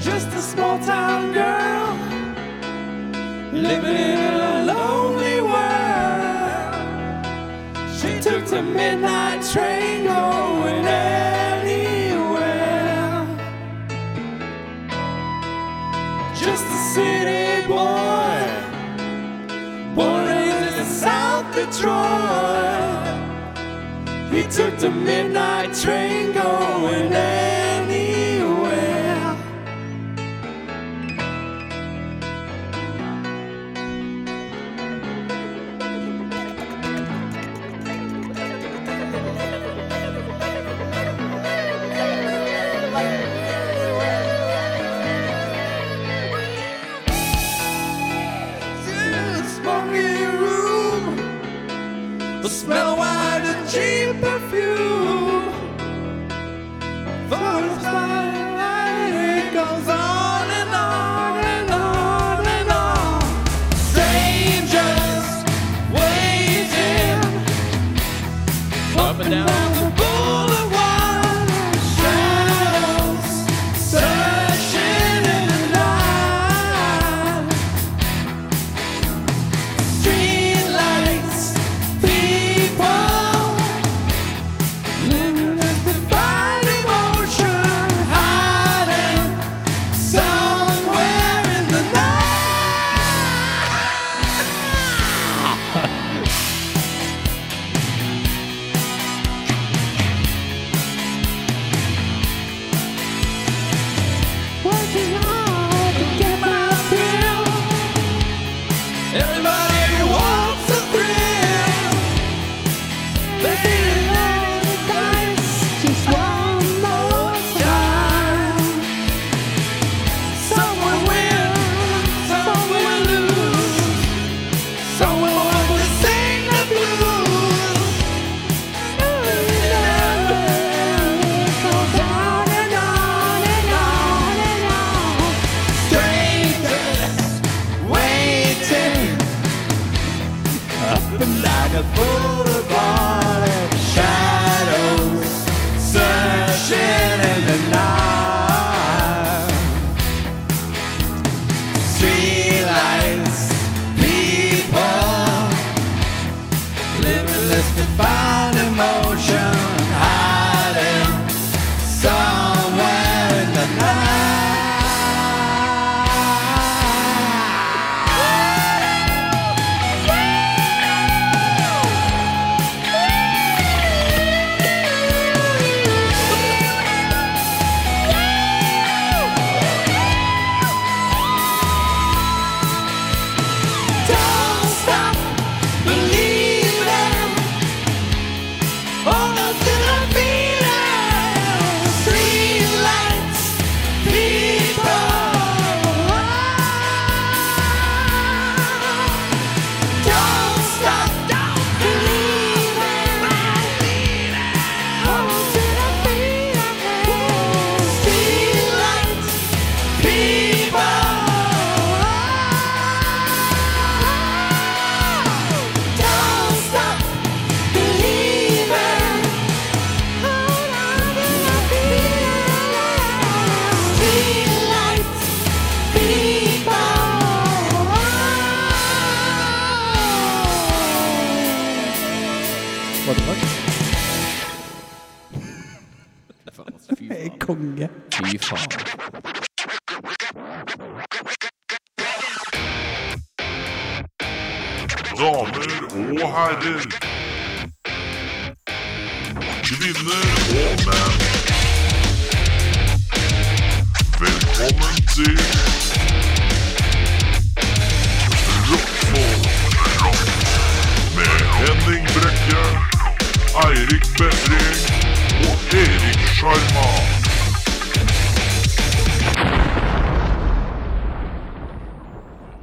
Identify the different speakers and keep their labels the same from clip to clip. Speaker 1: just a small town girl living in a lonely world. She took the midnight train going anywhere. Just a city boy, born and raised in South Detroit. He took the midnight train going anywhere. It's smoky room. The smell of wine and cheap perfume. First night, it goes on and on and on and on. Strangers waiting up and down the boulevard. Shadows searching in the night. Streetlights, people living as divine emotion, hiding somewhere in the night. Working hard to get my thrill. Everybody wants a thrill. They didn't have a dice, just one more time. Someone will, some will lose. Some will want to sing the blues. People Limitless divine emotion hiding somewhere in the night. Don't stop believing. All those little feelings, streetlights, people. Don't stop, don't believe it. Hold to the feeling. Streetlights, people. Don't stop believing. Hold on to the feeling. Streetlights, people.
Speaker 2: Konge.
Speaker 3: Fy faen.
Speaker 4: Damer og herrer. Kvinner og menn. Velkommen til Rockfolk med Henning Brekke, Eirik Bedring og Erik Sjarma.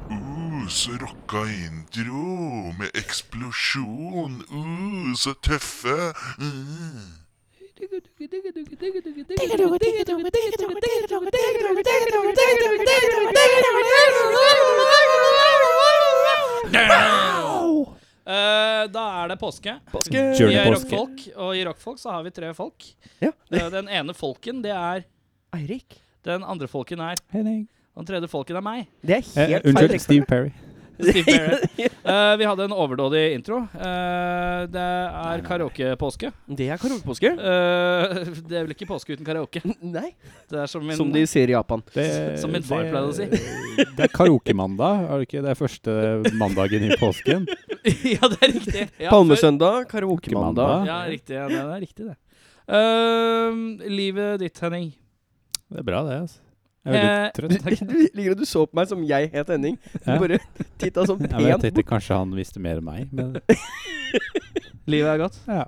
Speaker 4: Uh, så rocka intro med eksplosjon. Uh, så tøffe. Mm.
Speaker 5: Eh, da er det påske. I
Speaker 2: Journey påske.
Speaker 5: rockfolk, og i rockfolk så har vi tre folk.
Speaker 2: Ja.
Speaker 5: Eh, den ene folken, det er
Speaker 2: Eirik.
Speaker 5: Den andre folken er
Speaker 3: Henning.
Speaker 5: Den tredje folken er meg.
Speaker 6: Det er
Speaker 3: Eh,
Speaker 6: helt feil.
Speaker 3: unnskyld,
Speaker 6: tekst.
Speaker 3: Steve Perry.
Speaker 5: Steve Barrett. Eh, vi hadde en overdådig intro. Eh, det er karaoke-påske.
Speaker 6: Det er karaokepåske.
Speaker 5: Eh, det er vel ikke påske uten karaoke.
Speaker 6: Nei,
Speaker 5: Det er som min
Speaker 6: som de sier i Japan.
Speaker 3: Det-
Speaker 5: Som min far
Speaker 3: det-
Speaker 5: pleide å si.
Speaker 3: Det er karaokemandag, er det ikke? Det er første mandagen i påsken.
Speaker 5: Ja, det er riktig. Ja, før-
Speaker 6: Palmesøndag, karaokemandag.
Speaker 3: Mandag.
Speaker 5: Ja, riktig. Ja, det er riktig, det. Eh, livet ditt, Henning.
Speaker 3: Det er bra, det. altså. Jeg
Speaker 5: Eh,
Speaker 3: er veldig trøtt.
Speaker 6: Du ligger og du så på meg som jeg het Henning. Du
Speaker 3: Ja.
Speaker 6: bare titta sånn
Speaker 3: Ja, men jeg
Speaker 6: pent.
Speaker 3: tenkte kanskje han visste mer enn meg, men
Speaker 5: Livet er godt.
Speaker 3: ja.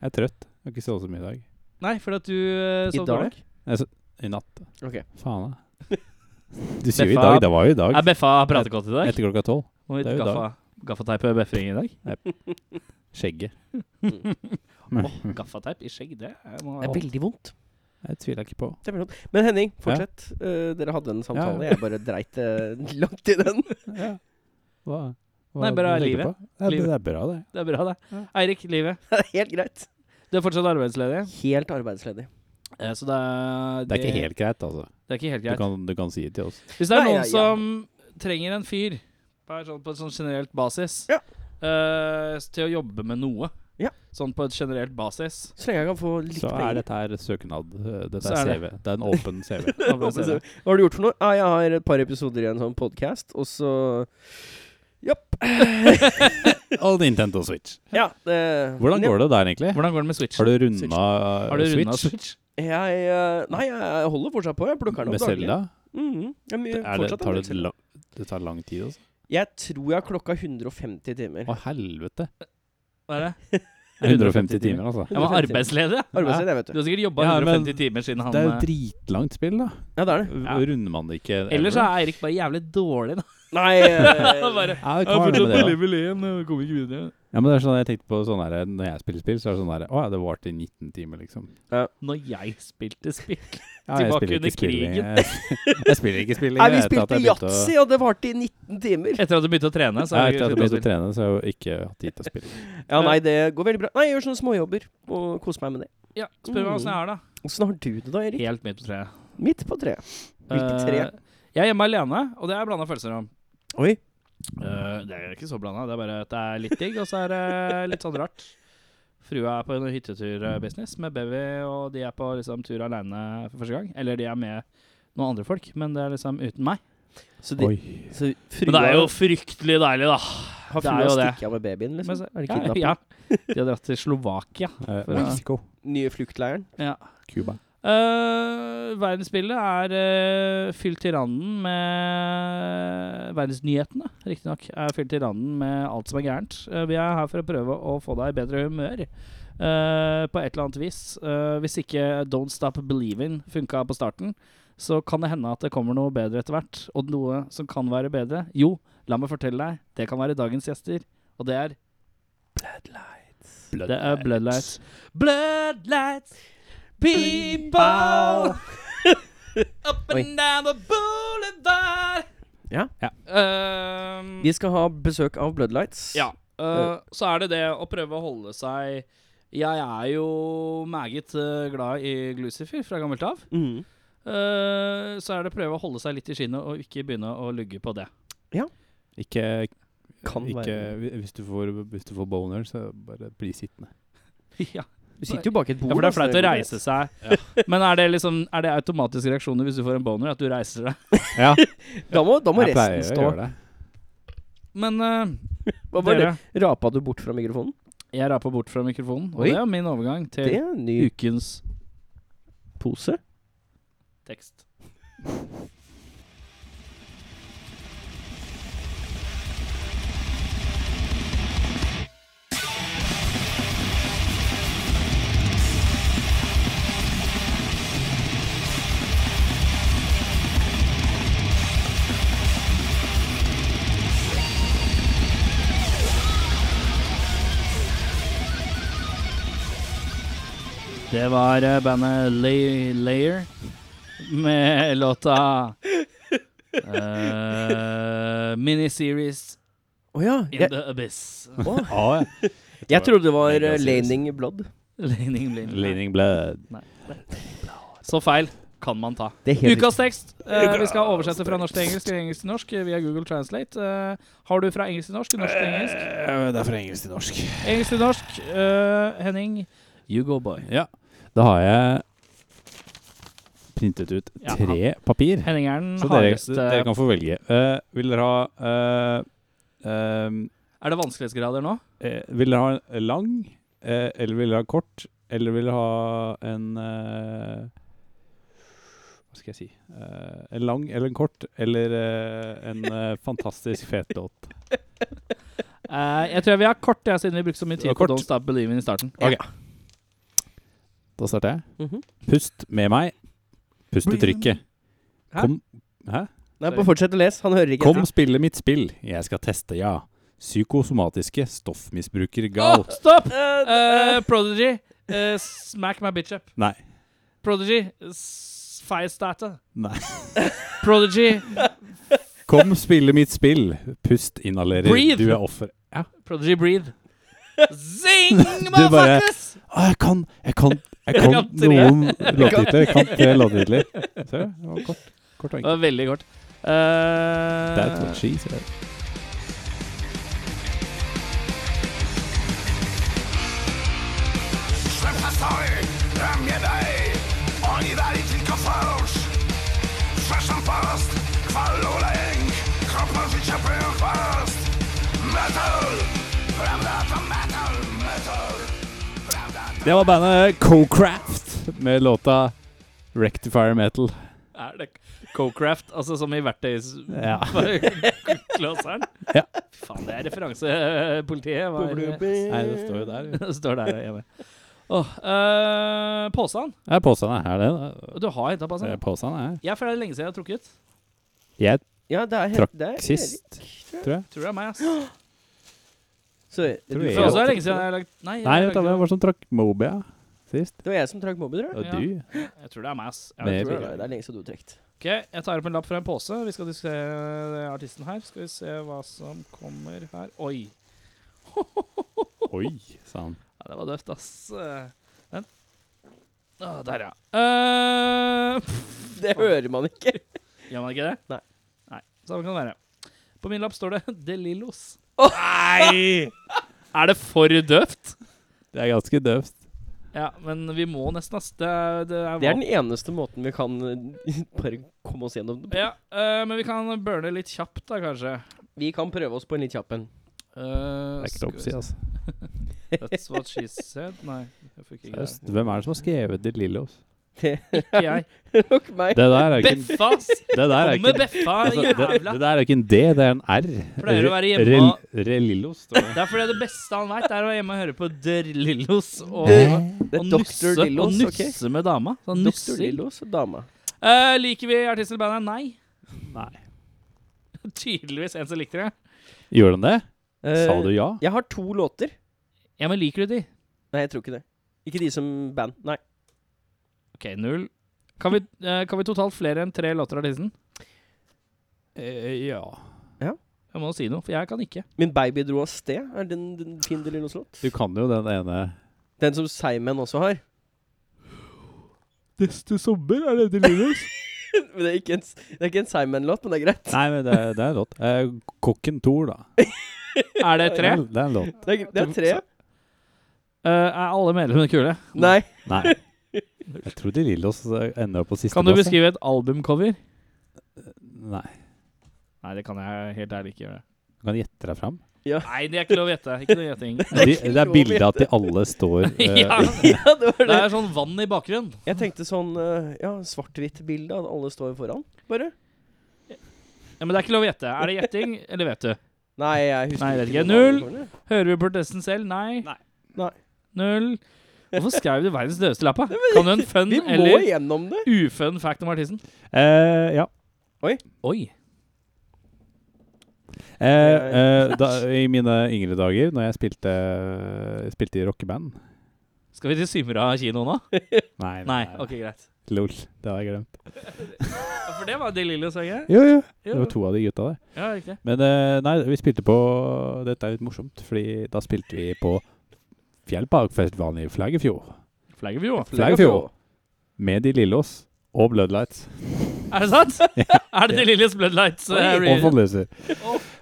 Speaker 3: Jeg er trøtt. Jeg har ikke sovet så mye i dag.
Speaker 5: Nei, fordi at du uh,
Speaker 6: I
Speaker 5: sov
Speaker 6: dag?
Speaker 5: dårlig.
Speaker 3: I natt.
Speaker 6: Ok.
Speaker 3: Faen, da. Du sier jo i
Speaker 5: Beffa-
Speaker 3: dag. Det var jo i dag.
Speaker 5: Er Beffa pratekåt i dag?
Speaker 3: Etter klokka tolv.
Speaker 5: Må vi
Speaker 3: det er jo i dag.
Speaker 5: gaffa- Gaffateip og beffring i dag?
Speaker 3: Skjegget.
Speaker 5: Åh, gaffateip i skjegg, det er- må
Speaker 6: Det er veldig vondt.
Speaker 3: Jeg tviler ikke på.
Speaker 6: Det er veldig vondt. Men Henning, fortsett. Eh, dere hadde en samtale. Jeg bare dreit eh, langt i den.
Speaker 3: Ja. Hva, hva
Speaker 5: Nei, bra
Speaker 3: du tenker
Speaker 5: livet.
Speaker 3: på? Ja, det,
Speaker 5: Livet.
Speaker 3: det er bra, det.
Speaker 5: Det er bra, det. Eirik, livet.
Speaker 6: Det er helt greit.
Speaker 5: Du er fortsatt arbeidsledig.
Speaker 6: Helt arbeidsledig.
Speaker 5: Eh, Så det er
Speaker 3: Det er ikke helt greit, altså.
Speaker 5: det er ikke helt
Speaker 3: Du
Speaker 5: greit.
Speaker 3: kan, du kan si det til oss.
Speaker 5: Hvis det er
Speaker 6: Nei,
Speaker 5: noen
Speaker 6: ja, ja.
Speaker 5: som trenger en fyr på en sånn, på en sånn generelt basis
Speaker 6: Ja.
Speaker 5: eh, til å jobbe med noe,
Speaker 6: Ja.
Speaker 5: sånn på et generelt basis
Speaker 6: Så lenge jeg kan få litt
Speaker 3: Så er
Speaker 6: penger.
Speaker 3: dette her søknad. eh, Dette
Speaker 5: Så er
Speaker 3: er
Speaker 5: det.
Speaker 3: CV. Det er en åpen CV.
Speaker 5: Hva
Speaker 6: Hva har du gjort for noe? Ah, jeg har et par episoder i en sånn podkast, og så Japp.
Speaker 3: Og Nintendo Switch.
Speaker 6: Ja, det
Speaker 3: Hvordan går det der, egentlig?
Speaker 5: Hvordan går det med Switch?
Speaker 3: Har du
Speaker 6: Switch.
Speaker 3: runda
Speaker 5: Har du runda
Speaker 3: Switch?
Speaker 5: Switch?
Speaker 6: Jeg, eh, nei, jeg holder fortsatt på. Jeg plukker den
Speaker 3: Med
Speaker 6: opp daglig.
Speaker 3: Selda?
Speaker 6: Mhm. Jeg my-
Speaker 3: Er det,
Speaker 6: fortsatt en
Speaker 3: tar
Speaker 6: del
Speaker 3: det,
Speaker 6: Zelda.
Speaker 3: la, det tar lang tid, altså?
Speaker 6: Jeg tror jeg har klokka 150 timer.
Speaker 3: Å, helvete.
Speaker 5: Hva er det?
Speaker 3: 150 timer, altså.
Speaker 5: Jeg var
Speaker 6: 150 timer.
Speaker 5: arbeidsledig. ja.
Speaker 6: Arbeidsledig, vet
Speaker 5: Du
Speaker 6: du.
Speaker 5: har sikkert jobba
Speaker 3: Ja, men
Speaker 5: 150 timer siden han
Speaker 3: Det er jo
Speaker 5: eh,
Speaker 3: dritlangt spill, da.
Speaker 6: Ja, det er det.
Speaker 5: Ja.
Speaker 3: Runder man det ikke
Speaker 5: Ellers så er Eirik bare jævlig dårlig, da.
Speaker 6: Nei eh,
Speaker 5: bare
Speaker 3: Ja, det kan være noe med det, da.
Speaker 5: level 1 og kommer ikke videre.
Speaker 3: Ja, men det er sånn jeg tenkte på sånn her, Når jeg spiller spill, så er det sånn her Å ja, det varte i 19 timer, liksom.
Speaker 5: Når jeg spilte spill
Speaker 3: Ja, jeg
Speaker 5: Tilbake
Speaker 3: spiller ikke
Speaker 5: under
Speaker 3: spill lenger.
Speaker 5: krigen.
Speaker 3: Jeg, jeg spiller ikke spill
Speaker 6: Nei,
Speaker 3: lenger
Speaker 6: vi
Speaker 3: etter at jeg
Speaker 6: spilte
Speaker 3: begynte å-
Speaker 6: yatzy, og det varte i 19 timer.
Speaker 5: Etter at du begynte å trene, så
Speaker 3: Ja, etter
Speaker 5: har du
Speaker 3: at jeg
Speaker 5: sluttet å
Speaker 3: begynte å trene, så har jeg jo ikke hatt tid til å spille.
Speaker 6: Ja, nei, det går veldig bra. Nei, jeg gjør sånne småjobber og koser meg med det.
Speaker 5: spille. Ja, Spør
Speaker 6: Mm.
Speaker 5: meg åssen jeg har det.
Speaker 6: Åssen har du det da,
Speaker 5: da.
Speaker 6: Erik?
Speaker 5: Helt midt på treet.
Speaker 6: Midt på treet. Hvilket tre?
Speaker 5: Eh, Jeg er hjemme alene, og det er blanda følelser om.
Speaker 6: Oi.
Speaker 5: Eh, det er ikke så blanda, det er bare at det er litt digg, og så er det litt sånn rart. Frua er på en hytteturbusiness med baby, og de er på liksom tur aleine for første gang. Eller de er med noen andre folk, men det er liksom uten meg.
Speaker 6: Så, de,
Speaker 3: Oi.
Speaker 6: så frua,
Speaker 5: Men det er jo fryktelig deilig, da.
Speaker 6: har
Speaker 5: det er
Speaker 6: frua
Speaker 5: jo det.
Speaker 6: stukket av med babyen, liksom?
Speaker 5: Men så-
Speaker 6: er det
Speaker 5: ja,
Speaker 6: kidnapping?
Speaker 5: ja. De har dratt til Slovakia.
Speaker 3: Eh,
Speaker 5: Ja.
Speaker 3: Mexico.
Speaker 6: Nye fluktleiren?
Speaker 5: Ja.
Speaker 3: Cuba.
Speaker 5: Eh, verdensbildet er eh, fylt til randen med Verdensnyhetene, riktignok, er fylt til randen med alt som er gærent. Eh, vi er her for å prøve å få deg i bedre humør. eh, på et eller annet vis. Eh, hvis ikke Don't Stop Believing funka på starten, så kan det hende at det kommer noe bedre etter hvert. Og noe som kan være bedre. Jo, la meg fortelle deg, det kan være dagens gjester, og det er Det er Bloodlights. Bloodlights, people Up
Speaker 6: Oi.
Speaker 5: and down the boulevard.
Speaker 6: Ja.
Speaker 3: Ja.
Speaker 5: Ehm,
Speaker 6: Vi skal ha besøk av Bloodlights.
Speaker 5: ja. eh, så er det det å prøve å holde seg Jeg er jo meget eh, glad i Glucifer fra gammelt av.
Speaker 6: Mhm.
Speaker 5: Eh, så er det å prøve å holde seg litt i skinnet og ikke begynne å lugge på det.
Speaker 3: Ikke,
Speaker 6: Kan
Speaker 3: ikke
Speaker 6: være
Speaker 3: hvis, du får, hvis du får boner, så bare bli sittende.
Speaker 5: ja.
Speaker 6: Du sitter jo bak et bord. altså.
Speaker 5: ja, for det
Speaker 6: da,
Speaker 5: er
Speaker 6: så går
Speaker 5: flaut å
Speaker 6: greit.
Speaker 5: reise seg. Men er det liksom Er det automatiske reaksjoner hvis du får en boner, at du reiser deg?
Speaker 3: Ja,
Speaker 6: Da må, da må
Speaker 3: jeg pleier
Speaker 6: resten
Speaker 3: å
Speaker 6: stå.
Speaker 3: gjøre det.
Speaker 5: Men eh,
Speaker 6: Hva var det?
Speaker 5: dere,
Speaker 6: Rapa du bort fra mikrofonen?
Speaker 5: jeg rapa bort fra mikrofonen, og
Speaker 6: Oi.
Speaker 5: det er min overgang til
Speaker 6: Det er en ny
Speaker 5: ukens
Speaker 6: pose.
Speaker 5: tekst. Det var eh, bandet Lay Layer med låta eh, Miniseries
Speaker 6: Å ja.
Speaker 5: In
Speaker 6: Jeg,
Speaker 5: The Abyss.
Speaker 3: Ah, ja.
Speaker 6: jeg trodde det var
Speaker 3: Mega
Speaker 6: eh,
Speaker 3: seriøst.
Speaker 6: Laning Blood.
Speaker 5: Leaning Blind.
Speaker 3: Leaning blood.
Speaker 5: Så feil. kan man ta.
Speaker 6: Det er helt
Speaker 5: Ukas tekst. eh, vi skal oversette fra norsk til engelsk til engelsk til norsk eh, via Google Translate. Eh, har du fra engelsk til norsk? Norsk til engelsk?
Speaker 2: Eh, Det er fra engelsk til norsk.
Speaker 5: Engelsk til norsk. eh, Henning, you go, boy.
Speaker 3: Ja. Da har jeg printet ut
Speaker 5: Ja.
Speaker 3: tre papir.
Speaker 5: Henning er den
Speaker 3: Så dere,
Speaker 5: hardeste
Speaker 3: dere kan få velge. Eh, vil dere ha eh, ehm,
Speaker 5: Er det vanskelighetsgrader nå?
Speaker 3: eh, Vil dere ha en lang, eh, eller vil dere ha kort, eller vil dere ha en eh, Hva skal jeg si Eh, En lang eller en kort, eller eh, en eh, fantastisk fet låt.
Speaker 5: Eh, jeg tror vi har kort, ja, siden vi brukte så mye
Speaker 3: Det var
Speaker 5: tid på
Speaker 3: kort.
Speaker 5: Don't Stop Believing i starten.
Speaker 3: Ok. Da starter jeg.
Speaker 6: Mhm.
Speaker 3: Pust med meg. Pust i trykket.
Speaker 5: Hæ?
Speaker 3: Kom, hæ?
Speaker 6: Nei, bare fortsett å lese. Han hører ikke
Speaker 3: Kom,
Speaker 6: etter.
Speaker 3: spille mitt spill. Jeg skal teste, ja. Psykosomatiske stoffmisbruker gal.
Speaker 5: Åh, stopp!
Speaker 6: Eh,
Speaker 5: Eh, Prodigy, eh, smack my bitch up.
Speaker 3: Nei.
Speaker 5: Prodigy, s- firestarter.
Speaker 3: Nei.
Speaker 5: Prodigy,
Speaker 3: Kom, spille mitt spill. Pust, inhalerer.
Speaker 5: Breathe.
Speaker 3: Du er offer. Ja.
Speaker 5: Prodigy breathe. Zing, motherfuckers!
Speaker 3: Ah, jeg kan Jeg kan, jeg
Speaker 5: Jeg
Speaker 3: kan
Speaker 5: kan tre.
Speaker 3: noen låttitler. Jeg kan tre låttitler. Ser du? Det var kort. Kort og
Speaker 5: Det
Speaker 3: enkelt.
Speaker 5: var veldig kort. Eh,
Speaker 3: That's what she said.
Speaker 1: Slipp meg sorry, dra mnie daj Oni dali tylko fałsz Przeszłam fast, chwalu lęk Kropa życia byłem fast Metal, prawda to metal, metal
Speaker 3: Det var bandet Co-Craft med låta Rectifier Metal.
Speaker 5: Er det Cocraft, altså som i verktøys...
Speaker 3: Ja.
Speaker 5: Klåseren?
Speaker 3: Ja.
Speaker 5: Fy Faen, det er referansepolitiet. Hva
Speaker 3: Nei, det står jo der.
Speaker 5: er- Står der, jeg med. Åh, eh, påstand.
Speaker 3: Ja, påsen er her, det. da.
Speaker 5: Du har henta
Speaker 3: Det
Speaker 5: påstand?
Speaker 3: er Påsen er
Speaker 5: Jeg føler det er lenge siden jeg har trukket.
Speaker 3: Jeg
Speaker 6: Ja, det er
Speaker 3: Trakk
Speaker 6: helt det er
Speaker 3: sist, tror jeg.
Speaker 5: Tror det er meg, ass.
Speaker 6: Så, du,
Speaker 3: Tror jeg
Speaker 5: altså, Det er også
Speaker 6: det
Speaker 5: lenge siden jeg har lagt Nei, jeg
Speaker 3: Nei,
Speaker 5: har
Speaker 3: vet du,
Speaker 5: lagt-
Speaker 3: hvem var det som trakk Mobia sist?
Speaker 6: var jeg som trakk mobben, tror jeg.
Speaker 3: Og
Speaker 5: Ja.
Speaker 3: du?
Speaker 5: jeg tror det er meg, ass. Ja,
Speaker 3: Med
Speaker 5: jeg
Speaker 6: Tror
Speaker 5: tror
Speaker 6: jeg
Speaker 5: det.
Speaker 6: det er. Det er lenge siden du trekt.
Speaker 5: Ok, jeg tar opp en lapp fra en pose. Vi skal diskutere eh, artisten her. Skal vi se hva som kommer her. Oi.
Speaker 3: Oi, sa han.
Speaker 5: Ja, det var døvt, ass. Eh, Vent. Å, der, ja. Eh,
Speaker 6: Det hører man ikke.
Speaker 5: Gjør man ikke det?
Speaker 6: Nei.
Speaker 5: Nei, Samme kan det være. På min lapp står det De Lillos.
Speaker 6: Åh!
Speaker 5: Nei! Er det for døvt?
Speaker 3: Det er ganske døvt.
Speaker 5: Ja, men vi må nesten, ass. Det er, det er,
Speaker 6: Det er den eneste måten vi kan eh, bare komme oss gjennom det på.
Speaker 5: Ja, eh, men vi kan burne litt kjapt, da, kanskje.
Speaker 6: Vi kan prøve oss på en litt kjapp en.
Speaker 5: Eh,
Speaker 3: Det er ikke lov å si, altså.
Speaker 5: That's what she said. Nei, jeg fikk ikke
Speaker 3: Seriøst, Hvem er det som har skrevet De Lillos?
Speaker 5: Ikke jeg.
Speaker 6: Nok meg.
Speaker 3: Det der er ikke en-
Speaker 5: Beffa, ass!
Speaker 3: det der er
Speaker 5: Kom
Speaker 3: ikke
Speaker 5: med
Speaker 3: en-
Speaker 5: Beffa,
Speaker 3: altså, det,
Speaker 5: jævla!
Speaker 3: det der er ikke en D, det er en R.
Speaker 5: Pleier å være hjemme
Speaker 3: Rel-
Speaker 5: og-
Speaker 3: Relillos, står det.
Speaker 5: Det er fordi det beste han veit, er å være hjemme og høre på De Lillos og,
Speaker 6: Det
Speaker 5: og
Speaker 6: er
Speaker 5: nusse,
Speaker 6: Dr.
Speaker 5: og
Speaker 6: Lillos. ok?
Speaker 5: nusse med dama. Sånn
Speaker 6: Dr.
Speaker 5: nussing.
Speaker 6: Lillos og dama.
Speaker 5: Eh, liker vi artisten i bandet? Nei.
Speaker 3: Nei.
Speaker 5: Tydeligvis en som likte det.
Speaker 3: Gjorde han det?
Speaker 6: Eh,
Speaker 3: Sa du ja?
Speaker 6: Jeg har to låter.
Speaker 5: Ja, men liker du de?
Speaker 6: Nei, jeg tror ikke det. Ikke de som band. Nei.
Speaker 5: OK, null. Kan vi, eh, kan vi totalt flere enn tre låter av artisten?
Speaker 3: ja.
Speaker 5: Jeg må si noe, for jeg kan ikke.
Speaker 6: Min baby dro av sted. Er den, den fin De Lillos-låt?
Speaker 3: Du kan jo den ene
Speaker 6: Den som Simon også har.
Speaker 3: Neste sommer er det De Lillos?
Speaker 6: Men det er ikke en, det er ikke en Simon-låt, men det er greit.
Speaker 3: Nei, men det, er- det er en låt. Eh, Kokken Thor, da.
Speaker 5: Er det
Speaker 3: Det
Speaker 5: tre?
Speaker 3: er, det er en låt.
Speaker 6: Det er, det er tre.
Speaker 5: Eh, er alle medlemmene kule?
Speaker 6: Nei.
Speaker 3: Nei. Jeg tror De Lillos eh, ender opp på siste
Speaker 5: Kan du
Speaker 3: plass, jeg.
Speaker 5: beskrive et albumcover?
Speaker 3: Nei.
Speaker 5: Nei, det kan jeg helt ærlig ikke gjøre.
Speaker 3: Du kan gjette deg fram.
Speaker 5: Nei, det er ikke lov å gjette. Ikke noe gjetting.
Speaker 3: Det,
Speaker 6: er ikke
Speaker 3: det er
Speaker 6: lov å
Speaker 3: bildet at de alle står eh,
Speaker 5: ja,
Speaker 6: Ja, det var
Speaker 5: det
Speaker 6: det.
Speaker 5: er sånn vann i bakgrunnen.
Speaker 6: Jeg tenkte sånn eh, ja, svart-hvitt-bilde, at alle står foran, bare.
Speaker 5: Ja, Men det er ikke lov å gjette. Er det gjetting, eller vet du?
Speaker 6: Nei, jeg husker
Speaker 5: Nei, jeg vet ikke.
Speaker 6: noen
Speaker 5: Null.
Speaker 6: av dem.
Speaker 5: Hører vi protesten selv? Nei.
Speaker 3: Nei.
Speaker 6: Nei.
Speaker 5: Null. Hvorfor skrev du verdens døveste lappa? Kan du en fun
Speaker 6: Vi må
Speaker 5: eller
Speaker 6: gjennom det.
Speaker 5: ufun fact om artisten?
Speaker 3: eh, Ja.
Speaker 5: Oi.
Speaker 3: Eh, eh, da, I mine yngre dager, når jeg spilte, spilte i rockeband
Speaker 5: Skal vi til Symra kino nå?
Speaker 3: Nei,
Speaker 5: Nei, ok, greit.
Speaker 3: lol. Det har jeg glemt.
Speaker 5: Ja, For det var De Lillos sanget?
Speaker 3: Jo, jo. Det
Speaker 5: Jo.
Speaker 3: var to av de gutta der.
Speaker 5: Ja, riktig.
Speaker 3: Men eh, nei, vi spilte på Dette er litt morsomt, fordi da spilte vi på Fjellparkfestivalen i Flaggefjord.
Speaker 5: Flaggerview.
Speaker 3: Flaggefjord. Med De Lillos Og Bloodlights.
Speaker 5: Er det sant? er det The Lillies Bloodlights? eh,
Speaker 3: Og
Speaker 5: reunion?
Speaker 3: von Løser.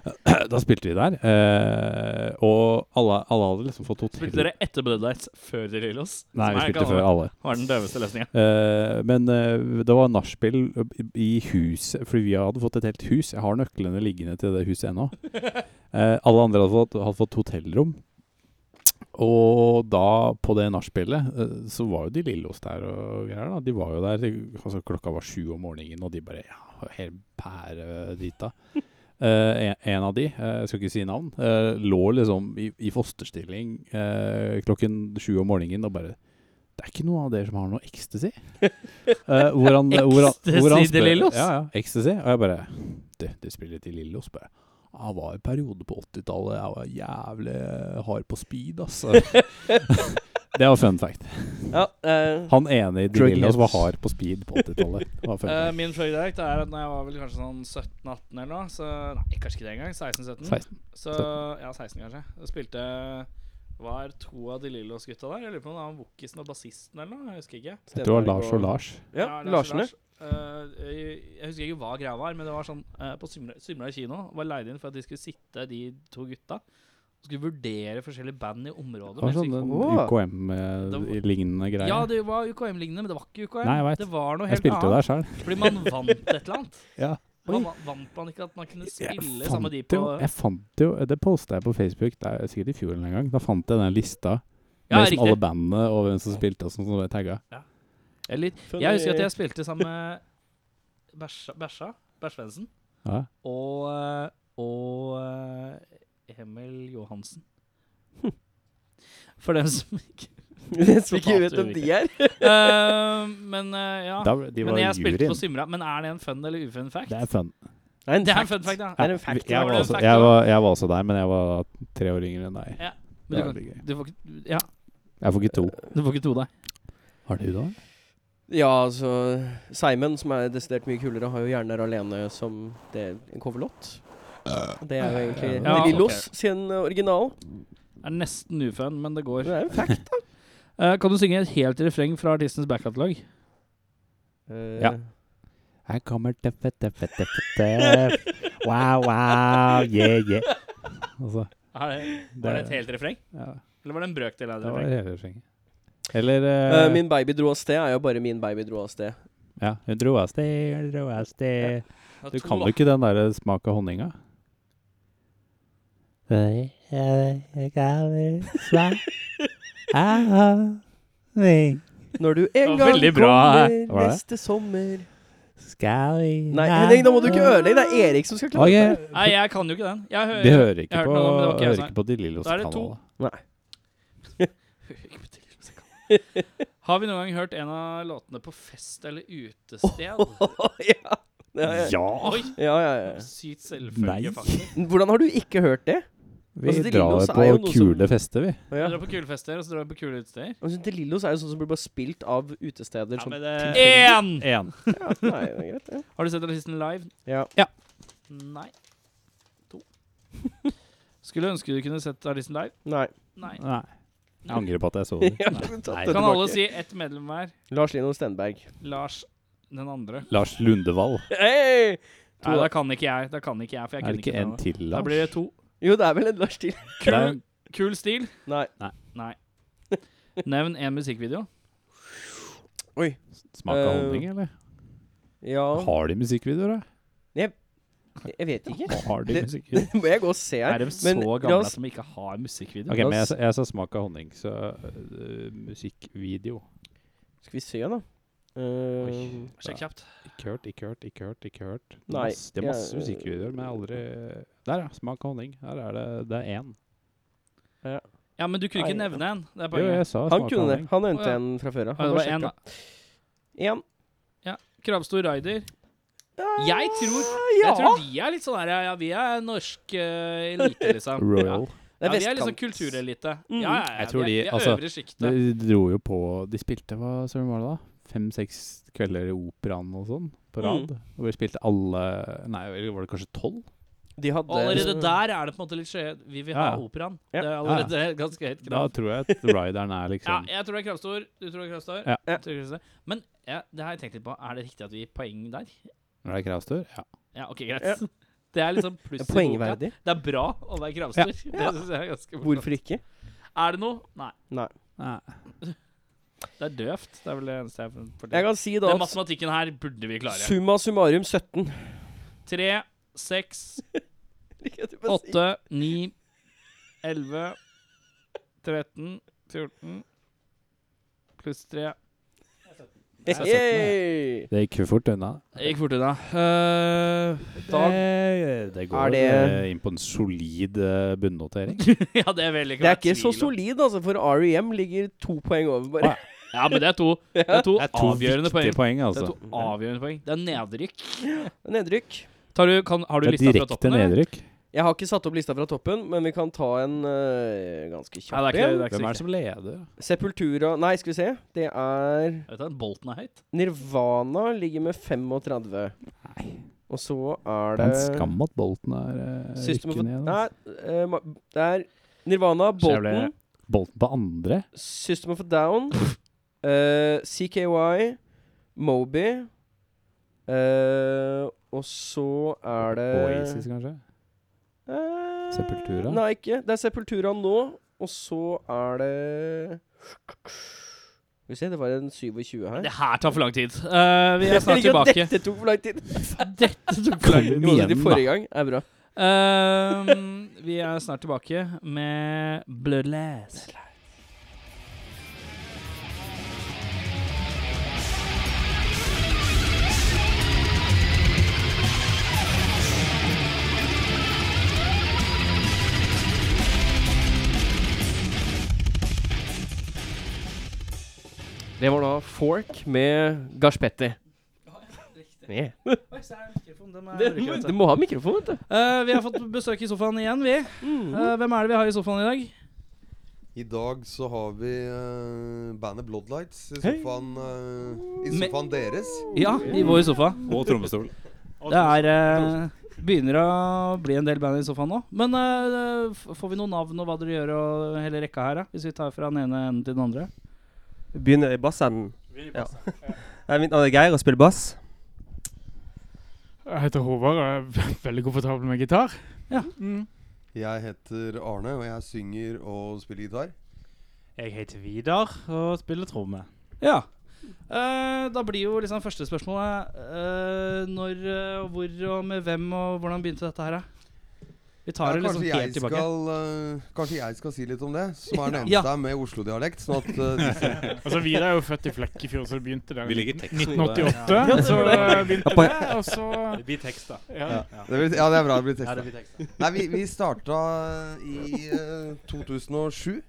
Speaker 3: Da spilte vi der, eh, og alle, alle hadde liksom fått to-tre
Speaker 5: Spilte dere etter Bloodlights før The Lillos?
Speaker 3: Nei,
Speaker 5: Som
Speaker 3: vi
Speaker 5: er-
Speaker 3: spilte før alle.
Speaker 5: Var den døveste løsninga.
Speaker 3: Eh, men eh, det var nachspiel i- i huset, fordi vi hadde fått et helt hus. Jeg har nøklene liggende til det huset ennå. Eh, alle andre hadde fått, hadde fått hotellrom. Og da, på det nachspielet, eh, så var jo de Lillos der og greier. da De var jo der de- altså, Klokka var sju om morgenen, og de bare ja, helt pære dit da. Eh, en, en av de, eh, jeg skal ikke si navn, eh, lå liksom i, i fosterstilling eh, klokken sju om morgenen og bare Det er ikke noen av dere som har noe ecstasy? Eh, hvor han- hvor han- hvor han
Speaker 5: Ecstasy til
Speaker 3: spør-
Speaker 5: Lillos?
Speaker 3: Ja, ja, ecstasy. Og jeg bare Du, du spiller til Lillos, bare. Jeg var i en periode på 80-tallet. Jeg var jævlig hard på speed, ass. det var fun fact.
Speaker 6: Ja, eh,
Speaker 3: Han ene i
Speaker 6: Drug
Speaker 3: Dillas var
Speaker 6: heads.
Speaker 3: hard på speed på 80-tallet. Det var fun
Speaker 5: Eh,
Speaker 3: fact.
Speaker 5: min fløydirekt er at når jeg var vel kanskje sånn 17-18 eller noe så, Nei, kanskje ikke det engang. 16-17.
Speaker 3: 16.
Speaker 5: Så ja, 16 kanskje. Jeg spilte Var to av de Lillos-gutta der? Jeg lurer på om det var han Wokkisen og bassisten eller noe. Jeg husker ikke.
Speaker 3: Det var Lars og Lars.
Speaker 6: Ja,
Speaker 5: Lars og
Speaker 6: Larsene.
Speaker 5: Lars. Eh, jeg jeg husker ikke hva greia var, men det var sånn eh, På Symla- Symla kino var leid inn for at de skulle sitte, de to gutta, og skulle vurdere forskjellige band i området.
Speaker 3: Det var
Speaker 5: men jeg
Speaker 3: sånn
Speaker 5: husker ikke-
Speaker 3: en
Speaker 6: Åh.
Speaker 5: Det
Speaker 3: UKM-lignende greie.
Speaker 5: ja, det var UKM-lignende, men det var ikke UKM.
Speaker 3: Nei, jeg vet.
Speaker 5: Det var noe
Speaker 3: jeg
Speaker 5: helt
Speaker 3: spilte jo
Speaker 5: annet.
Speaker 3: der sjøl.
Speaker 5: Fordi man vant et eller annet.
Speaker 3: Ja.
Speaker 5: Man va- vant man ikke at man kunne
Speaker 3: Jeg
Speaker 5: spille sammen med de
Speaker 3: fant, jo,
Speaker 5: på
Speaker 3: jeg fant jo Det posta jeg på Facebook det er sikkert i fjor eller en gang. Da fant jeg den lista
Speaker 5: Ja,
Speaker 3: med liksom alle
Speaker 5: riktig.
Speaker 3: bandene og hvem som spilte og sånn som ble tagga.
Speaker 5: Eller, jeg husker at jeg spilte sammen med Bæsja Bæsja Bæsjvensen
Speaker 3: Ja.
Speaker 5: og, eh, og eh, Emil Johansen. For dem som ikke
Speaker 6: Som ikke vet hvem de er.
Speaker 5: Eh, Men eh, ja.
Speaker 3: Da, de
Speaker 5: Men
Speaker 3: var
Speaker 5: jeg spilte på
Speaker 3: juryen.
Speaker 5: Symra. Men er det en fun eller ufun fact?
Speaker 3: Det er fun.
Speaker 6: Det
Speaker 5: Det er en fun fact, ja.
Speaker 6: Det er en fact.
Speaker 3: Jeg
Speaker 5: var
Speaker 3: var,
Speaker 5: det en
Speaker 3: også,
Speaker 5: fact,
Speaker 3: jeg,
Speaker 5: da?
Speaker 3: var, jeg var også der, men jeg var tre år yngre enn deg.
Speaker 5: Ja,
Speaker 3: Det
Speaker 5: Men
Speaker 3: er
Speaker 5: du,
Speaker 3: veldig gøy.
Speaker 5: kan, du, får ikke, ja,
Speaker 3: Jeg får ikke to.
Speaker 5: du får ikke to deg.
Speaker 3: Har du da?
Speaker 6: Ja, altså Simon, som er desidert mye kulere, har jo 'Hjerner alene' som det, en coverlåt. Og Det er jo egentlig
Speaker 5: Ja,
Speaker 6: ja, Lillos sin original.
Speaker 5: Det er nesten ufun, men det
Speaker 6: Det
Speaker 5: går.
Speaker 6: er en fact.
Speaker 5: Eh, kan du synge et helt refreng fra artistens backkatalog?
Speaker 6: Eh,
Speaker 3: Ja. Her kommer tøffe, tøffe, tøffe, tøff. Wow, wow, yeah, yeah. Altså,
Speaker 5: Er det, var det et helt refreng?
Speaker 3: ja,
Speaker 5: Eller var det en brøkdel av et
Speaker 3: det var
Speaker 5: refreng?
Speaker 3: hele slengen. Eller eh,
Speaker 6: eh, min baby dro av sted er jo bare 'Min baby dro av sted'.
Speaker 3: Ja, hun dro av sted, hun dro av sted.
Speaker 5: Det var
Speaker 3: Du
Speaker 5: to,
Speaker 3: kan
Speaker 5: da.
Speaker 3: jo ikke den der smak av honninga.
Speaker 6: Når du en
Speaker 5: Det var
Speaker 6: gang kommer
Speaker 5: veldig bra.
Speaker 3: Var det?
Speaker 6: neste sommer
Speaker 3: Skal vi
Speaker 6: Nei, Henning, da må du ikke ødelegge. Det er Erik som skal klare det.
Speaker 5: Nei, jeg kan jo ikke den. Jeg hører,
Speaker 3: De hører ikke
Speaker 5: jeg hørte
Speaker 3: på,
Speaker 5: noe, men det var ikke jeg
Speaker 3: hører
Speaker 5: som-
Speaker 3: ikke på De Lillos
Speaker 5: Da er det to.
Speaker 3: kanal.
Speaker 5: Hører ikke på til musikalen. Har vi noen gang hørt en av låtene på fest eller utested?
Speaker 6: ja. Ja, ja.
Speaker 3: Ja!
Speaker 5: Oi!
Speaker 6: ja, ja, ja.
Speaker 5: Sykt
Speaker 3: Nei.
Speaker 5: selvfølge, faktisk.
Speaker 6: Hvordan har du ikke hørt det?
Speaker 3: Vi
Speaker 6: Altså, De Lillos
Speaker 3: drar
Speaker 6: er jo
Speaker 3: på
Speaker 6: noe som-
Speaker 3: kule fester, vi.
Speaker 6: Ja.
Speaker 5: Dere er på kule fester, og så drar dere på kule utesteder.
Speaker 6: Altså, De Lillos er jo sånn som blir bare spilt av utesteder.
Speaker 5: Ja,
Speaker 6: Sånn.
Speaker 5: men
Speaker 7: eh,
Speaker 5: det- Én!
Speaker 3: En.
Speaker 6: Ja, nei, det er greit, ja.
Speaker 5: Har du sett artisten live?
Speaker 6: Ja.
Speaker 5: Nei. To. Skulle ønske du kunne sett artisten live.
Speaker 6: Nei.
Speaker 5: Nei.
Speaker 3: Nei. Jeg angrer på at jeg så
Speaker 6: Jeg
Speaker 3: den.
Speaker 6: har ikke tatt det
Speaker 5: Kan alle
Speaker 6: tilbake.
Speaker 5: si ett medlem hver?
Speaker 6: Lars Lino Stenberg.
Speaker 5: Lars den andre.
Speaker 3: Lars Lundevall.
Speaker 6: Hey! To,
Speaker 5: Nei,
Speaker 6: da.
Speaker 5: da kan ikke jeg. Da kan ikke jeg, for jeg
Speaker 3: Er
Speaker 5: kunne
Speaker 3: det ikke
Speaker 5: den
Speaker 3: en
Speaker 5: andre.
Speaker 3: til,
Speaker 5: Da
Speaker 3: Lars?
Speaker 5: blir det to.
Speaker 6: Jo, det er vel en Lars til.
Speaker 3: Det er-
Speaker 5: Kul, kul stil.
Speaker 6: Nei.
Speaker 5: Nei. Nevn én musikkvideo.
Speaker 3: Smak av
Speaker 6: Eh,
Speaker 3: honning, eller?
Speaker 6: Ja
Speaker 3: Har de musikkvideoer, da?
Speaker 6: Jeg vet ikke.
Speaker 3: Har de
Speaker 6: Det-
Speaker 3: musikkvideoer?
Speaker 6: Må jeg gå og se her?
Speaker 5: Er de så
Speaker 6: Men la
Speaker 5: gamle
Speaker 6: oss-
Speaker 5: at de ikke har musikkvideo?
Speaker 3: Ok, men jeg, sa- jeg sa smak av honning, så øh, musikkvideo.
Speaker 6: Skal vi se, da. Eh,
Speaker 3: Oi.
Speaker 5: Sjekk kjapt.
Speaker 3: Ikke hørt, ikke hørt, ikke hørt. ikke hørt.
Speaker 6: Nei,
Speaker 3: Masse- det er masse
Speaker 6: jeg-
Speaker 3: musikkvideoer, men jeg har aldri Der, ja. Smak av honning. Der er det det er én.
Speaker 5: Ja, men du kunne ikke
Speaker 6: Nei.
Speaker 5: nevne en. Det er
Speaker 3: Jo,
Speaker 5: poenget.
Speaker 3: jeg sa
Speaker 6: han
Speaker 3: smak av
Speaker 6: kunne det.
Speaker 3: honning.
Speaker 6: Han nevnte
Speaker 5: Å, ja.
Speaker 6: en fra før av.
Speaker 5: Ja, det var en, da.
Speaker 6: En.
Speaker 5: Krabbstor Raider.
Speaker 6: Ja,
Speaker 5: Jeg tror
Speaker 6: ja.
Speaker 5: Jeg tror de er litt sånn her Ja, ja vi er norsk eh, elite, liksom.
Speaker 3: Royal.
Speaker 5: Ja, ja, vi er
Speaker 6: vestkant.
Speaker 5: liksom kulturelite. Ja,
Speaker 6: Mm.
Speaker 5: ja, ja,
Speaker 3: Jeg tror
Speaker 5: vi er,
Speaker 3: de-
Speaker 5: vi er
Speaker 3: altså,
Speaker 5: øvre sjiktet.
Speaker 3: De dro jo på De spilte hva søren var det da? Fem-seks kvelder i operaen og sånn på
Speaker 5: Mm.
Speaker 3: rad. Og vi spilte alle Nei, eller var det kanskje tolv?
Speaker 6: De hadde
Speaker 5: Og Allerede der er det på en måte litt skje Vi vil ha
Speaker 3: Ja, ja.
Speaker 5: operaen.
Speaker 6: Ja.
Speaker 5: Det er allerede ganske høyt
Speaker 3: Da
Speaker 5: krav.
Speaker 3: tror jeg at rideren er
Speaker 5: Ja,
Speaker 3: liksom
Speaker 5: jeg tror det er Krabbstor. Du tror det er Krabbstor?
Speaker 3: Ja.
Speaker 5: Jeg tror det er Krabbstor. Men Ja, det har jeg tenkt litt på. Er det riktig at vi gir poeng der?
Speaker 3: Når det er kravstor? Ja.
Speaker 5: Ja, ok, greit. Det er liksom pluss i boka.
Speaker 6: Poengverdig.
Speaker 5: Det er bra å være kravstor. Det synes jeg er ganske bra.
Speaker 6: Hvorfor ikke?
Speaker 5: Er det noe? Nei.
Speaker 6: Nei.
Speaker 5: Det er døvt. Det er vel det eneste jeg forteller.
Speaker 6: Jeg kan si da
Speaker 5: Den
Speaker 6: at
Speaker 5: matematikken her burde vi klare.
Speaker 6: summa summarum 17.
Speaker 5: Tre, seks, åtte, ni, elleve, 13, 14 pluss tre.
Speaker 6: Hey!
Speaker 3: Det gikk jo fort unna.
Speaker 5: Jeg gikk fort unna. Eh, da
Speaker 3: Eh, det går
Speaker 6: Er det-
Speaker 3: eh, inn på en solid eh, bunnotering.
Speaker 5: Ja, det vil jeg
Speaker 6: Det
Speaker 5: ikke
Speaker 6: er
Speaker 5: være
Speaker 6: ikke
Speaker 5: tvil
Speaker 6: så
Speaker 5: om.
Speaker 6: solid, altså, for REM ligger to poeng over, bare.
Speaker 5: Ja, men det er to, det er to,
Speaker 3: Det er to
Speaker 5: avgjørende poeng.
Speaker 3: viktige poeng,
Speaker 5: Det er
Speaker 3: altså.
Speaker 5: to avgjørende poeng. Det er nedrykk.
Speaker 6: Nedrykk.
Speaker 5: Tar du, kan, har du
Speaker 3: Det er
Speaker 5: lista fra
Speaker 3: direkte
Speaker 5: toppen? eller?
Speaker 3: nedrykk.
Speaker 6: Jeg har ikke satt opp lista fra toppen, men vi kan ta en øh, ganske
Speaker 5: Nei, det
Speaker 6: kjapp
Speaker 5: er ikke det.
Speaker 6: en.
Speaker 5: det er ikke
Speaker 3: Hvem er
Speaker 5: sikkert.
Speaker 3: det som leder?
Speaker 6: Sepultura Nei, skal vi se. Det er
Speaker 5: Jeg vet da, Bolten er høyt.
Speaker 6: Nirvana ligger med 35. Og så er
Speaker 3: Det er
Speaker 6: det
Speaker 3: en skam at Bolten er eh,
Speaker 6: System of
Speaker 3: rykker
Speaker 6: a-
Speaker 3: ned.
Speaker 6: Nei,
Speaker 3: Altså.
Speaker 6: eh, ma- det er Nirvana,
Speaker 3: Så jeg ble-
Speaker 6: Bolton,
Speaker 3: Bolten på andre?
Speaker 6: System of a Down, eh, CKY, Moby eh, Og så er det
Speaker 3: Oasis, kanskje?
Speaker 6: eh,
Speaker 3: Sepultura?
Speaker 6: Nei, ikke. Det er Sepultura nå, og så er det Skal vi se, det var en 27 her.
Speaker 5: Det her tar for lang tid. Eh, vi er snart
Speaker 6: Jeg liker at
Speaker 5: tilbake.
Speaker 6: Dette tok for lang tid.
Speaker 5: Dette tok for lang tid.
Speaker 3: Kom
Speaker 6: Jo, det
Speaker 3: igjen,
Speaker 6: til forrige gang er bra.
Speaker 5: Eh, vi er snart tilbake med Bloodless.
Speaker 6: Det var da Fork med Gaspetti. Yeah. Du må ha mikrofon, vet du.
Speaker 5: Eh, vi har fått besøk i sofaen igjen, vi. Eh, hvem er det vi har i sofaen i dag?
Speaker 8: I dag så har vi eh, bandet Bloodlights i
Speaker 6: Hei.
Speaker 8: sofaen, eh, i
Speaker 5: Me-
Speaker 8: sofaen deres.
Speaker 5: Ja, i vår sofa.
Speaker 3: Og trommestol.
Speaker 5: Det er eh, Begynner å bli en del band i sofaen nå. Men eh, f- får vi noen navn og hva dere gjør og hele rekka her, da? Hvis vi tar fra den ene enden til den andre?
Speaker 7: Begynner i bassenden. Ja. Nei, Mitt navn er Geir og spiller bass.
Speaker 9: Jeg heter Håvard og jeg er veldig komfortabel med gitar.
Speaker 8: Jeg heter Arne, og jeg synger og spiller gitar.
Speaker 7: Jeg heter Vidar og spiller tromme.
Speaker 5: Ja. Eh, da blir jo liksom første spørsmålet eh, når eh, og hvor og med hvem og hvordan begynte dette her, da? Vi tar
Speaker 8: Ja,
Speaker 5: det liksom
Speaker 8: kanskje, jeg
Speaker 5: helt tilbake.
Speaker 8: skal, eh, kanskje jeg skal si litt om det, som er den eneste
Speaker 5: Ja.
Speaker 8: her med Oslo-dialekt. Sånn at eh, de som-
Speaker 9: Altså, Vidar er jo født i Flekkefjord, så det begynte der.
Speaker 2: Vi ligger tekst-
Speaker 9: 1988. Så det begynte det, og så
Speaker 2: Det blir tekst, da.
Speaker 9: ja.
Speaker 8: det blir, ja, det er bra det blir tekst.
Speaker 2: blir tekst.
Speaker 8: Nei, vi, vi starta i eh, 2007.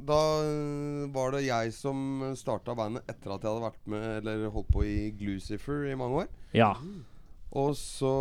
Speaker 8: Da eh, var det jeg som starta bandet etter at jeg hadde vært med Eller holdt på i Glucifer i mange år.
Speaker 5: Ja.
Speaker 8: Og så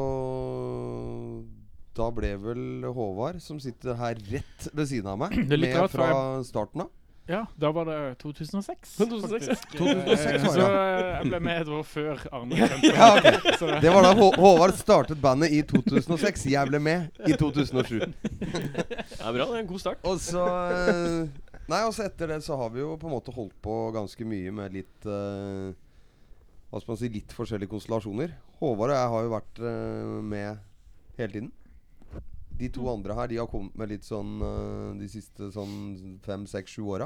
Speaker 8: Da ble vel Håvard, som sitter her rett ved siden av meg,
Speaker 9: Det er litt
Speaker 8: med
Speaker 9: rart, for
Speaker 8: fra starten av.
Speaker 9: ja, da var det 2006.
Speaker 6: 2006, ja.
Speaker 9: faktisk.
Speaker 8: 2006 var det,
Speaker 9: Så eh, jeg ble med et år før Arne skjønte
Speaker 8: Ja,
Speaker 9: det.
Speaker 8: ok.
Speaker 9: Så
Speaker 8: Det var da Hå Håvard startet bandet i 2006. Jeg ble med i 2007.
Speaker 6: Det er bra, det er en god start.
Speaker 8: Og så eh, Nei, altså etter det så har vi jo på en måte holdt på ganske mye med litt eh, Hva skal man si litt forskjellige konstellasjoner. Håvard og jeg har jo vært eh, med hele tiden. De to andre her de har kommet med litt sånn eh, de siste sånn fem, seks, sju åra.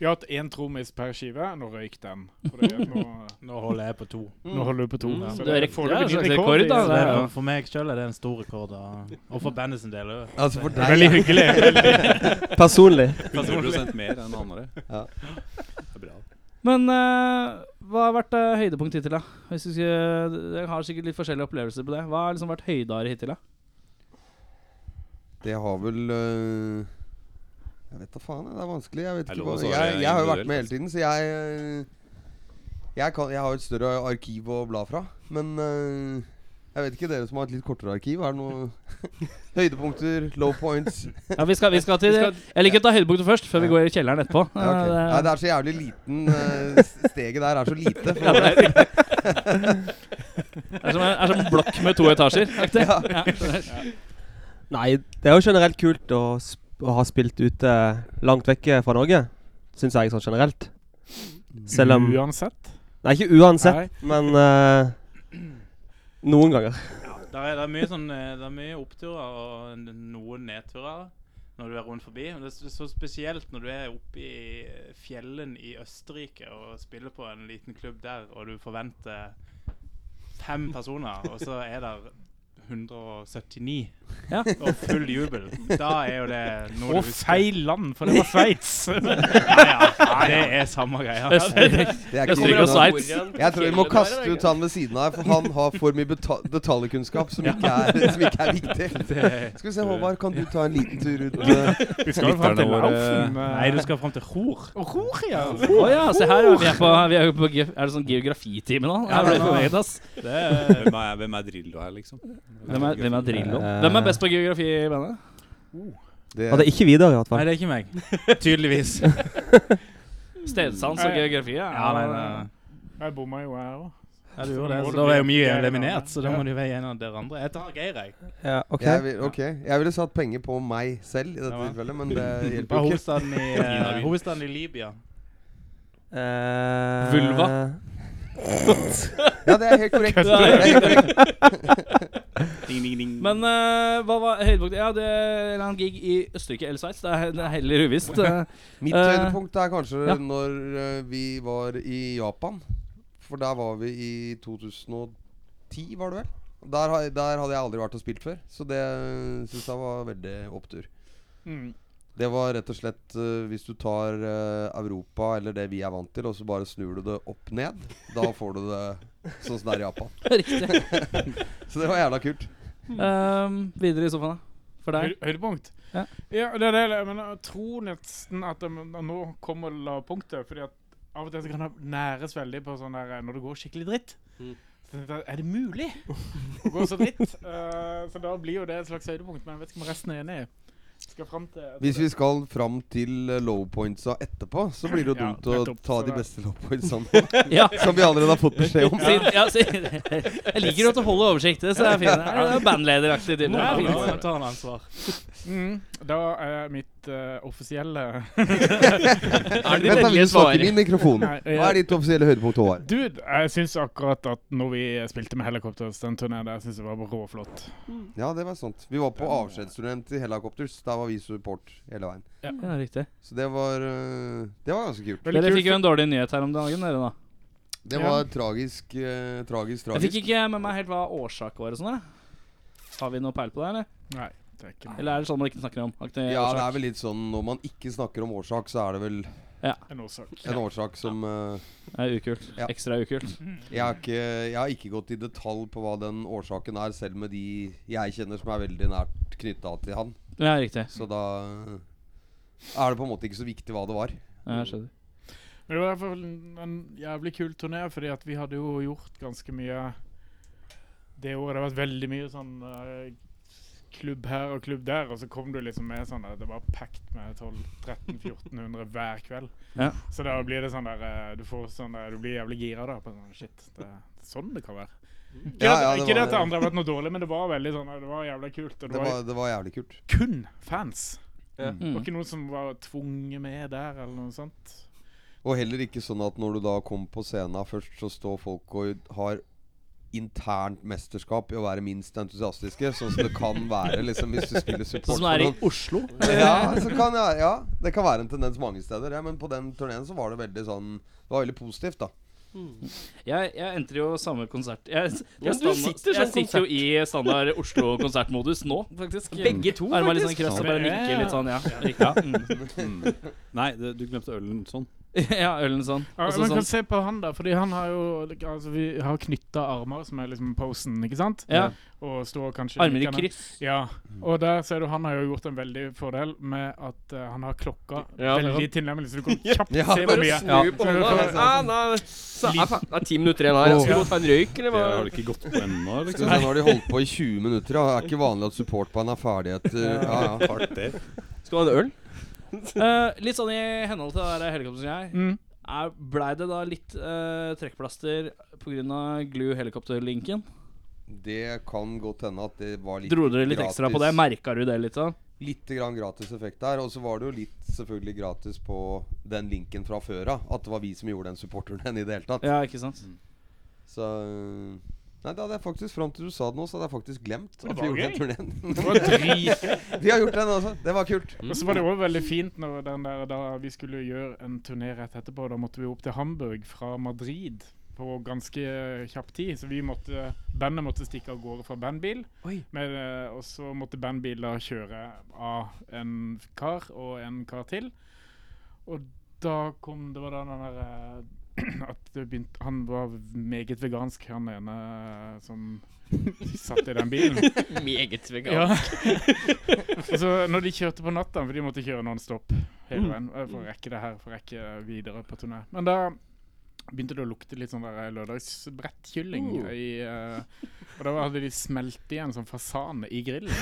Speaker 9: Vi har hatt én trommis per skive. Nå røyk den. For det, nå,
Speaker 7: Nå holder jeg på to.
Speaker 9: nå holder du på to.
Speaker 6: Mm,
Speaker 9: så
Speaker 5: det er riktig.
Speaker 9: foreløpig
Speaker 5: Det er en
Speaker 9: ny
Speaker 5: slags rekord, da.
Speaker 9: i-
Speaker 5: Det er
Speaker 7: For- For meg sjøl er det en stor rekord. Og, og for bandet sin del òg.
Speaker 8: Altså for
Speaker 9: Det er Veldig
Speaker 8: deg
Speaker 9: hyggelig.
Speaker 7: Personlig.
Speaker 2: 100 mer enn andre.
Speaker 8: Ja.
Speaker 2: Det er bra.
Speaker 5: Men eh, hva har vært eh, høydepunkt hittil, da? Hvis du skulle, dere har sikkert litt forskjellige opplevelser på det. Hva har liksom vært høydare hittil, da?
Speaker 8: Det har vel eh, Jeg vet da faen, det er vanskelig. Jeg vet
Speaker 2: Det er
Speaker 8: ikke
Speaker 2: lov å
Speaker 8: hva
Speaker 2: svare
Speaker 8: Jeg, jeg har jo vært
Speaker 2: individuelt, altså.
Speaker 8: med hele tiden, så jeg eh, jeg, kan, jeg har jo et større arkiv å bla fra. Men eh, jeg vet ikke dere som har et litt kortere arkiv. Er det noen høydepunkter? Low points?
Speaker 5: Ja, vi skal, vi skal til Jeg liker å ta høydepunktet først, før vi går i kjelleren etterpå. Eh,
Speaker 8: Ja, ok. Nei, det er så jævlig liten eh, s- Steget der er så lite. For,
Speaker 5: det er, det er som en, er som en blokk med to etasjer. Aktig. Ja, skjønner.
Speaker 7: Nei, det er jo generelt kult å, sp å ha spilt ute langt vekke fra Norge. Syns jeg sånn generelt. Selv om
Speaker 9: Uansett.
Speaker 7: Nei, ikke uansett,
Speaker 3: Nei.
Speaker 7: men eh, noen ganger.
Speaker 10: Det er, det er mye sånn eh, Det er mye oppturer og n- noen nedturer når du er rundt forbi. Men det er s- så spesielt når du er oppe i eh, fjellen i Østerrike og spiller på en liten klubb der, og du forventer fem personer, og så er det 179
Speaker 5: Ja.
Speaker 10: og full jubel. Da er jo det noe
Speaker 9: Og feil land, for det var Sveits!
Speaker 10: Ja, ja, det er samme greia.
Speaker 8: Det er
Speaker 5: Østerrike og
Speaker 8: ikke
Speaker 5: Sveits.
Speaker 8: Jeg tror vi må kaste ut han ved siden av, for han har for mye beta- detaljkunnskap som ikke er, som ikke er viktig. Skal vi se, Håvard, kan du ta en liten tur ut? eh,
Speaker 9: Vi skal jo fram til Laufen.
Speaker 10: Nei, du skal fram til Hor.
Speaker 5: Å ja, se her, ja. Vi er på, vi er, jo på ge- er det sånn geografitime nå?
Speaker 2: Ja,
Speaker 5: Jeg ble
Speaker 2: men-
Speaker 5: forvirret, ass.
Speaker 2: Det er, hvem, er, hvem er Drillo her, liksom?
Speaker 5: Hvem er, hvem er Drillo?
Speaker 9: Eh,
Speaker 5: Hvem er best på geografi i bandet?
Speaker 7: Og det
Speaker 8: Det,
Speaker 7: er ikke Vidar, i hvert
Speaker 10: Nei,
Speaker 7: fall.
Speaker 10: det er ikke meg. Tydeligvis.
Speaker 5: Stedsans og geografi, ja.
Speaker 10: Ja, nei, nei.
Speaker 9: Jeg bomma jo her òg.
Speaker 10: Ja, du gjorde det. Så da er jo mye eliminert, så da må du være en av dere andre. Jeg tar Geir, jeg.
Speaker 7: Ja, ok.
Speaker 8: jeg vil, ok, jeg ville satt penger på meg selv i dette tilfellet, men det
Speaker 10: Hva er
Speaker 8: hjelper jo ikke.
Speaker 10: hovedstaden i, eh, hovedstaden i Libya?
Speaker 7: Eh,
Speaker 5: Vulva.
Speaker 8: Ja, det er helt korrekt. Det er helt korrekt.
Speaker 2: Ding, ding, ding.
Speaker 5: Men eh, hva var høydepunktet? Ja, det er en eller annen gig i Østerrike eller Sveits. Det er, det er heller uvisst. eh.
Speaker 8: Mitt
Speaker 5: Eh,
Speaker 8: høydepunkt er kanskje
Speaker 5: ja.
Speaker 8: når eh, vi var i Japan. For der var vi i 2010, var det vel? Der, har- der hadde jeg aldri vært og spilt før, så det syns jeg var veldig opptur. Det var rett og slett eh, hvis du tar eh, Europa eller det vi er vant til, og så bare snur du det opp ned. Da får du det sånn som det er i Japan.
Speaker 5: Riktig.
Speaker 8: Så det var jævla kult.
Speaker 5: Um, videre i sofaen, da. For deg.
Speaker 9: Høy- Høydepunkt?
Speaker 5: Ja.
Speaker 9: Ja, det er det, jeg mener, jeg tror nesten at jeg, men- nå kommer lavpunktet. Fordi at av og til så kan det næres veldig på sånn der eh, når det går skikkelig dritt. Så tenkte jeg, Er det mulig å gå så dritt? Eh, så da blir jo det et slags høydepunkt. Men jeg vet ikke om resten er enig. Skal frem til
Speaker 8: Hvis vi skal fram til eh, low pointsa etterpå, så blir det jo
Speaker 9: Ja,
Speaker 8: dumt å
Speaker 9: nettopp,
Speaker 8: ta
Speaker 9: så
Speaker 8: de
Speaker 9: det-
Speaker 8: beste low pointsa nå,
Speaker 5: Ja.
Speaker 8: som vi allerede har fått beskjed om.
Speaker 5: Siden, ja, siden, jeg liker at du holder oversikt. Det så er fint. Det er bandlederaktig. tydelig.
Speaker 10: Ja,
Speaker 5: Det er fint.
Speaker 10: nå tar han ansvar.
Speaker 9: Mm, Da er mitt eh, offisielle
Speaker 6: Er det
Speaker 8: Vent, da,
Speaker 6: ditt
Speaker 8: vi
Speaker 6: endelige
Speaker 8: snakker
Speaker 6: svar?
Speaker 8: inn i mikrofonen.
Speaker 9: Nei,
Speaker 8: Hva er ditt offisielle høydepunkt, Håvard?
Speaker 9: Dude, jeg syns akkurat at når vi spilte med Helicopters, den turneen der, jeg synes det var råflott.
Speaker 8: Ja, det var sant. Vi var på avskjedsstudent i Helicopters. Der var vi support hele veien.
Speaker 5: Ja, riktig.
Speaker 8: Så det var øh, Det var ganske kult.
Speaker 9: Veldig
Speaker 5: Dere
Speaker 9: kult.
Speaker 5: fikk jo en dårlig nyhet her om dagen, dere, da.
Speaker 8: Det var tragisk, øh, tragisk,
Speaker 5: Jeg
Speaker 8: tragisk.
Speaker 5: fikk ikke eh, med meg helt hva årsak var og sånn, da. Har vi noe peil på det, eller?
Speaker 9: Nei, det er ikke noe.
Speaker 5: Eller er det sånn man ikke snakker om? Aktiv
Speaker 8: Ja, det
Speaker 5: årsak?
Speaker 8: er vel litt sånn når man ikke snakker om årsak, så er det vel
Speaker 9: en årsak.
Speaker 8: en årsak som øh,
Speaker 5: Det er ukult.
Speaker 8: Ja.
Speaker 5: Ekstra ukult.
Speaker 8: jeg, har ikke, jeg har ikke gått i detalj på hva den årsaken er, selv med de jeg kjenner som er veldig nært knytta til han.
Speaker 5: Ja, riktig.
Speaker 8: Så da øh, er det på en måte ikke så viktig hva det var.
Speaker 5: Ja, jeg skjønner.
Speaker 9: Men det var i hvert fall en- en jævlig kul turné, fordi at vi hadde jo gjort ganske mye det året. Det har vært veldig mye sånn eh, klubb her og klubb der, og så kom du liksom med sånn der, Det var packed med 1200-1400 hver kveld.
Speaker 5: Ja.
Speaker 9: Så da blir det sånn der eh, Du får sånn der, du blir jævlig gira da. på sånn, Shit, det er sånn det kan være. Ikke,
Speaker 8: Ja,
Speaker 9: at-
Speaker 8: ja, det
Speaker 9: ikke det
Speaker 8: var-
Speaker 9: at det andre har vært noe dårlig, men det var veldig sånn eh, Det var jævlig kult. Og det,
Speaker 8: Det
Speaker 9: var,
Speaker 8: var, det var jævlig kult.
Speaker 9: kun fans. Det var
Speaker 5: Mm.
Speaker 9: ikke noen som var tvunget med der, eller noe sånt.
Speaker 8: Og heller ikke sånn at når du da kommer på scenen først, så står folk og har internt mesterskap i å være minst entusiastiske, sånn som det kan være liksom hvis du spiller
Speaker 5: Sånn
Speaker 8: support.
Speaker 5: som det er i
Speaker 8: for
Speaker 5: Oslo.
Speaker 8: noen. ja, så kan jeg, ja, det kan være en tendens mange steder, ja, men på den turneen så var det veldig sånn Det var veldig positivt, da.
Speaker 5: Jeg, jeg entrer jo samme konsert Jeg,
Speaker 6: Ja,
Speaker 5: jeg,
Speaker 6: du sitter
Speaker 5: jeg
Speaker 6: sånn
Speaker 5: sitter jo i standard Oslo-konsertmodus nå, faktisk.
Speaker 6: Begge to,
Speaker 5: Armer litt sånn
Speaker 6: faktisk.
Speaker 5: krøss og bare nikker litt sånn, ja.
Speaker 2: Ja.
Speaker 5: Riktig. Mm.
Speaker 2: Mm. Nei, det, du glemte ølen sånn.
Speaker 5: Ja, ølen sånn.
Speaker 9: Ja,
Speaker 5: Og så
Speaker 9: man kan
Speaker 5: sånn.
Speaker 9: se på han, da. Fordi han har jo altså, Vi har knytta armer, som er liksom posen, ikke sant?
Speaker 5: Ja.
Speaker 9: Og står kanskje
Speaker 5: Armer i
Speaker 9: likene.
Speaker 5: kryss.
Speaker 9: Ja. Og der ser du han har jo gjort en veldig fordel med at eh, han har klokka
Speaker 6: Ja, det er
Speaker 9: veldig tilnemmelig, så du kan kjapt
Speaker 8: Ja.
Speaker 9: se hvor
Speaker 6: Bare
Speaker 9: mye.
Speaker 6: snu på
Speaker 9: Ja.
Speaker 6: hånda. Ah, nei, så er fa- Det er ti minutter igjen her. Jeg Skal vi gå og ta en røyk, eller
Speaker 2: Det har
Speaker 6: hva?
Speaker 2: det ikke gått på ennå,
Speaker 8: Så
Speaker 2: liksom.
Speaker 8: sånn har de holdt på i 20 minutter, og det er ikke vanlig at supportband er ferdig etter Ja, ja.
Speaker 2: Kvarter.
Speaker 6: Skal du ha en øl?
Speaker 5: Eh, litt sånn i henhold til det der helikopteret jeg
Speaker 9: Mm.
Speaker 5: er, Blei det da litt eh, trekkplaster pga. Glu helikopterlinken?
Speaker 8: Det kan godt hende at det var litt
Speaker 5: Dro dere litt ekstra på det?
Speaker 8: gratis.
Speaker 5: Merka du det litt? sånn?
Speaker 8: litt grann gratis effekt der. Og så var det jo litt selvfølgelig gratis på den linken fra før av. At det var vi som gjorde den supporternen i det hele tatt.
Speaker 5: Ja, ikke sant?
Speaker 8: Så øh, Nei, det hadde jeg faktisk fram til du sa det nå, så hadde jeg faktisk glemt
Speaker 9: Men
Speaker 8: at
Speaker 9: det var
Speaker 8: vi gjorde den
Speaker 9: gøy.
Speaker 8: turneen.
Speaker 9: Det var dritgøy.
Speaker 8: Vi har gjort den, altså. Det var kult.
Speaker 6: Mm.
Speaker 9: Og så var det òg veldig fint når den der, da vi skulle gjøre en turné rett etterpå. Da måtte vi opp til Hamburg fra Madrid på ganske kjapp tid. Så vi måtte, bandet måtte stikke av gårde fra bandbil.
Speaker 6: Oi.
Speaker 9: Med, eh, og så måtte bandbil da kjøre av en kar og en kar til. Og da kom Det var da den der eh, at det begynte, Han var meget vegansk, han ene eh, som satt i den bilen.
Speaker 6: Meget
Speaker 9: Ja.
Speaker 6: vegan.
Speaker 9: Og så når de kjørte på natta, for de måtte kjøre non-stop hele veien eh, for å rekke det her, for å rekke videre på turné. Men da begynte det å lukte litt sånn der lørdagsbrettkylling. I, eh, og da hadde de smelt igjen sånn fasan i grillen.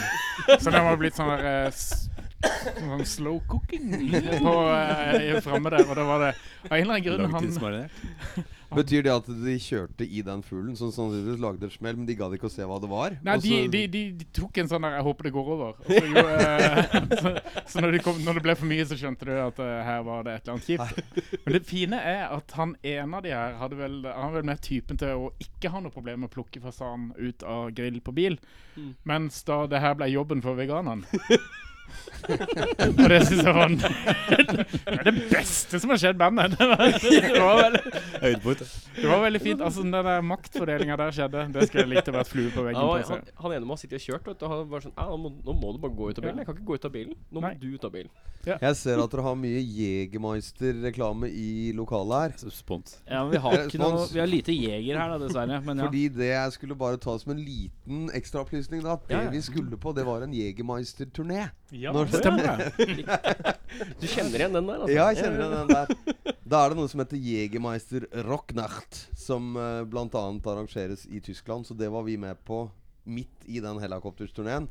Speaker 9: Så den var blitt sånn der eh, s- Sånn slow cooking på, eh, framme der. Og da var det av en eller annen grunn han
Speaker 2: Langtidsmarinert.
Speaker 8: Betyr det at de kjørte i den fuglen, som sannsynligvis lagde et smell, men de gadd ikke å se hva det var?
Speaker 9: Nei,
Speaker 8: og
Speaker 9: de,
Speaker 8: så-
Speaker 9: de, de, de tok en sånn der 'jeg håper det går over'. Og så, jo, eh, så, så når, de kom, når det ble for mye, så skjønte du at eh, her var det et eller annet kjipt. Men det fine er at han ene av de her hadde vel, han var vel mer typen til å ikke ha noe problem med å plukke fasan ut av grill på bil, mens da det her ble jobben for veganeren. Og det syns jeg var den- det er det beste som har skjedd bandet. Det var, det var vel
Speaker 2: Høydepunkt.
Speaker 9: det var veldig fint. Altså, Den der maktfordelinga der skjedde. Det skulle jeg likt å være flue på veggen
Speaker 6: Han,
Speaker 9: på. altså.
Speaker 6: var-
Speaker 9: å se.
Speaker 6: han, han ene må ha sittet og kjørt, vet du. og Han var sånn «Ah, nå må, 'Nå må du bare gå ut av bilen.' 'Jeg kan ikke gå ut av bilen.' 'Nå må
Speaker 9: Nei.
Speaker 6: du ut av bilen.'
Speaker 8: Jeg ser at dere har mye Jegermeister-reklame i lokalet her.
Speaker 2: Spont.
Speaker 5: Ja, men vi har, ikke noe,
Speaker 8: Respons.
Speaker 5: vi har lite jeger her, da, dessverre. Men ja.
Speaker 8: Fordi det jeg skulle bare ta som en liten ekstraopplysning, da. at Det
Speaker 5: Ja, ja.
Speaker 8: vi skulle på, det var en Jegermeister-turné.
Speaker 9: Ja,
Speaker 8: Når-
Speaker 9: stemmer det.
Speaker 6: Du kjenner igjen den der, altså.
Speaker 8: Ja, jeg kjenner den der. Da er det noe som heter Jegermeister Rocknacht, som eh, blant annet arrangeres i Tyskland. Så det var vi med på midt i den helikopterturneen.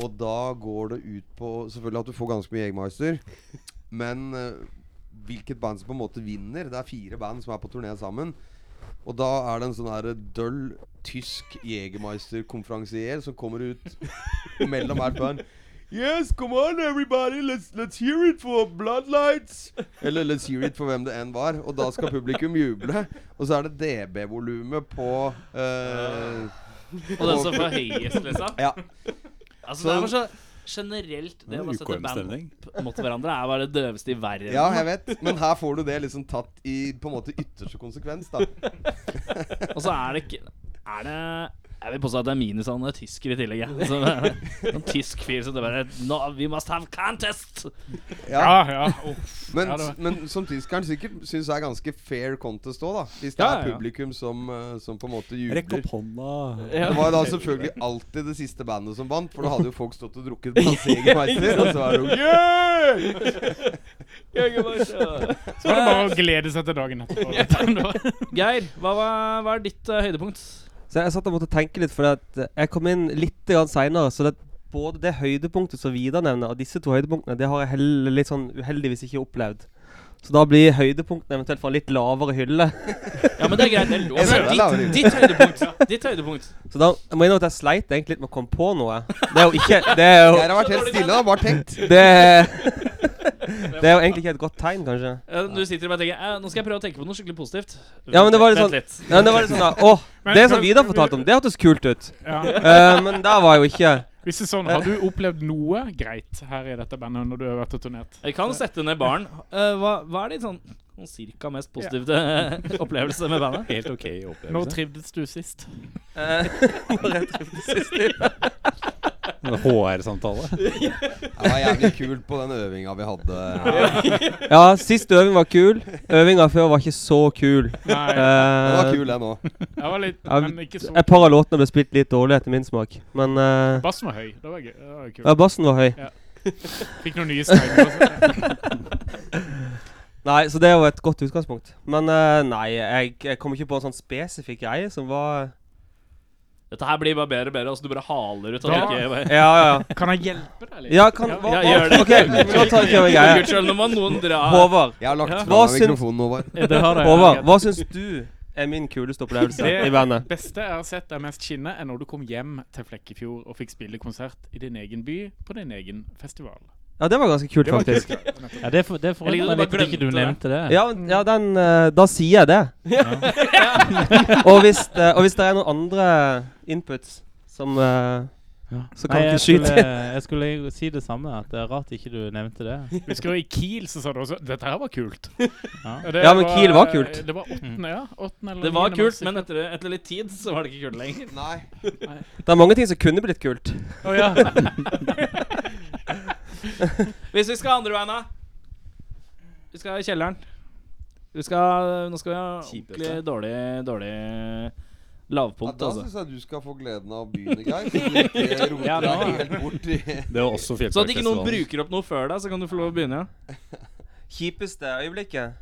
Speaker 8: Og da går det ut på Selvfølgelig at du får ganske mye Jegermeister. Men eh, hvilket band som på en måte vinner Det er fire band som er på turné sammen. Og da er det en sånn her døll tysk Jegermeister-konferansier som kommer ut mellom hvert band. Yes, come on everybody, let's, let's hear it for Bloodlights. Eller let's hear it for hvem det enn var. Og da skal publikum juble. Og så er det DB-volumet på eh,
Speaker 5: Og den som får høyest, liksom.
Speaker 8: Ja.
Speaker 5: Altså,
Speaker 8: Så-
Speaker 5: det var så generelt det å bare sette band
Speaker 2: UKM-stemning.
Speaker 5: opp mot hverandre er bare det døveste i verden.
Speaker 8: Ja, jeg vet. Men her får du det liksom tatt i på en måte ytterste konsekvens, da.
Speaker 5: Og så er det ikke Er det jeg vil påstå at det er minus at han er tysker i tillegg. jeg. Altså, det er en tysk fyr som det bare no, We must have contest!
Speaker 9: Ja, ja. Oh.
Speaker 8: Men,
Speaker 9: Ja, det var-
Speaker 8: men som tyskeren sikkert syns er ganske fair contest òg, da. Hvis det
Speaker 5: Ja, ja,
Speaker 8: er
Speaker 5: ja.
Speaker 8: publikum som, eh, som på en måte
Speaker 2: Rekk
Speaker 8: jubler.
Speaker 2: opp hånda.
Speaker 8: Det var da selvfølgelig alltid det siste bandet som vant, for da hadde jo folk stått og drukket masse Jegermeister, og så er det jo
Speaker 9: Så var det bare å glede seg til dagen etterpå.
Speaker 5: Geir, hva var, hva er ditt eh, høydepunkt?
Speaker 7: Så jeg satt og måtte tenke litt, for at eh, jeg kom inn litt seinere. Så det, både det høydepunktet som Vidar nevner, og disse to høydepunktene, det har jeg hell, litt sånn uheldigvis ikke opplevd. Så da blir høydepunktene eventuelt fra en litt lavere hylle.
Speaker 5: Ja, men det er greit. Det er lov.
Speaker 8: Enda lavere.
Speaker 5: Ditt, ditt høydepunkt. Ditt høydepunkt.
Speaker 7: Så da jeg må innrømme at jeg sleit egentlig litt med å komme på noe. Det er jo ikke Det er jo,
Speaker 8: Geir har vært helt stille, han har bare tenkt.
Speaker 7: det, det er jo egentlig ikke et godt tegn, kanskje.
Speaker 5: Eh, Du sitter og bare tenker eh, Nå skal jeg prøve å tenke på noe skikkelig positivt.
Speaker 7: Ja, men det var litt
Speaker 5: Vent
Speaker 7: sånn-
Speaker 5: litt.
Speaker 7: Men det var litt sånn da, Åh,
Speaker 9: Men-
Speaker 7: det som
Speaker 9: men-
Speaker 7: Vidar fortalte om, det hørtes kult ut.
Speaker 9: Ja.
Speaker 7: Eh, men der var jo ikke
Speaker 9: Hvis det er sånn, Har du opplevd noe greit her i dette bandet når du har vært og turnert?
Speaker 5: Jeg kan sette ned baren. Eh, hva, hva er ditt sånn, sånn cirka mest positive opplevelse med bandet?
Speaker 2: Helt OK
Speaker 9: Når
Speaker 2: opplevelse.
Speaker 9: trivdes du sist?
Speaker 7: eh, når jeg trivdes sist i-
Speaker 2: HR-samtale.
Speaker 8: Det var jævlig kult på den øvinga vi hadde.
Speaker 7: Ja, sist øving var kul. Øvinga før var ikke så kul.
Speaker 9: Nei,
Speaker 8: Den var
Speaker 7: Eh,
Speaker 8: kul, den òg.
Speaker 9: jeg var litt,
Speaker 7: ja,
Speaker 9: men ikke så
Speaker 7: et par av låtene ble spilt litt dårlig etter min smak, men eh,
Speaker 9: Bassen var høy. Det var gøy. Det var
Speaker 7: ja,
Speaker 9: kult.
Speaker 7: bassen var høy.
Speaker 9: Fikk noen nye steiner. og sånt.
Speaker 7: Nei, så det er jo et godt utgangspunkt. Men eh, nei, jeg, jeg kom ikke på en sånn spesifikk greie som var
Speaker 5: Dette her blir bare bedre og bedre. Altså, du bare haler ut.
Speaker 9: Da-
Speaker 5: Og ikke,
Speaker 7: Ja, ja.
Speaker 9: Kan jeg hjelpe deg litt?
Speaker 7: Ja, kan hva,
Speaker 5: Ja,
Speaker 7: hva-
Speaker 5: gjør det.
Speaker 7: OK, nå tar jeg en
Speaker 5: For
Speaker 7: greie.
Speaker 5: Guds skyld, nå må noen dra
Speaker 7: Håvard,
Speaker 8: Jeg har lagt
Speaker 5: Ja.
Speaker 8: fra
Speaker 7: Hva
Speaker 8: meg
Speaker 7: syns-
Speaker 8: mikrofonen, Håvard.
Speaker 9: Det har jeg.
Speaker 7: Håvard, hva syns du er min kuleste opplevelse
Speaker 9: Det-
Speaker 7: i bandet.
Speaker 9: Beste jeg har sett deg mest skinne, er når du kom hjem til Flekkefjord og fikk spille konsert i din egen by på din egen festival.
Speaker 7: Ja, det var ganske kult,
Speaker 9: Det var
Speaker 7: faktisk.
Speaker 9: kult, ja.
Speaker 11: Ja, det for- det
Speaker 10: Jeg
Speaker 11: forundrer
Speaker 10: liker at du
Speaker 11: meg litt
Speaker 10: bare
Speaker 11: at ikke du
Speaker 10: glemte det.
Speaker 11: nevnte det.
Speaker 7: Ja, ja den, eh, da sier jeg det. og, hvis, eh, og hvis det er noen andre inputs som eh,
Speaker 11: Ja.
Speaker 7: Så kan
Speaker 11: Nei,
Speaker 7: du
Speaker 11: jeg
Speaker 7: skyte.
Speaker 11: Skulle, eh, jeg skulle jo si det samme, at det er rart ikke du nevnte det.
Speaker 9: Husker du i Kiel så sa du også 'dette her var kult'.
Speaker 11: Ja.
Speaker 9: Og det
Speaker 7: Ja, men Kiel var kult.
Speaker 9: Det var åttende, ja. Åttende eller
Speaker 10: Det var
Speaker 9: niende
Speaker 10: kult,
Speaker 9: mars i
Speaker 10: men
Speaker 9: fjor.
Speaker 10: etter, etter litt tid så var det ikke kult lenger.
Speaker 8: Nei.
Speaker 7: Det er mange ting som kunne blitt kult.
Speaker 9: Å, ja.
Speaker 10: Hvis vi skal andre veien, da? Vi skal i kjelleren.
Speaker 5: Vi skal, nå skal vi ha
Speaker 10: Kjipt,
Speaker 5: ordentlig dårlig, dårlig
Speaker 8: Ja,
Speaker 5: lavpunkt,
Speaker 8: da
Speaker 5: altså.
Speaker 8: syns jeg du skal få gleden av byen, Geir. Så du ikke roter
Speaker 5: Ja,
Speaker 8: deg
Speaker 5: nå-
Speaker 8: helt bort i
Speaker 2: Det var også
Speaker 5: Så at ikke noen
Speaker 2: Fjellparkfestivalen.
Speaker 5: bruker opp noe før deg, så kan du få lov å begynne. ja
Speaker 7: Kjipeste øyeblikket?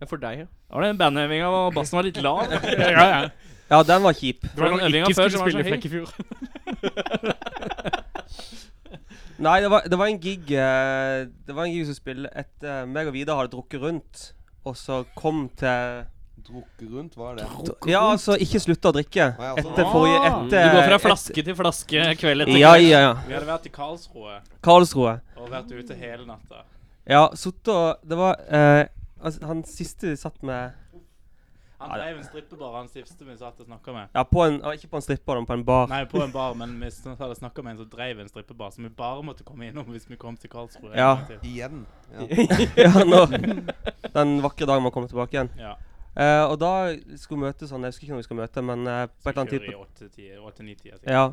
Speaker 6: Ja, for deg, ja.
Speaker 5: Da var det den bandhevinga hvor bassen var litt lav.
Speaker 9: ja, ja.
Speaker 7: Ja, den var kjip.
Speaker 9: Det var
Speaker 5: den
Speaker 9: når
Speaker 5: øvinga
Speaker 9: jeg ikke
Speaker 5: før
Speaker 9: skulle
Speaker 5: som var sånn, så
Speaker 9: spille i
Speaker 5: høy.
Speaker 9: Flekkefjord.
Speaker 7: Nei, det var, det var en gig eh, Det var en gig som spilte etter eh, meg og Vidar hadde drukket rundt, og så kom til
Speaker 8: Drukket rundt, hva er det?
Speaker 7: Ja, altså ikke slutta å drikke.
Speaker 8: Nei, altså-
Speaker 7: Etter forrige etter,
Speaker 5: Du går fra
Speaker 7: et-
Speaker 5: flaske til flaske kveld etter
Speaker 7: Ja, ja, ja.
Speaker 10: Vi hadde vært i Karlsroe
Speaker 7: Karlsroe.
Speaker 10: og vært ute hele natta.
Speaker 7: Ja, sittet og Det var eh, altså, Han siste vi satt med
Speaker 10: Han drev en strippebar, han siste vi satt og snakka med.
Speaker 7: Ja, på en, ah, ikke på en stripper, men på en bar.
Speaker 10: Nei, på en bar, men vi sn- hadde snakka med en som drev en strippebar, som vi bare måtte komme innom hvis vi kom til Karlsruhe. en
Speaker 7: Ja.
Speaker 10: gang til.
Speaker 8: Igjen. Ja.
Speaker 7: ja, nå. Den vakre dagen man kommer tilbake igjen.
Speaker 10: Ja.
Speaker 7: Eh, og da skulle vi møte sånn Jeg husker ikke når vi skal møte, men eh, på et eller annet tidspunkt.
Speaker 10: tidspunkt.
Speaker 7: Ja.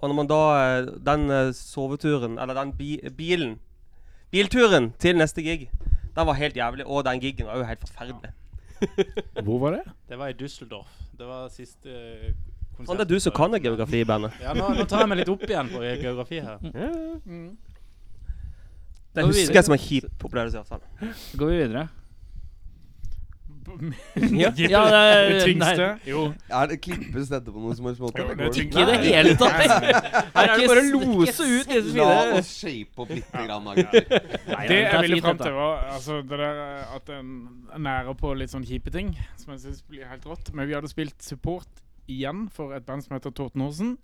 Speaker 7: Og når man da eh, Den eh, soveturen, eller den bi bilen Bilturen til neste gig, den var helt jævlig. Og den gigen var jo helt forferdelig.
Speaker 3: Hvor var det?
Speaker 10: Det var i Düsseldorf. Det var siste eh, konsert.
Speaker 7: Sånn det er du som kan det geografi i bandet.
Speaker 10: Ja, nå, nå tar jeg meg litt opp igjen på geografi her.
Speaker 7: Det husker jeg som en kjip opplevelse. i hvert fall.
Speaker 5: Så går vi videre.
Speaker 9: Ja,
Speaker 5: Ja, det er-
Speaker 9: det tyngste.
Speaker 5: nei.
Speaker 9: Jo,
Speaker 8: Er det Klippes dette på noen som helst måte?
Speaker 9: Jo, det
Speaker 8: Går
Speaker 9: tenker
Speaker 5: Ikke i det hele tatt. Her er det bare å lose ut disse
Speaker 8: La
Speaker 5: fine
Speaker 8: oss shape opp litt, grann, da, gutter.
Speaker 9: det jeg ville
Speaker 5: fint,
Speaker 9: fram
Speaker 5: dette.
Speaker 9: til, var altså, det der eh, at en er nære på litt sånn kjipe ting, som jeg syns blir helt rått. Men vi hadde spilt support igjen for et band som heter Torten Horsen.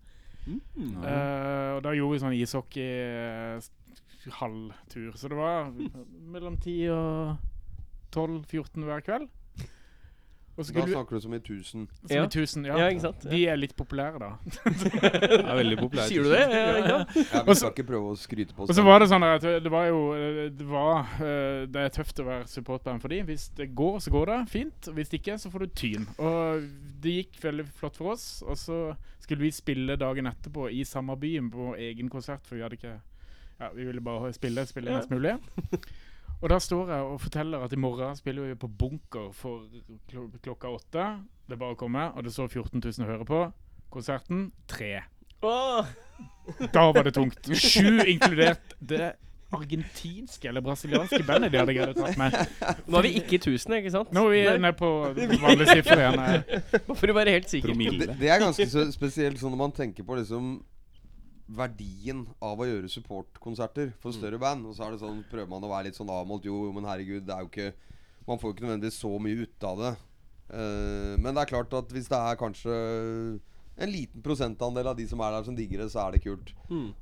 Speaker 5: Mm.
Speaker 9: Eh, og da gjorde vi sånn ishockey-halvtur. Så det var mellom 10 og 12-14 hver kveld. Og så
Speaker 8: Da
Speaker 9: skulle vi
Speaker 8: snakker du som i 1000.
Speaker 9: Som i 1000, ja.
Speaker 6: Ja, ikke sant?
Speaker 9: De er litt populære, da.
Speaker 2: Det er veldig populært.
Speaker 6: Sier du det? Ja, ikke sant?
Speaker 8: Ja, vi skal ikke prøve å skryte på
Speaker 9: Og
Speaker 8: oss.
Speaker 9: så var det sånn at det var jo Det, var, eh, det er tøft å være supportband for dem. Hvis det går, så går det fint. Hvis det ikke, så får du tyn. Og det gikk veldig flott for oss. Og så skulle vi spille dagen etterpå i samme byen på vår egen konsert, for vi hadde ikke Ja, vi ville bare spille, spille mest mulig. Og da står jeg og forteller at i morgen spiller vi på Bunker for kl klokka åtte. Det er bare å komme. Og det står 14 000 hører på. Konserten tre.
Speaker 6: Åh,
Speaker 9: Da var det tungt. Sju inkludert det argentinske eller brasilianske bandet de hadde greid å tatt med.
Speaker 6: nå er vi ikke i 1000, ikke sant?
Speaker 9: Nå er vi
Speaker 6: Nei,
Speaker 9: nede på vanlige siffer igjen.
Speaker 6: bare For å være helt sikker.
Speaker 8: Det, det er ganske så spesielt sånn når man tenker på liksom verdien av å gjøre supportkonserter for større band. Og så er det sånn, prøver man å være litt sånn avmålt. Jo, jo, men herregud, det er jo ikke Man får jo ikke nødvendigvis så mye ut av det. Eh, men det er klart at hvis det er kanskje en liten prosentandel av de som er der, som digger det, så er det kult.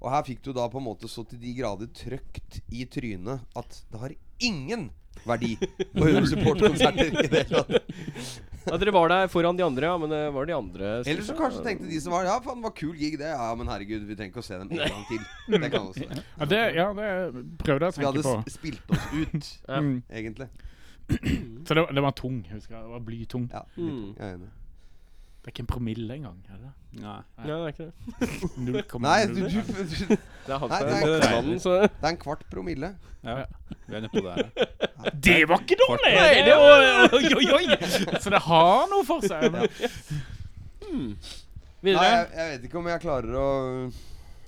Speaker 8: Og her fikk du da på en måte så til de grader trøkt i trynet at det har ingen verdi å gjøre supportkonserter i det hele tatt.
Speaker 6: Ja, dere var der foran de andre, ja, men det var de andre som-
Speaker 8: Eller så kanskje tenkte de som var Ja, faen, det var kul gig, det. Ja, men herregud, vi trenger ikke å se dem en gang til. Det kan også være.
Speaker 9: Ja, det, ja, det prøvde jeg å
Speaker 8: Vi hadde
Speaker 9: tenke på.
Speaker 8: s- spilt oss ut,
Speaker 9: Mm.
Speaker 8: egentlig.
Speaker 9: Så det, var- det var tung, husker jeg. Det var Blytung.
Speaker 8: Ja, litt,
Speaker 6: Mm.
Speaker 8: jeg er enig.
Speaker 9: Det er ikke en promille engang. er det?
Speaker 2: Nei.
Speaker 6: Nei, det er ikke det.
Speaker 9: 0,0.
Speaker 8: Nei, du, du, du,
Speaker 6: Det er han
Speaker 8: Nei,
Speaker 6: som
Speaker 8: det
Speaker 6: er
Speaker 8: er ikke
Speaker 6: mannen, så
Speaker 8: det er en kvart promille.
Speaker 2: Ja, vi er nedpå der. ja.
Speaker 9: Det var ikke dårlig!
Speaker 6: Nei, det var Oi, oi, oi!
Speaker 9: Så det har noe for seg. Men
Speaker 8: Nei,
Speaker 5: Videre.
Speaker 8: jeg, jeg vet ikke om jeg klarer å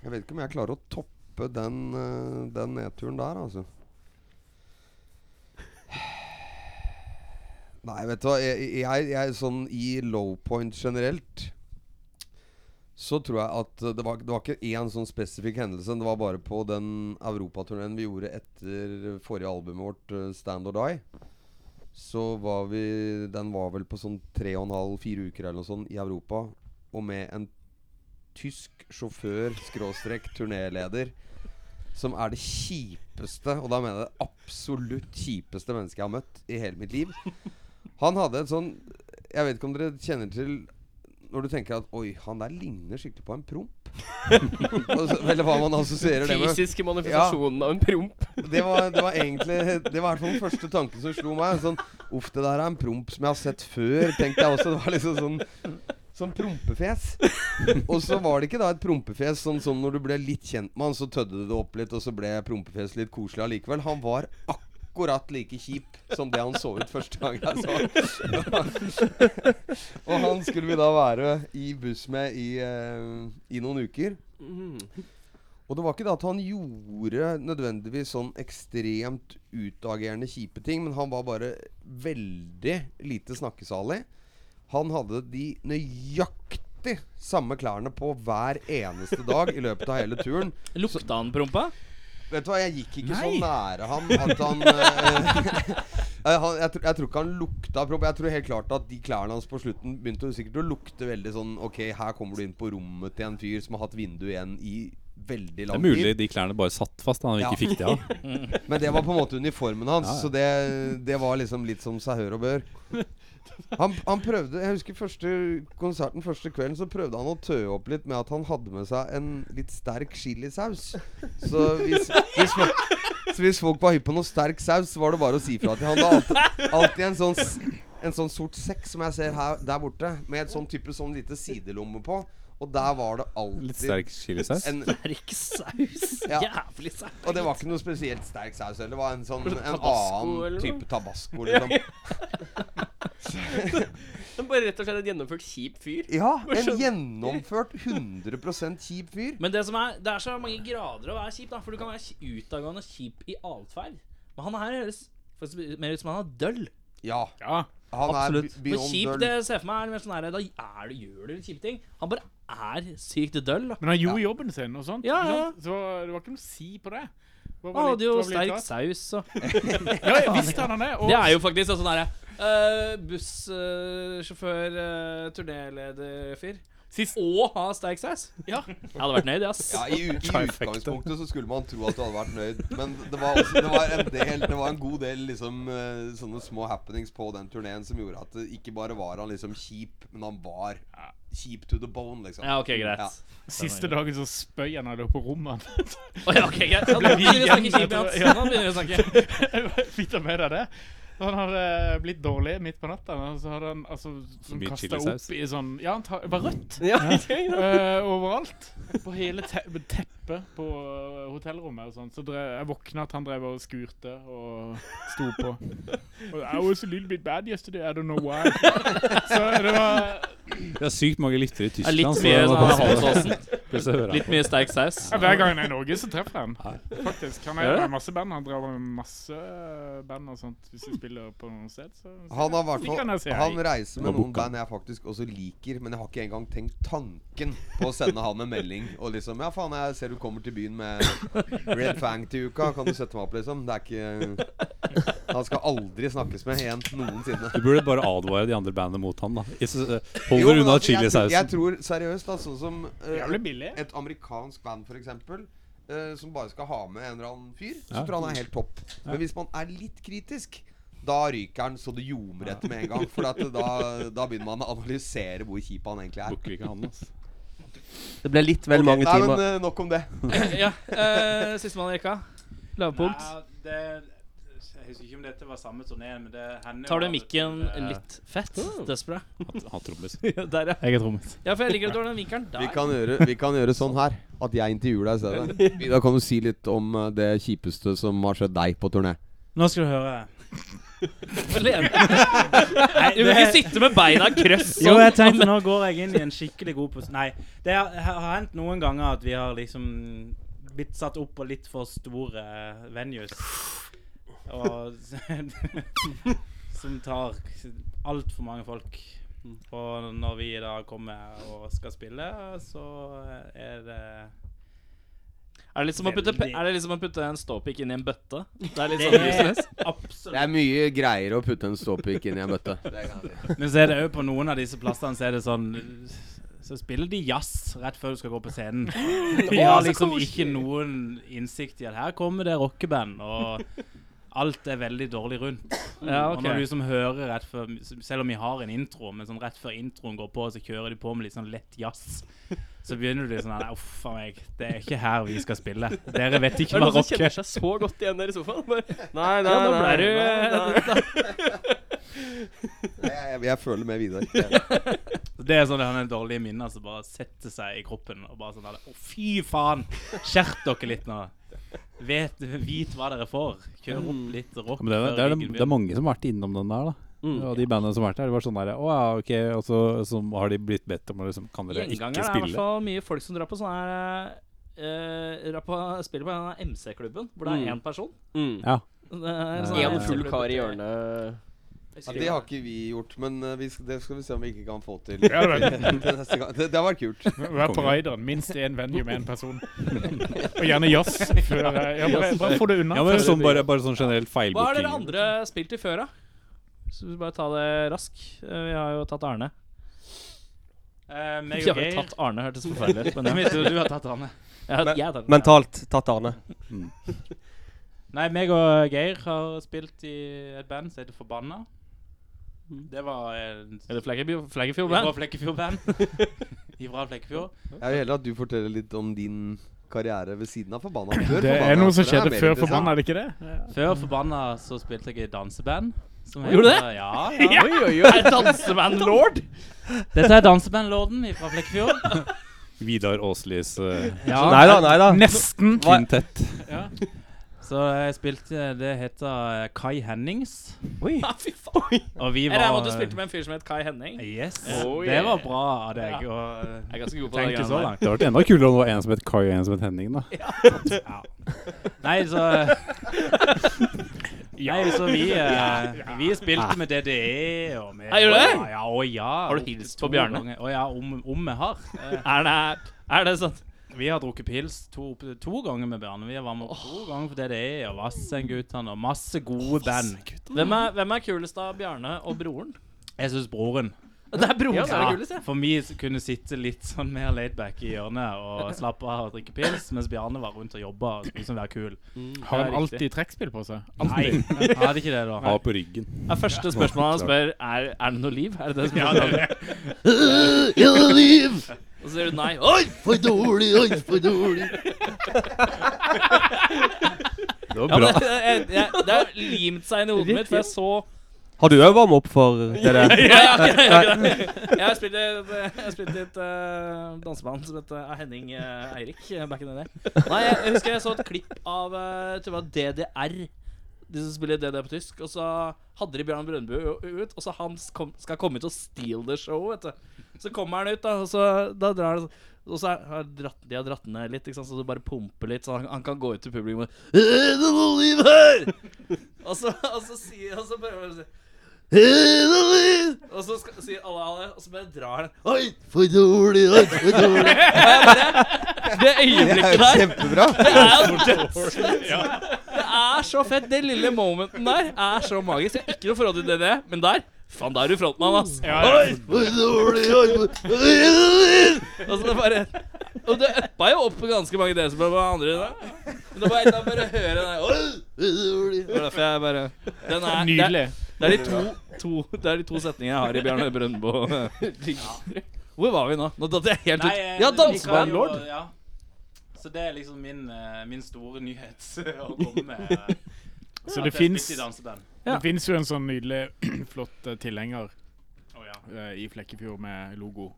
Speaker 8: Jeg vet ikke om jeg klarer å toppe den, eh, den nedturen der, altså. Nei, vet du hva. Jeg, jeg, jeg sånn i low point generelt så tror jeg at eh, det var, det var ikke én sånn spesifikk hendelse. Det var bare på den europaturneen vi gjorde etter forrige albumet vårt, eh, Stand or Die. så var vi Den var vel på sånn tre og en halv, fire uker eller noe sånt i Europa. Og med en tysk sjåfør, skråstrek turnéleder, som er det kjipeste, og da mener jeg det absolutt kjipeste mennesket jeg har møtt i hele mitt liv. Han hadde et sånn Jeg vet ikke om dere kjenner til når du tenker at Oi, han der ligner skikkelig på en promp. Altså, Eller hva man assosierer det med.
Speaker 6: Fysiske manifestasjonen av en promp.
Speaker 8: det, var, det var egentlig Det var i hvert fall den første tanken som slo meg. Sånn Uff, det der er en promp som jeg har sett før, tenkte jeg også. Det var liksom sånn Sånn prompefjes. og så var det ikke da et prompefjes sånn som når du ble litt kjent med han, så tødde du det opp litt, og så ble prompefjes litt koselig allikevel. Han var akkurat like kjip som det han så ut første gang jeg så han. og han skulle vi da være i buss med i, eh, i noen uker. Og det var ikke det at han gjorde nødvendigvis sånn ekstremt utagerende kjipe ting, men han var bare veldig lite snakkesalig. Han hadde de nøyaktig samme klærne på hver eneste dag i løpet av hele turen.
Speaker 5: Lukta han prompa?
Speaker 8: Vet du hva, jeg gikk ikke
Speaker 5: Nei.
Speaker 8: så nære ham at han eh, eh, han, jeg, tr jeg tror ikke han lukta promp. Jeg tror helt klart at de klærne hans på slutten begynte å- sikkert å lukte veldig sånn Ok, her kommer du inn på rommet til en fyr som har hatt vindu igjen i veldig
Speaker 2: Det er
Speaker 8: lang tid.
Speaker 2: mulig de klærne bare satt fast da han ikke fikk de av.
Speaker 8: Men det var på en måte uniformen hans,
Speaker 2: Ja, ja.
Speaker 8: så det, det var liksom litt som seg hør og bør. Han, han prøvde Jeg husker første konserten første kvelden, så prøvde han å tøe opp litt med at han hadde med seg en litt sterk chilisaus. Så hvis, hvis, folk, så hvis folk var hypp på noe sterk saus, så var det bare å si fra til han. Det er alltid, alltid en sånn s- en sånn sort sekk som jeg ser her, der borte, med et sånn type sånn lite sidelomme på. Og der var det alltid
Speaker 2: Litt sterk chilisaus?
Speaker 8: en-
Speaker 5: Sterk saus.
Speaker 8: Ja.
Speaker 5: Jævlig saus.
Speaker 8: og det var ikke noe spesielt sterk saus heller. Det var en sånn
Speaker 6: Var det
Speaker 8: en
Speaker 6: tabasco eller
Speaker 8: annen
Speaker 6: noe?
Speaker 8: type tabasco. Liksom.
Speaker 6: Men bare rett og slett en gjennomført kjip fyr.
Speaker 8: Ja,
Speaker 6: Bare sånn-
Speaker 8: en
Speaker 6: skjønn-
Speaker 8: gjennomført 100 kjip fyr.
Speaker 5: Men det, som er, det er så mange grader å være kjip, da. For du kan være kj- utadgående kjip i atferd. Men han her høres faktisk mer ut som han er døll.
Speaker 8: Ja,
Speaker 9: Ja.
Speaker 8: han er
Speaker 7: Absolutt.
Speaker 8: b-
Speaker 5: Men
Speaker 8: beyond
Speaker 5: kjip, det
Speaker 8: dull.
Speaker 5: ser jeg for meg er mer sånn her Da er du, gjør du kjipe ting. Han bare er sykt døll. da.
Speaker 9: Men han gjorde jobben sin, og sånt.
Speaker 5: Ja,
Speaker 9: ikke
Speaker 5: ja.
Speaker 9: sant? Så det var ikke noe å si på det. Det var bare
Speaker 5: Han
Speaker 9: litt-
Speaker 5: hadde jo
Speaker 9: det var litt
Speaker 5: sterk
Speaker 9: rart.
Speaker 5: saus og
Speaker 9: Ja, ja, visst hadde han det. Og
Speaker 5: Det er jo faktisk en sånn herre Bussjåfør, uh, turnélederfyr.
Speaker 9: Sist-
Speaker 5: Og ha sterk saus. Ja. Jeg hadde vært nøyd, ass.
Speaker 8: Ja, i, u- I utgangspunktet så skulle man tro at du hadde vært nøyd, men det var, også, det var, en, del, det var en god del liksom, eh, sånne små happenings på den turneen som gjorde at det ikke bare var han liksom kjip, men han var kjip to the bone, liksom.
Speaker 5: Ja, ok, greit.
Speaker 8: Ja.
Speaker 9: siste dagen så spøy han alle på rommet.
Speaker 5: Å, ja, ok, greit. Ja, nå begynner vi å snakke kjipt, ja. Nå begynner vi å snakke.
Speaker 9: Fikk du med deg det? Han hadde blitt dårlig midt på natta. Og så hadde han altså, sånn,
Speaker 2: mye
Speaker 9: kastet
Speaker 2: chilisaus.
Speaker 9: opp i sånn Ja, han ta, det var rødt
Speaker 6: Ja, ikke sant?
Speaker 9: eh, overalt. På hele te teppet på eh, hotellrommet og sånn. Så drev, jeg våkna at han drev og skurte og sto på. Og, I was a little bit bad yesterday, I don't know why. Så det var
Speaker 2: Det er sykt mange lyttere i
Speaker 5: Ja,
Speaker 2: Tyskland.
Speaker 5: litt
Speaker 2: så
Speaker 5: mye
Speaker 2: det var
Speaker 5: sånn
Speaker 2: bare-
Speaker 5: Holsåsen.
Speaker 2: plutselig hører han
Speaker 5: Litt
Speaker 2: på.
Speaker 5: mye sterk saus.
Speaker 9: ja, Hver gang han er i Norge, så treffer jeg han. Faktisk. Han
Speaker 5: Gjør
Speaker 9: er
Speaker 5: det?
Speaker 9: med masse band. Han driver med masse band og sånt. Hvis vi spiller på noe sted, så, så
Speaker 8: Han har hvert
Speaker 9: Så kan jeg si
Speaker 8: fall
Speaker 9: hei.
Speaker 8: Han reiser med
Speaker 2: Og
Speaker 8: noen
Speaker 2: boka.
Speaker 8: band jeg faktisk også liker, men jeg har ikke engang tenkt tanken på å sende han en melding og liksom Ja, faen, jeg ser du kommer til byen med Red Fang til uka. Kan du sette meg opp, liksom? Det er ikke Han skal aldri snakkes med igjen noensinne.
Speaker 2: Du burde bare advare de andre bandene mot han, da. I s- eh,
Speaker 8: Jo,
Speaker 2: Hold dere
Speaker 8: men
Speaker 2: unna
Speaker 8: altså, jeg tror- Jeg
Speaker 2: chilisausen.
Speaker 8: tror seriøst, da, sånn som eh,
Speaker 9: Jævlig billig.
Speaker 8: et amerikansk band, for eksempel eh, som bare skal ha med en eller annen fyr, så
Speaker 2: Ja.
Speaker 8: tror jeg han er helt topp. Men hvis man er litt kritisk, da ryker han så det ljomer etter med en gang. For at da, da begynner man å analysere hvor kjip han egentlig er.
Speaker 2: Booker ikke han, ass.
Speaker 7: Det ble litt vel
Speaker 8: Ok,
Speaker 7: mange
Speaker 8: nei,
Speaker 7: timer.
Speaker 8: men eh, nok om det.
Speaker 5: Ja, eh, Sistemann i rekka. Lavpunkt.
Speaker 10: Nei, det, jeg husker ikke om dette var samme turné, men det Eh, hender
Speaker 5: Tar du
Speaker 10: jo av og til
Speaker 5: mikken
Speaker 10: det er-
Speaker 5: litt fett? Desperate.
Speaker 2: Han- Han trommis.
Speaker 5: Der, ja.
Speaker 11: Jeg er trommis.
Speaker 5: ja, for jeg liker at du har den vinkelen der.
Speaker 8: Vi kan, gjøre, vi kan gjøre sånn her. At jeg intervjuer deg i stedet. Da kan du si litt om eh, det kjipeste som har skjedd deg på turné.
Speaker 10: Nå skal du høre.
Speaker 5: For lene- Du kan ikke sitte med beina krøss
Speaker 11: Jo, jeg
Speaker 5: sånn.
Speaker 11: tenkte nå går jeg inn i en skikkelig god pos... Nei, det har, har hendt noen ganger at vi har liksom blitt satt opp på litt for store eh, venues. Og Som tar altfor mange folk. Og når vi da kommer og skal spille, så er det
Speaker 5: Er det litt som å putte, pe-
Speaker 11: Veldig.
Speaker 5: er det litt som å putte en ståpikk inn i en bøtte? Det er litt
Speaker 11: Det
Speaker 5: sånn
Speaker 11: er
Speaker 5: useless.
Speaker 11: absolutt
Speaker 12: Det er mye greiere å putte en ståpikk inn i en bøtte.
Speaker 11: Men så er det jo på noen av disse plassene så er det sånn Så spiller de jazz rett før du skal gå på scenen. De
Speaker 5: Å,
Speaker 11: har
Speaker 5: så
Speaker 11: liksom
Speaker 5: koselig.
Speaker 11: ikke noen innsikt i at her kommer det rockeband, og alt er veldig dårlig rundt.
Speaker 5: Ja,
Speaker 11: Og
Speaker 5: ok.
Speaker 11: når du som hører rett før Selv om vi har en intro, men sånn rett før introen går på, så kjører de på med litt sånn lett jazz. Så begynner du sånn Nei, uff a meg. Det er ikke her vi skal spille. Dere vet
Speaker 6: Det
Speaker 11: ikke
Speaker 6: er
Speaker 11: hva
Speaker 6: noen som
Speaker 11: rock
Speaker 6: kjenner
Speaker 11: er.
Speaker 6: seg så godt igjen der i sofaen. Bare.
Speaker 12: Nei, nei,
Speaker 6: ja, nå
Speaker 12: nei,
Speaker 6: ble du eh,
Speaker 8: Jeg, jeg, jeg føler med Vidar. Jeg-
Speaker 11: Det er sånn det er dårlige minner som bare setter seg i kroppen. Og bare sånn der, Å, fy faen! Skjerp dere litt nå! Vet, vit hva dere får. Kjør opp litt rock.
Speaker 3: Men det, er-
Speaker 11: før
Speaker 3: det, er,
Speaker 11: giggen
Speaker 3: det er mange som har vært innom den der, da. Og de bandene som har vært der, det var sånn der Å ja, ok. Og så, så har de blitt bedt om å liksom Kan dere ikke
Speaker 5: Gjengangeren er i hvert
Speaker 3: spille?
Speaker 5: fall mye folk som drar på sånn her eh, drar på- Spiller på denne MC-klubben, hvor det er én person.
Speaker 6: Mm.
Speaker 3: Ja.
Speaker 5: Det er en sånn
Speaker 6: En
Speaker 5: her-
Speaker 6: full kar i hjørnet.
Speaker 8: Ja, det har ikke vi gjort, men eh, vi, skal- det skal vi se om vi ikke kan få til.
Speaker 9: Ja, det er-
Speaker 8: til neste gang. Det, det har vært kult.
Speaker 9: Vær på raideren. Minst én venue med én person. Og gjerne jazz. Før, eh, ja, bare, bare få det unna.
Speaker 3: Ja, men
Speaker 9: før-
Speaker 3: sånn bare, bare sånn generelt
Speaker 5: Hva har dere
Speaker 3: feilbooking.
Speaker 5: andre spilt til før, da? Så vi bare ta det rask. Eh, Vi har jo tatt Arne.
Speaker 11: Eh, meg
Speaker 5: Vi
Speaker 11: og
Speaker 5: har jo
Speaker 11: Geir.
Speaker 5: tatt Arne, hørtes forferdelig ut. Men
Speaker 11: Jeg
Speaker 5: ja.
Speaker 11: vet jo du har tatt Arne.
Speaker 5: jeg, jeg, har tatt Arne.
Speaker 7: Mentalt tatt Arne.
Speaker 11: Nei, meg og Geir har spilt i et band som heter Forbanna.
Speaker 3: Mm.
Speaker 11: Det var en
Speaker 5: Er det Flekkefjord- Flekkefjord
Speaker 11: Ifra
Speaker 5: Band?
Speaker 11: Flekkefjord-band. Ifra Flekkefjord.
Speaker 8: Jeg vil heller at du forteller litt om din karriere ved siden av Forbanna. Før
Speaker 9: Det
Speaker 8: Forbanna,
Speaker 9: er noe som
Speaker 8: for det er
Speaker 9: skjedde
Speaker 8: mer
Speaker 9: før
Speaker 8: interessant.
Speaker 9: forbanna, er det ikke det?
Speaker 11: Før Forbanna så spilte jeg i et danseband. som
Speaker 5: Gjorde
Speaker 11: heter- Ja, ja.
Speaker 6: Oi, oi, oi.
Speaker 5: Danseband Lord?
Speaker 11: Dette er dansebandlorden fra Flekkefjord.
Speaker 2: Vidar Åslis eh,
Speaker 7: Nei da, nei da.
Speaker 9: Nesten.
Speaker 2: kvintett.
Speaker 11: Så jeg spilte Det heter eh, Kai Hennings.
Speaker 6: Oi.
Speaker 5: Ja, fy faen.
Speaker 11: Og vi
Speaker 5: Jeg
Speaker 11: var
Speaker 5: regner med at du spilte med en fyr som het Kai Henning.
Speaker 11: Yes.
Speaker 5: Oh,
Speaker 11: Det var
Speaker 5: yeah.
Speaker 11: bra av deg.
Speaker 5: Ja.
Speaker 11: Og
Speaker 5: Jeg er ganske god på det.
Speaker 11: tenkte
Speaker 5: greiene
Speaker 11: så
Speaker 5: der.
Speaker 11: langt.
Speaker 3: Det hadde vært enda kulere om det var en som het Kai og en som het Henning, da.
Speaker 11: Nei, så eh, Nei, så vi, eh, vi spilte med DDE og med
Speaker 5: Nei, gjør Ah, du det?
Speaker 11: Ja, ja, å ja.
Speaker 5: Har du hilst på
Speaker 11: To
Speaker 5: Bjarne?
Speaker 11: ganger. Å ja, om, om jeg har. Eh,
Speaker 5: Er det, er det sånn
Speaker 11: Vi har drukket pils to, to ganger med Bjarne. Vi var med to ganger på DDE E, og Vassendgutane og masse gode band.
Speaker 5: Hvem er, hvem er kulest av Bjarne og broren?
Speaker 11: Jeg syns broren
Speaker 5: Det er broren som er det kuleste.
Speaker 11: For vi s- kunne sitte litt sånn mer laidback i hjørnet og slappe av og drikke pils, mens Bjarne var rundt og jobba og skulle liksom være kul.
Speaker 9: Har
Speaker 11: Det
Speaker 9: han
Speaker 11: er
Speaker 9: alltid trekkspill på seg?
Speaker 11: Nei, jeg hadde ikke det da.
Speaker 2: Ha på ryggen.
Speaker 5: Det er første spørsmålet han spør, er er det noe liv. Er det det spørsmålet? Ja, liv! Og så sier du nei. Oi, for dårlig! Oi, for dårlig!
Speaker 3: Det var
Speaker 5: Ja,
Speaker 3: bra.
Speaker 5: men, det, jeg, jeg, det har limt seg inn i hodet mitt, for jeg så
Speaker 7: Har du òg varma opp for det der?
Speaker 5: Jeg har ikke- jeg har ikke det. Jeg har spilt i et, jeg har spilt i et eh, danseband som het eh, Henning eh, Eirik. eh, Back in the day. Nei, jeg, jeg husker jeg så et klipp av eh, jeg tror det var DDR. De som spiller DDR på tysk. Og så hadde de Bjørn Brøndbu ut, og så han kom, skal komme ut og steal the show. Vet du. Så kommer han ut, da, og så da drar han og så er- har dratt, de har dratt ned litt, ikke sant? så du bare pumper litt, så han, han kan gå ut til publikum og «Er det noe liv her! og, så, og så sier Og så prøver han å si Hedelig! Og så skal, sier alle ha det, og så bare drar den. Oi, for dårlig, oi, for dårlig. det
Speaker 8: Det er
Speaker 5: øyeblikket
Speaker 8: jo
Speaker 5: der
Speaker 8: kjempebra.
Speaker 5: Det er så fett. Den lille momenten der er så magisk. Jeg har ikke noe forhold til DDE, men der Faen, da er du frontmann, ass. Oi, for dårlig, oi, for Hedelig! Og så Altså, det bare Og det uppa jo opp på ganske mange decibel på andre. Da. Men det var et eller annet bare å høre den der Oi, for dårlig. Det var derfor jeg bare den er, det er-
Speaker 9: Nydelig.
Speaker 5: det er de to, to, det er de to setningene jeg har i Bjarne Brøndbo. Hvor var vi nå? Nå datt jeg helt ut.
Speaker 11: eh,
Speaker 5: Ja,
Speaker 11: vi kan jo-
Speaker 5: dansebandlord!
Speaker 11: Ja. Så det er liksom min, eh, min store nyhet å komme med. eh,
Speaker 9: Så
Speaker 11: at
Speaker 9: det
Speaker 11: jeg
Speaker 9: fins
Speaker 11: spilte i danseband.
Speaker 5: Ja.
Speaker 9: Det finnes jo en sånn nydelig flott eh, tilhenger
Speaker 11: Å, ja.
Speaker 9: eh, i Flekkefjord med logo.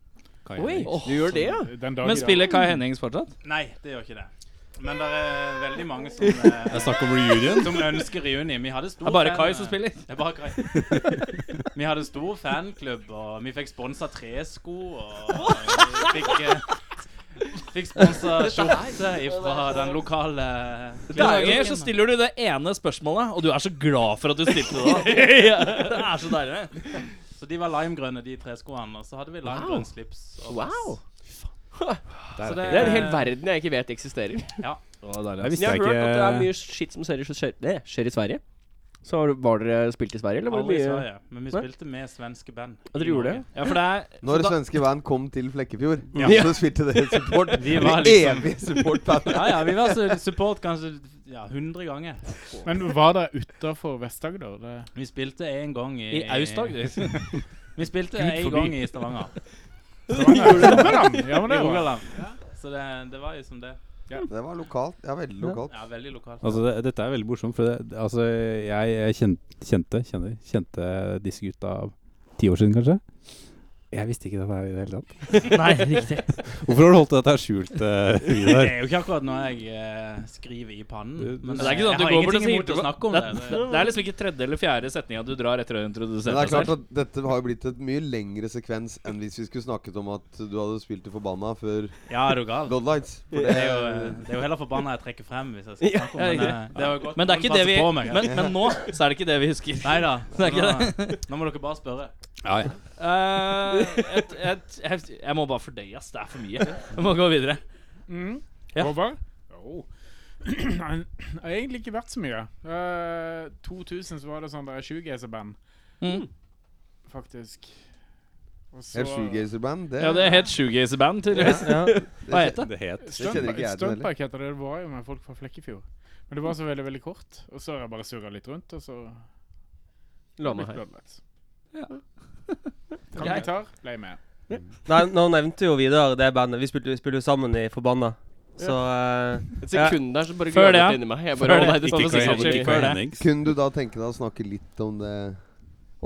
Speaker 6: Oi, du gjør det, ja?
Speaker 9: Den dag i
Speaker 5: Men
Speaker 9: dag.
Speaker 5: spiller Kai Hennings fortsatt?
Speaker 11: Nei, det gjør ikke det. Men det er veldig mange som, eh,
Speaker 2: Jeg snakker om reunion.
Speaker 11: som ønsker reunion. Vi hadde stor
Speaker 5: Det er bare
Speaker 11: fan- eh,
Speaker 5: Kai som spiller.
Speaker 11: Det er bare Kai. Vi hadde stor fanklubb, og vi fikk sponsa tresko, og vi fikk eh, Fikk sponsa skjorte fra den lokale
Speaker 5: Noen ganger så stiller du det ene spørsmålet, og du er så glad for at du stilte det. da. Det er så deilig.
Speaker 11: Så de var limegrønne, de treskoene. Og så hadde vi limegrønn slips. Og
Speaker 6: Wow.
Speaker 11: Så
Speaker 6: Det er en hel verden jeg ikke vet eksisterer.
Speaker 11: Ja.
Speaker 3: deilig. Jeg visste
Speaker 6: jeg har
Speaker 3: ikke-
Speaker 6: hørt at det er mye shit som skjer, skjer, det skjer i Sverige. Så har du- var dere spilt i Sverige, eller var det
Speaker 11: Aldri i
Speaker 6: mye
Speaker 11: Sverige, men vi
Speaker 6: Nei?
Speaker 11: spilte med svenske band.
Speaker 6: Ja, dere
Speaker 11: i
Speaker 6: gjorde
Speaker 11: Norge.
Speaker 6: det?
Speaker 11: Ja, for det er
Speaker 8: Når
Speaker 11: så da-
Speaker 8: svenske band kom til Flekkefjord,
Speaker 11: Ja.
Speaker 8: så spilte dere support.
Speaker 11: Vi var
Speaker 8: Det
Speaker 11: liksom-
Speaker 8: Evig supportband.
Speaker 11: ja, ja, vi var så- support kanskje ja, 100 ganger.
Speaker 9: Men var det utafor Vest-Agder? det-
Speaker 11: Vi spilte en gang i
Speaker 9: I Aust-Agder?
Speaker 11: Vi spilte
Speaker 9: Gud
Speaker 11: en
Speaker 9: forby.
Speaker 11: gang i Stavanger.
Speaker 9: Stavanger? Rogaland? Ja, men det
Speaker 11: I
Speaker 9: var-
Speaker 11: Rogaland. Så det, det var jo som det.
Speaker 8: Det var lokalt. Ja, veldig lokalt.
Speaker 11: Ja, veldig lokalt.
Speaker 3: Altså, det, dette er veldig morsomt, for det, det- altså, jeg, jeg kjente, kjente, kjenner, kjente disse gutta ti år siden, kanskje. Jeg visste ikke dette her i det hele tatt.
Speaker 11: Nei, riktig.
Speaker 3: Hvorfor har du holdt dette her skjult, eh,
Speaker 11: Det
Speaker 3: Vidar?
Speaker 11: er jo ikke akkurat noe jeg eh, skriver i pannen.
Speaker 5: Men det er ikke sånn at
Speaker 11: jeg
Speaker 5: du
Speaker 11: har
Speaker 5: går bort og
Speaker 11: ingenting
Speaker 5: sier
Speaker 11: imot å snakke om det.
Speaker 5: Det, det er liksom ikke tredje eller fjerde setninga du drar etter å ha introdusert
Speaker 8: Men det er
Speaker 5: deg
Speaker 8: klart
Speaker 5: selv.
Speaker 8: at dette har jo blitt et mye lengre sekvens enn hvis vi skulle snakket om at du hadde spilt i Forbanna før
Speaker 11: Ja, er du gal?
Speaker 8: Godlights. For
Speaker 11: Det er, jo, eh, det er jo heller forbanna jeg trekker frem. Hvis jeg skal
Speaker 5: Ja,
Speaker 11: snakke om men,
Speaker 5: ja, ikke
Speaker 11: eh,
Speaker 5: det.
Speaker 11: det var godt
Speaker 5: Men det er
Speaker 11: noen
Speaker 5: ikke det
Speaker 11: passer
Speaker 5: vi-
Speaker 11: på meg.
Speaker 5: men- men nå så er det ikke det vi husker.
Speaker 11: Neida,
Speaker 5: Det er ikke
Speaker 11: Nå, nå må dere bare spørre.
Speaker 3: Ja, ja.
Speaker 5: Eh, et, et, jeg, jeg må bare fordøye, ass. Det er for mye. Vi må gå videre.
Speaker 9: Mm.
Speaker 5: Ja.
Speaker 9: Håvard? Jo. Jeg har egentlig ikke vært så mye. Eh, 2000 så var det sånn der 7GC-band.
Speaker 5: Mm.
Speaker 9: Faktisk. Og så-
Speaker 8: Et shoegazer-band?
Speaker 5: Ja, det het shoegazer-band, tydeligvis.
Speaker 8: Ja, ja.
Speaker 5: Hva het det?
Speaker 8: Det het- det
Speaker 9: Stunt-
Speaker 8: kjenner ikke jeg til heller.
Speaker 9: Stuntbike heter det. Det var jo med folk fra Flekkefjord. Men det var så veldig, veldig kort. Og så har jeg bare surra litt rundt, og så
Speaker 6: La meg
Speaker 9: Litt
Speaker 6: her.
Speaker 9: bloodlines. Kan gitar, ble med.
Speaker 7: Nei, nå nevnte jo Vidar det bandet. Vi spilte, vi spilte jo sammen i Forbanna. Så eh,
Speaker 6: Et
Speaker 7: ja.
Speaker 6: sekund der, så bare Før det, ja. inni meg. Jeg bare, Før det. sånn,
Speaker 7: Ikke Kane, ikke Kane Hennings.
Speaker 8: Kunne du da tenke deg å snakke litt om det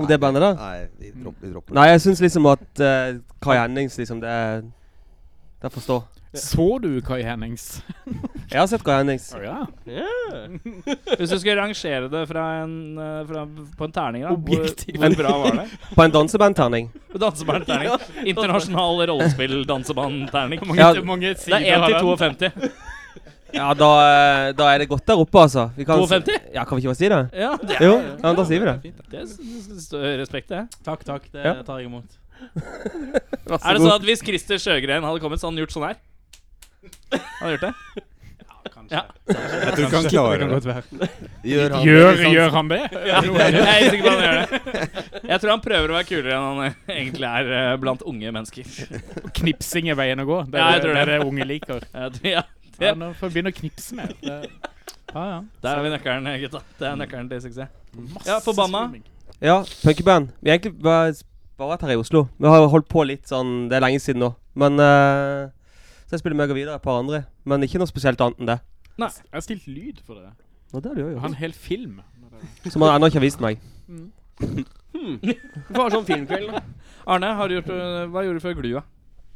Speaker 7: Om det bandet, da?
Speaker 8: Nei, vi dropper, vi dropper det.
Speaker 7: Nei, jeg syns liksom at eh, Kai Hennings liksom Det er Det er forstå.
Speaker 9: Så du Kai Hennings?
Speaker 7: jeg har sett Kai Hennings.
Speaker 9: Å ja.
Speaker 5: Hvis du skulle rangere det fra en, eh, fra, på en terning, da hvor, hvor
Speaker 7: En-
Speaker 5: bra var det?
Speaker 7: På en dansebandterning.
Speaker 5: Dansebandterning. Internasjonal rollespill-dansebandterning.
Speaker 7: Hvor mange- Ja. hvor
Speaker 9: mange
Speaker 5: Det er 1 til 52.
Speaker 11: Altså-
Speaker 7: Ja, da, eh, da er det godt der oppe, altså. Vi kan s-
Speaker 5: 52?
Speaker 7: Ja, kan vi ikke bare si det?
Speaker 5: Ja, det er-
Speaker 7: jo, ja, da sier vi det.
Speaker 5: Det s- s- stø- respekt, det.
Speaker 11: Takk, takk. Det
Speaker 5: Ja.
Speaker 11: tar jeg imot.
Speaker 5: Er det sånn at hvis Christer Sjøgren hadde kommet, så hadde han gjort sånn her? Hadde han gjort det? Ja, kanskje.
Speaker 9: Jeg tror ikke han klarer Det kan godt være. Gjør han det, Gjør-
Speaker 8: sånn-
Speaker 9: liksom? gjør han det?
Speaker 5: Ja, jeg er helt sikker på at han gjør det. Jeg tror han prøver å være kulere enn han eh, egentlig er eh, blant unge mennesker.
Speaker 9: Knipsing er veien å gå. Det er
Speaker 5: Ja, jeg
Speaker 9: det,
Speaker 5: tror
Speaker 9: det, er
Speaker 5: det.
Speaker 9: det unge liker.
Speaker 5: Jeg tror- ja, det-
Speaker 9: Ja, nå får vi begynne å knipse mer. Det- Ja, ja.
Speaker 5: Der har vi nøkkelen, eh, gutta. Det er nøkkelen til suksess. Ja, forbanna.
Speaker 7: Ja, punkeband. Vi har egentlig bare, bare vært her i Oslo. Vi har holdt på litt sånn Det er lenge siden nå. Men eh, Så jeg spiller meg og Vidar et par andre. Men ikke noe spesielt annet enn det.
Speaker 5: Nei.
Speaker 9: Jeg har stilt lyd for det.
Speaker 7: Nå, det har du jo gjort.
Speaker 9: Jeg har en hel film.
Speaker 7: Som han ennå ikke har vist meg.
Speaker 5: Vi får ha sånn filmkveld, da. Arne, har du gjort, eh, hva gjorde du før Glua?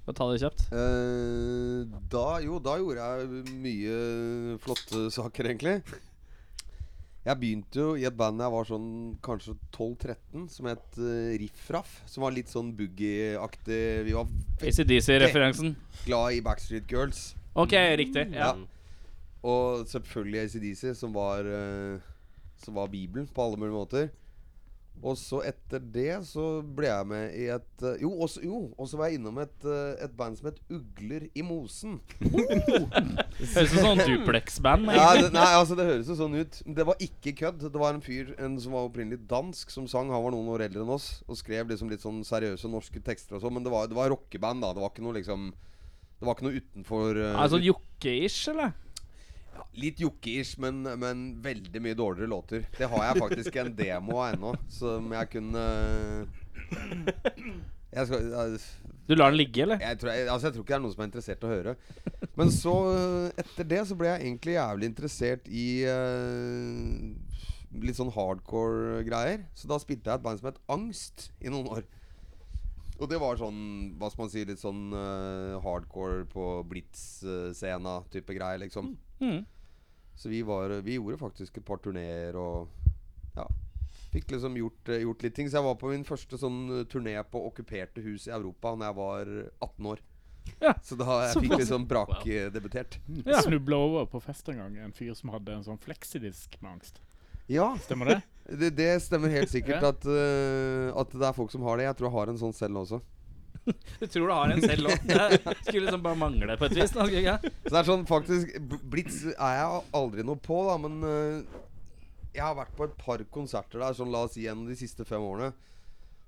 Speaker 5: Få ta det kjapt.
Speaker 9: liksom?
Speaker 8: Eh, da, jo, da gjorde jeg mye flotte saker, egentlig. Jeg begynte jo i et band jeg var sånn kanskje 12-13, som het eh, Riff Raff. Som var litt sånn boogie-aktig. Vi var
Speaker 5: AC/DC-referansen.
Speaker 8: veldig Glad i Backstreet Girls.
Speaker 5: Ok, riktig,
Speaker 8: Mm.
Speaker 5: ja.
Speaker 8: Og selvfølgelig ACDC, som var eh, Som var Bibelen på alle mulige måter. Og så etter det så ble jeg med i et eh, Jo, også, jo, og så var jeg innom et, eh, et band som het Ugler i mosen.
Speaker 5: Høres ut som sånn Duplex-band,
Speaker 8: Ja,
Speaker 5: egentlig.
Speaker 8: det, nei, altså det høres jo sånn ut. Men Det var ikke kødd. Det var en fyr en som var opprinnelig dansk, som sang. Han var noen år eldre enn oss og skrev liksom litt sånn seriøse norske tekster og sånn. Men det var, det var rockeband, da. Det var ikke noe liksom Det var ikke noe utenfor eh,
Speaker 5: Er det sånn jokke-ish, eller?
Speaker 8: Litt jokkeish, men, men veldig mye dårligere låter. Det har jeg faktisk en demo av ennå, som jeg kunne jeg skal,
Speaker 5: Du lar den ligge, eller?
Speaker 8: Jeg tror, jeg, altså, jeg tror ikke det er noen som er interessert i å høre. Men så, eh, etter det, så ble jeg egentlig jævlig interessert i eh, litt sånn hardcore greier. Så da spilte jeg et band som het Angst i noen år. Og det var sånn, hva skal man si, litt sånn eh, hardcore på Blitz-scena-type greier, liksom.
Speaker 5: Mm.
Speaker 8: Så vi, var, vi gjorde faktisk et par turneer og ja, fikk liksom gjort, eh, gjort litt ting. Så jeg var på min første sånn eh, turné på okkuperte hus i Europa da jeg var 18 år. så da jeg fikk
Speaker 9: såpass.
Speaker 8: liksom brakdebutert.
Speaker 9: Ja. Snubla over på fest en gang en fyr som hadde en sånn fleksidisk med angst.
Speaker 8: Ja.
Speaker 9: Stemmer det?
Speaker 8: Det, det stemmer helt sikkert
Speaker 9: Ja.
Speaker 8: at, eh, at det er folk som har det. Jeg tror jeg har en sånn selv også.
Speaker 5: Du tror du har en selv òg. Det skulle liksom bare mangle på et vis. Da, skulle ikke det?
Speaker 8: Så det er sånn faktisk b- Blitz er jeg aldri noe på, da, men øh, jeg har vært på et par konserter der, sånn la oss si gjennom de siste fem årene.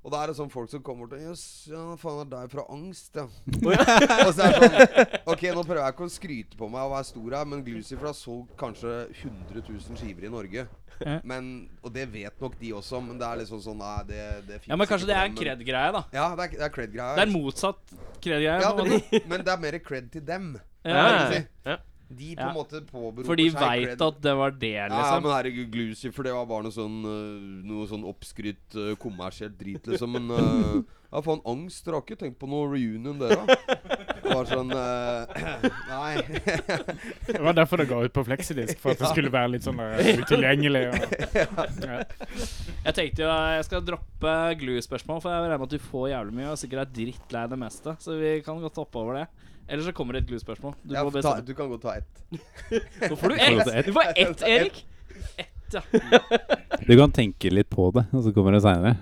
Speaker 8: Og da er det sånn folk som kommer til Jøss, ja, faen er deg fra angst, ja. og så er det sånn Ok, nå prøver jeg ikke å skryte på meg og være stor her, men Glucifer har solgt kanskje 100 000 skiver i Norge.
Speaker 5: Ja.
Speaker 8: Men, og det vet nok de også, men det er liksom sånn Nei, det, det finnes
Speaker 5: Ja, Men kanskje
Speaker 8: ikke
Speaker 5: det
Speaker 8: for
Speaker 5: er en
Speaker 8: dem, men-
Speaker 5: cred-greie, da.
Speaker 8: Ja, det er, det er cred-greie.
Speaker 5: Det er motsatt cred-greie.
Speaker 8: Ja,
Speaker 5: på en
Speaker 8: men,
Speaker 5: måte.
Speaker 8: men det er mer cred til dem.
Speaker 5: Ja,
Speaker 8: kan du
Speaker 5: ja,
Speaker 8: si.
Speaker 5: ja.
Speaker 8: De på
Speaker 5: Ja.
Speaker 8: en måte påberoper
Speaker 5: For de
Speaker 8: seg
Speaker 5: vet
Speaker 8: cred.
Speaker 5: at det var det,
Speaker 8: Ja,
Speaker 5: liksom.
Speaker 8: men herregud, Glucifer, det var bare noe sånn øh, Noe sånn oppskrytt øh, kommersielt drit, liksom. Men øh, ja, faen, angst Dere har ikke tenkt på noe reunion, dere? da? Det var sånn øh, Nei.
Speaker 9: Det var derfor det ga ut på fleksidisk, for at det
Speaker 8: Ja.
Speaker 9: skulle være litt sånn eh, utilgjengelig. Og, ja.
Speaker 5: Jeg tenkte jo jeg skal droppe glue-spørsmål, for jeg regner med at du får jævlig mye og sikkert er drittlei det meste. Så vi kan godt hoppe over det. Eller så kommer det et glue-spørsmål. Du,
Speaker 8: Ja,
Speaker 5: må
Speaker 8: ta,
Speaker 5: bestemme.
Speaker 8: du kan godt ta ett.
Speaker 5: Nå får du ett. Du får ett, Erik. Ett, ja.
Speaker 3: Du kan tenke litt på det, og så kommer det seinere.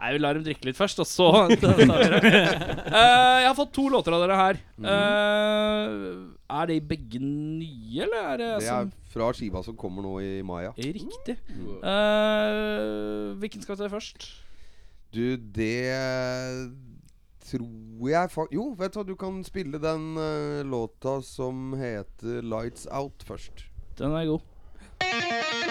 Speaker 5: Nei, vi lar dem drikke litt først, og så tar vi det. Eh, jeg har fått to låter av dere her.
Speaker 8: Mm.
Speaker 5: Eh, er de begge nye, eller er det
Speaker 8: Det er
Speaker 5: som
Speaker 8: fra skiva som kommer nå i mai. ja.
Speaker 5: Riktig.
Speaker 8: Mm.
Speaker 5: Eh, hvilken skal vi ta først?
Speaker 8: Du, det tror jeg fa Jo, vet du hva, du kan spille den øh, låta som heter 'Lights Out' først.
Speaker 5: Den er god.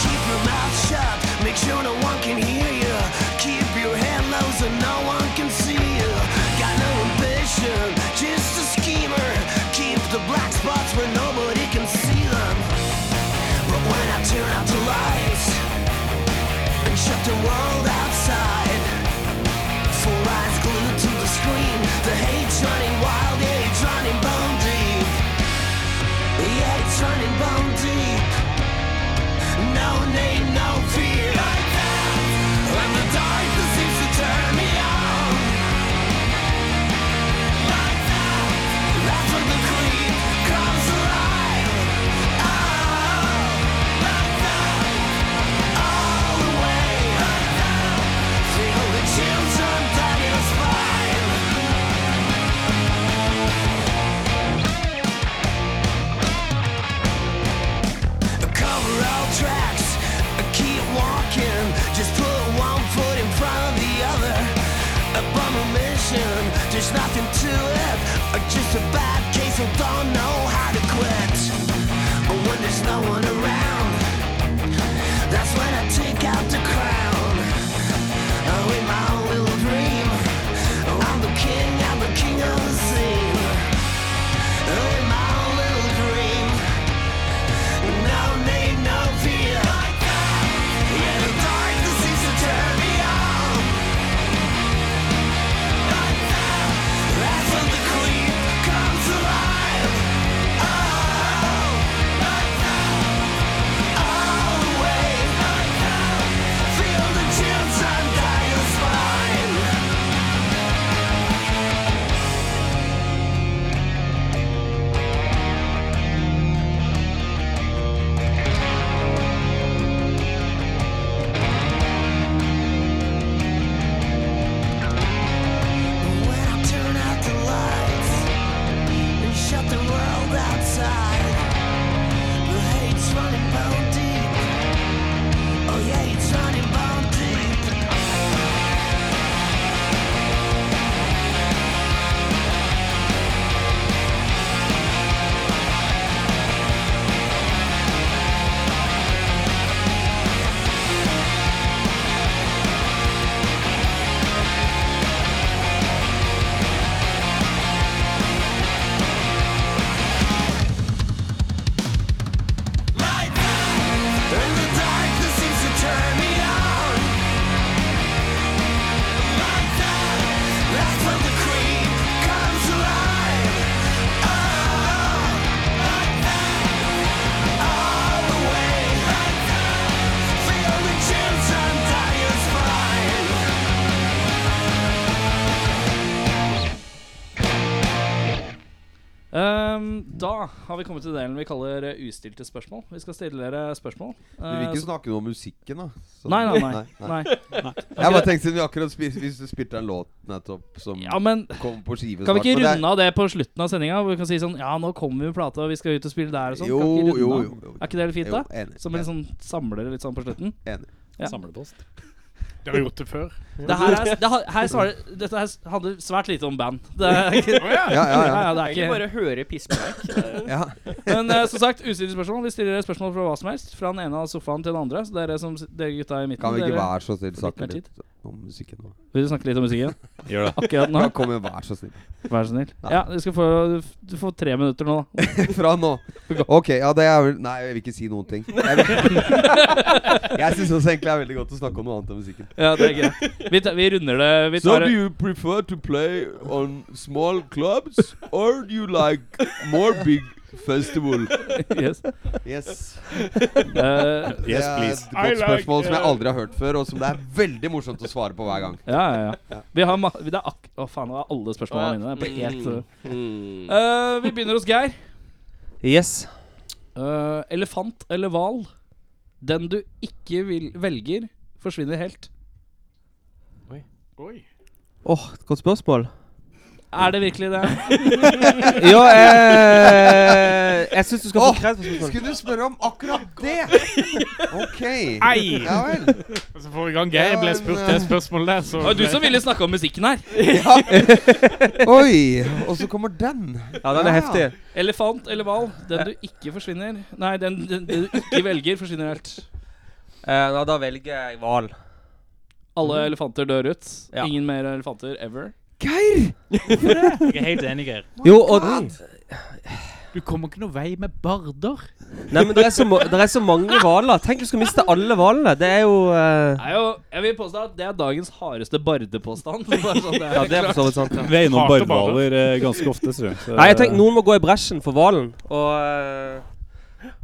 Speaker 2: Keep your mouth shut, make sure no one can hear you. Keep your head low so no one can see you. Got no ambition, just a schemer. Keep the black spots where nobody can see them. But when I turn out the lights and shut the world outside, four eyes glued to the screen, the hate's running wild, yeah, it's running bone deep. Yeah, it's running bone deep. No name, no fear. Like that, when the darkness seems to turn me on. Like that, that's when the creep comes alive. Oh, like that, all the way. Like that, feel the chills run down your spine. cover all tracks. Keep walking, just put one foot in front of the other. Upon a mission, there's nothing to it. Just a bad case who don't know how to quit. But when there's no one around, that's when I take out the crown. Oh, in my own little dream, I'm the king, I'm the king of the scene. Oh, in my own little dream. No name, no fear. Like that. Yeah, the darkness seems to turn me on. Like that. That's when the creep comes alive.
Speaker 5: Ehm, da har vi kommet til delen vi kaller eh, ustilte spørsmål. Vi skal stille dere spørsmål.
Speaker 8: Du vil
Speaker 5: Eh,
Speaker 8: ikke
Speaker 5: så-
Speaker 8: snakke noe om musikken, da? Sånn. Så-
Speaker 5: Nei, nei, nei. Nei. Nei.
Speaker 8: Jeg bare tenkte siden vi akkurat spil, hvis du spilte en låt nettopp som
Speaker 5: Ja, men
Speaker 8: kom på skive
Speaker 5: Kan vi
Speaker 8: snart,
Speaker 5: ikke
Speaker 8: men det er-
Speaker 5: runde av det på slutten av sendinga? Hvor vi kan si sånn Ja, nå kommer vi med plata, og vi skal ut og spille der og sånn.
Speaker 8: Jo,
Speaker 5: kan ikke runde
Speaker 8: jo,
Speaker 5: av?
Speaker 8: jo, jo.
Speaker 5: Er ikke det litt fint,
Speaker 8: Jo,
Speaker 5: da?
Speaker 8: enig.
Speaker 5: Som en sånn samler litt sånn på slutten?
Speaker 8: Enig.
Speaker 3: Samlepost.
Speaker 9: Dere har gjort det før.
Speaker 5: Det her er, det, ha- her svarer, dette her handler svært lite om band. Det er ikke,
Speaker 9: Å, ja. Ja, ja, ja.
Speaker 5: det er
Speaker 6: Egentlig
Speaker 5: ikke
Speaker 6: bare høre pisspreik. Det er-
Speaker 8: Ja.
Speaker 5: Men eh, som sagt, ustilte spørsmål. Vi stiller dere spørsmål fra hva som helst. Fra den ene av sofaen til den andre. Så dere, som, s- dere gutta i midten
Speaker 8: Kan vi ikke
Speaker 5: dere,
Speaker 8: være så snill
Speaker 5: får
Speaker 8: snakke
Speaker 5: mer tid.
Speaker 8: litt om musikken nå?
Speaker 5: Vil du snakke litt om musikken?
Speaker 3: Gjør det.
Speaker 5: Akkurat nå?
Speaker 8: Ja, kom igjen, vær så snill.
Speaker 5: Vær så snill. Ja, du skal få Du får tre minutter nå, da.
Speaker 8: Fra nå. Ok, ja det er vel Nei, jeg vil ikke si noen ting. Jeg, vil- jeg syns også egentlig det er veldig godt å snakke om noe annet enn musikken.
Speaker 5: Ja, det er greit. Vi, ta, vi runder det. Vi
Speaker 2: So
Speaker 5: tar
Speaker 2: do you prefer to play on small clubs or do you like more big festival?
Speaker 5: Yes.
Speaker 8: Yes.
Speaker 5: Eh,
Speaker 8: det
Speaker 5: Yes,
Speaker 8: er
Speaker 5: please.
Speaker 8: et godt
Speaker 5: I like,
Speaker 8: spørsmål som jeg
Speaker 5: uh,
Speaker 8: aldri har hørt før, og som det er veldig morsomt å svare på hver gang.
Speaker 5: Ja, ja, ja. Vi har ma det er ak Å, faen, nå er alle spørsmålene mine på helt uh. Eh, Vi begynner hos Geir.
Speaker 7: Yes.
Speaker 5: Eh, elefant eller hval? Den du ikke vil velger, forsvinner helt.
Speaker 7: Åh, et godt spørsmål.
Speaker 5: Er det virkelig det?
Speaker 7: Ja, eh, jeg syns du skal få
Speaker 8: Åh,
Speaker 7: kred for spørsmålet.
Speaker 8: Skulle du spørre om akkurat det? Ok.
Speaker 9: Ei!
Speaker 8: Ja vel. Eh,
Speaker 9: Altså, forrige gang Geir ble spurt det spørsmålet der, så
Speaker 5: Det var du som ville snakke om musikken her.
Speaker 8: Ja. Oi, og så kommer den.
Speaker 7: Ja, den er heftig.
Speaker 5: Elefant eller hval? Den du ikke forsvinner Nei, den, den, den du ikke velger, forsvinner helt.
Speaker 7: Eh, ja, da velger jeg hval.
Speaker 5: Alle elefanter dør ut.
Speaker 7: Ja.
Speaker 5: Ingen mer elefanter ever.
Speaker 8: Geir!
Speaker 13: Jeg er helt enig, Geir.
Speaker 7: Jo, og
Speaker 9: Du kommer ikke noe vei med barder.
Speaker 7: Nei, men det er så, ma- det er så mange hvaler. Tenk du skal miste alle hvalene. Det er jo eh,
Speaker 5: Det er jo, jeg vil påstå at det er dagens hardeste bardepåstand. Bare sånn, det er
Speaker 7: Ja, det er for så vidt sant.
Speaker 3: Vi er innom
Speaker 9: Hater
Speaker 3: barhvaler eh, ganske ofte, tror jeg. Så-
Speaker 7: Nei, jeg tenker noen må gå i bresjen for hvalen, og eh,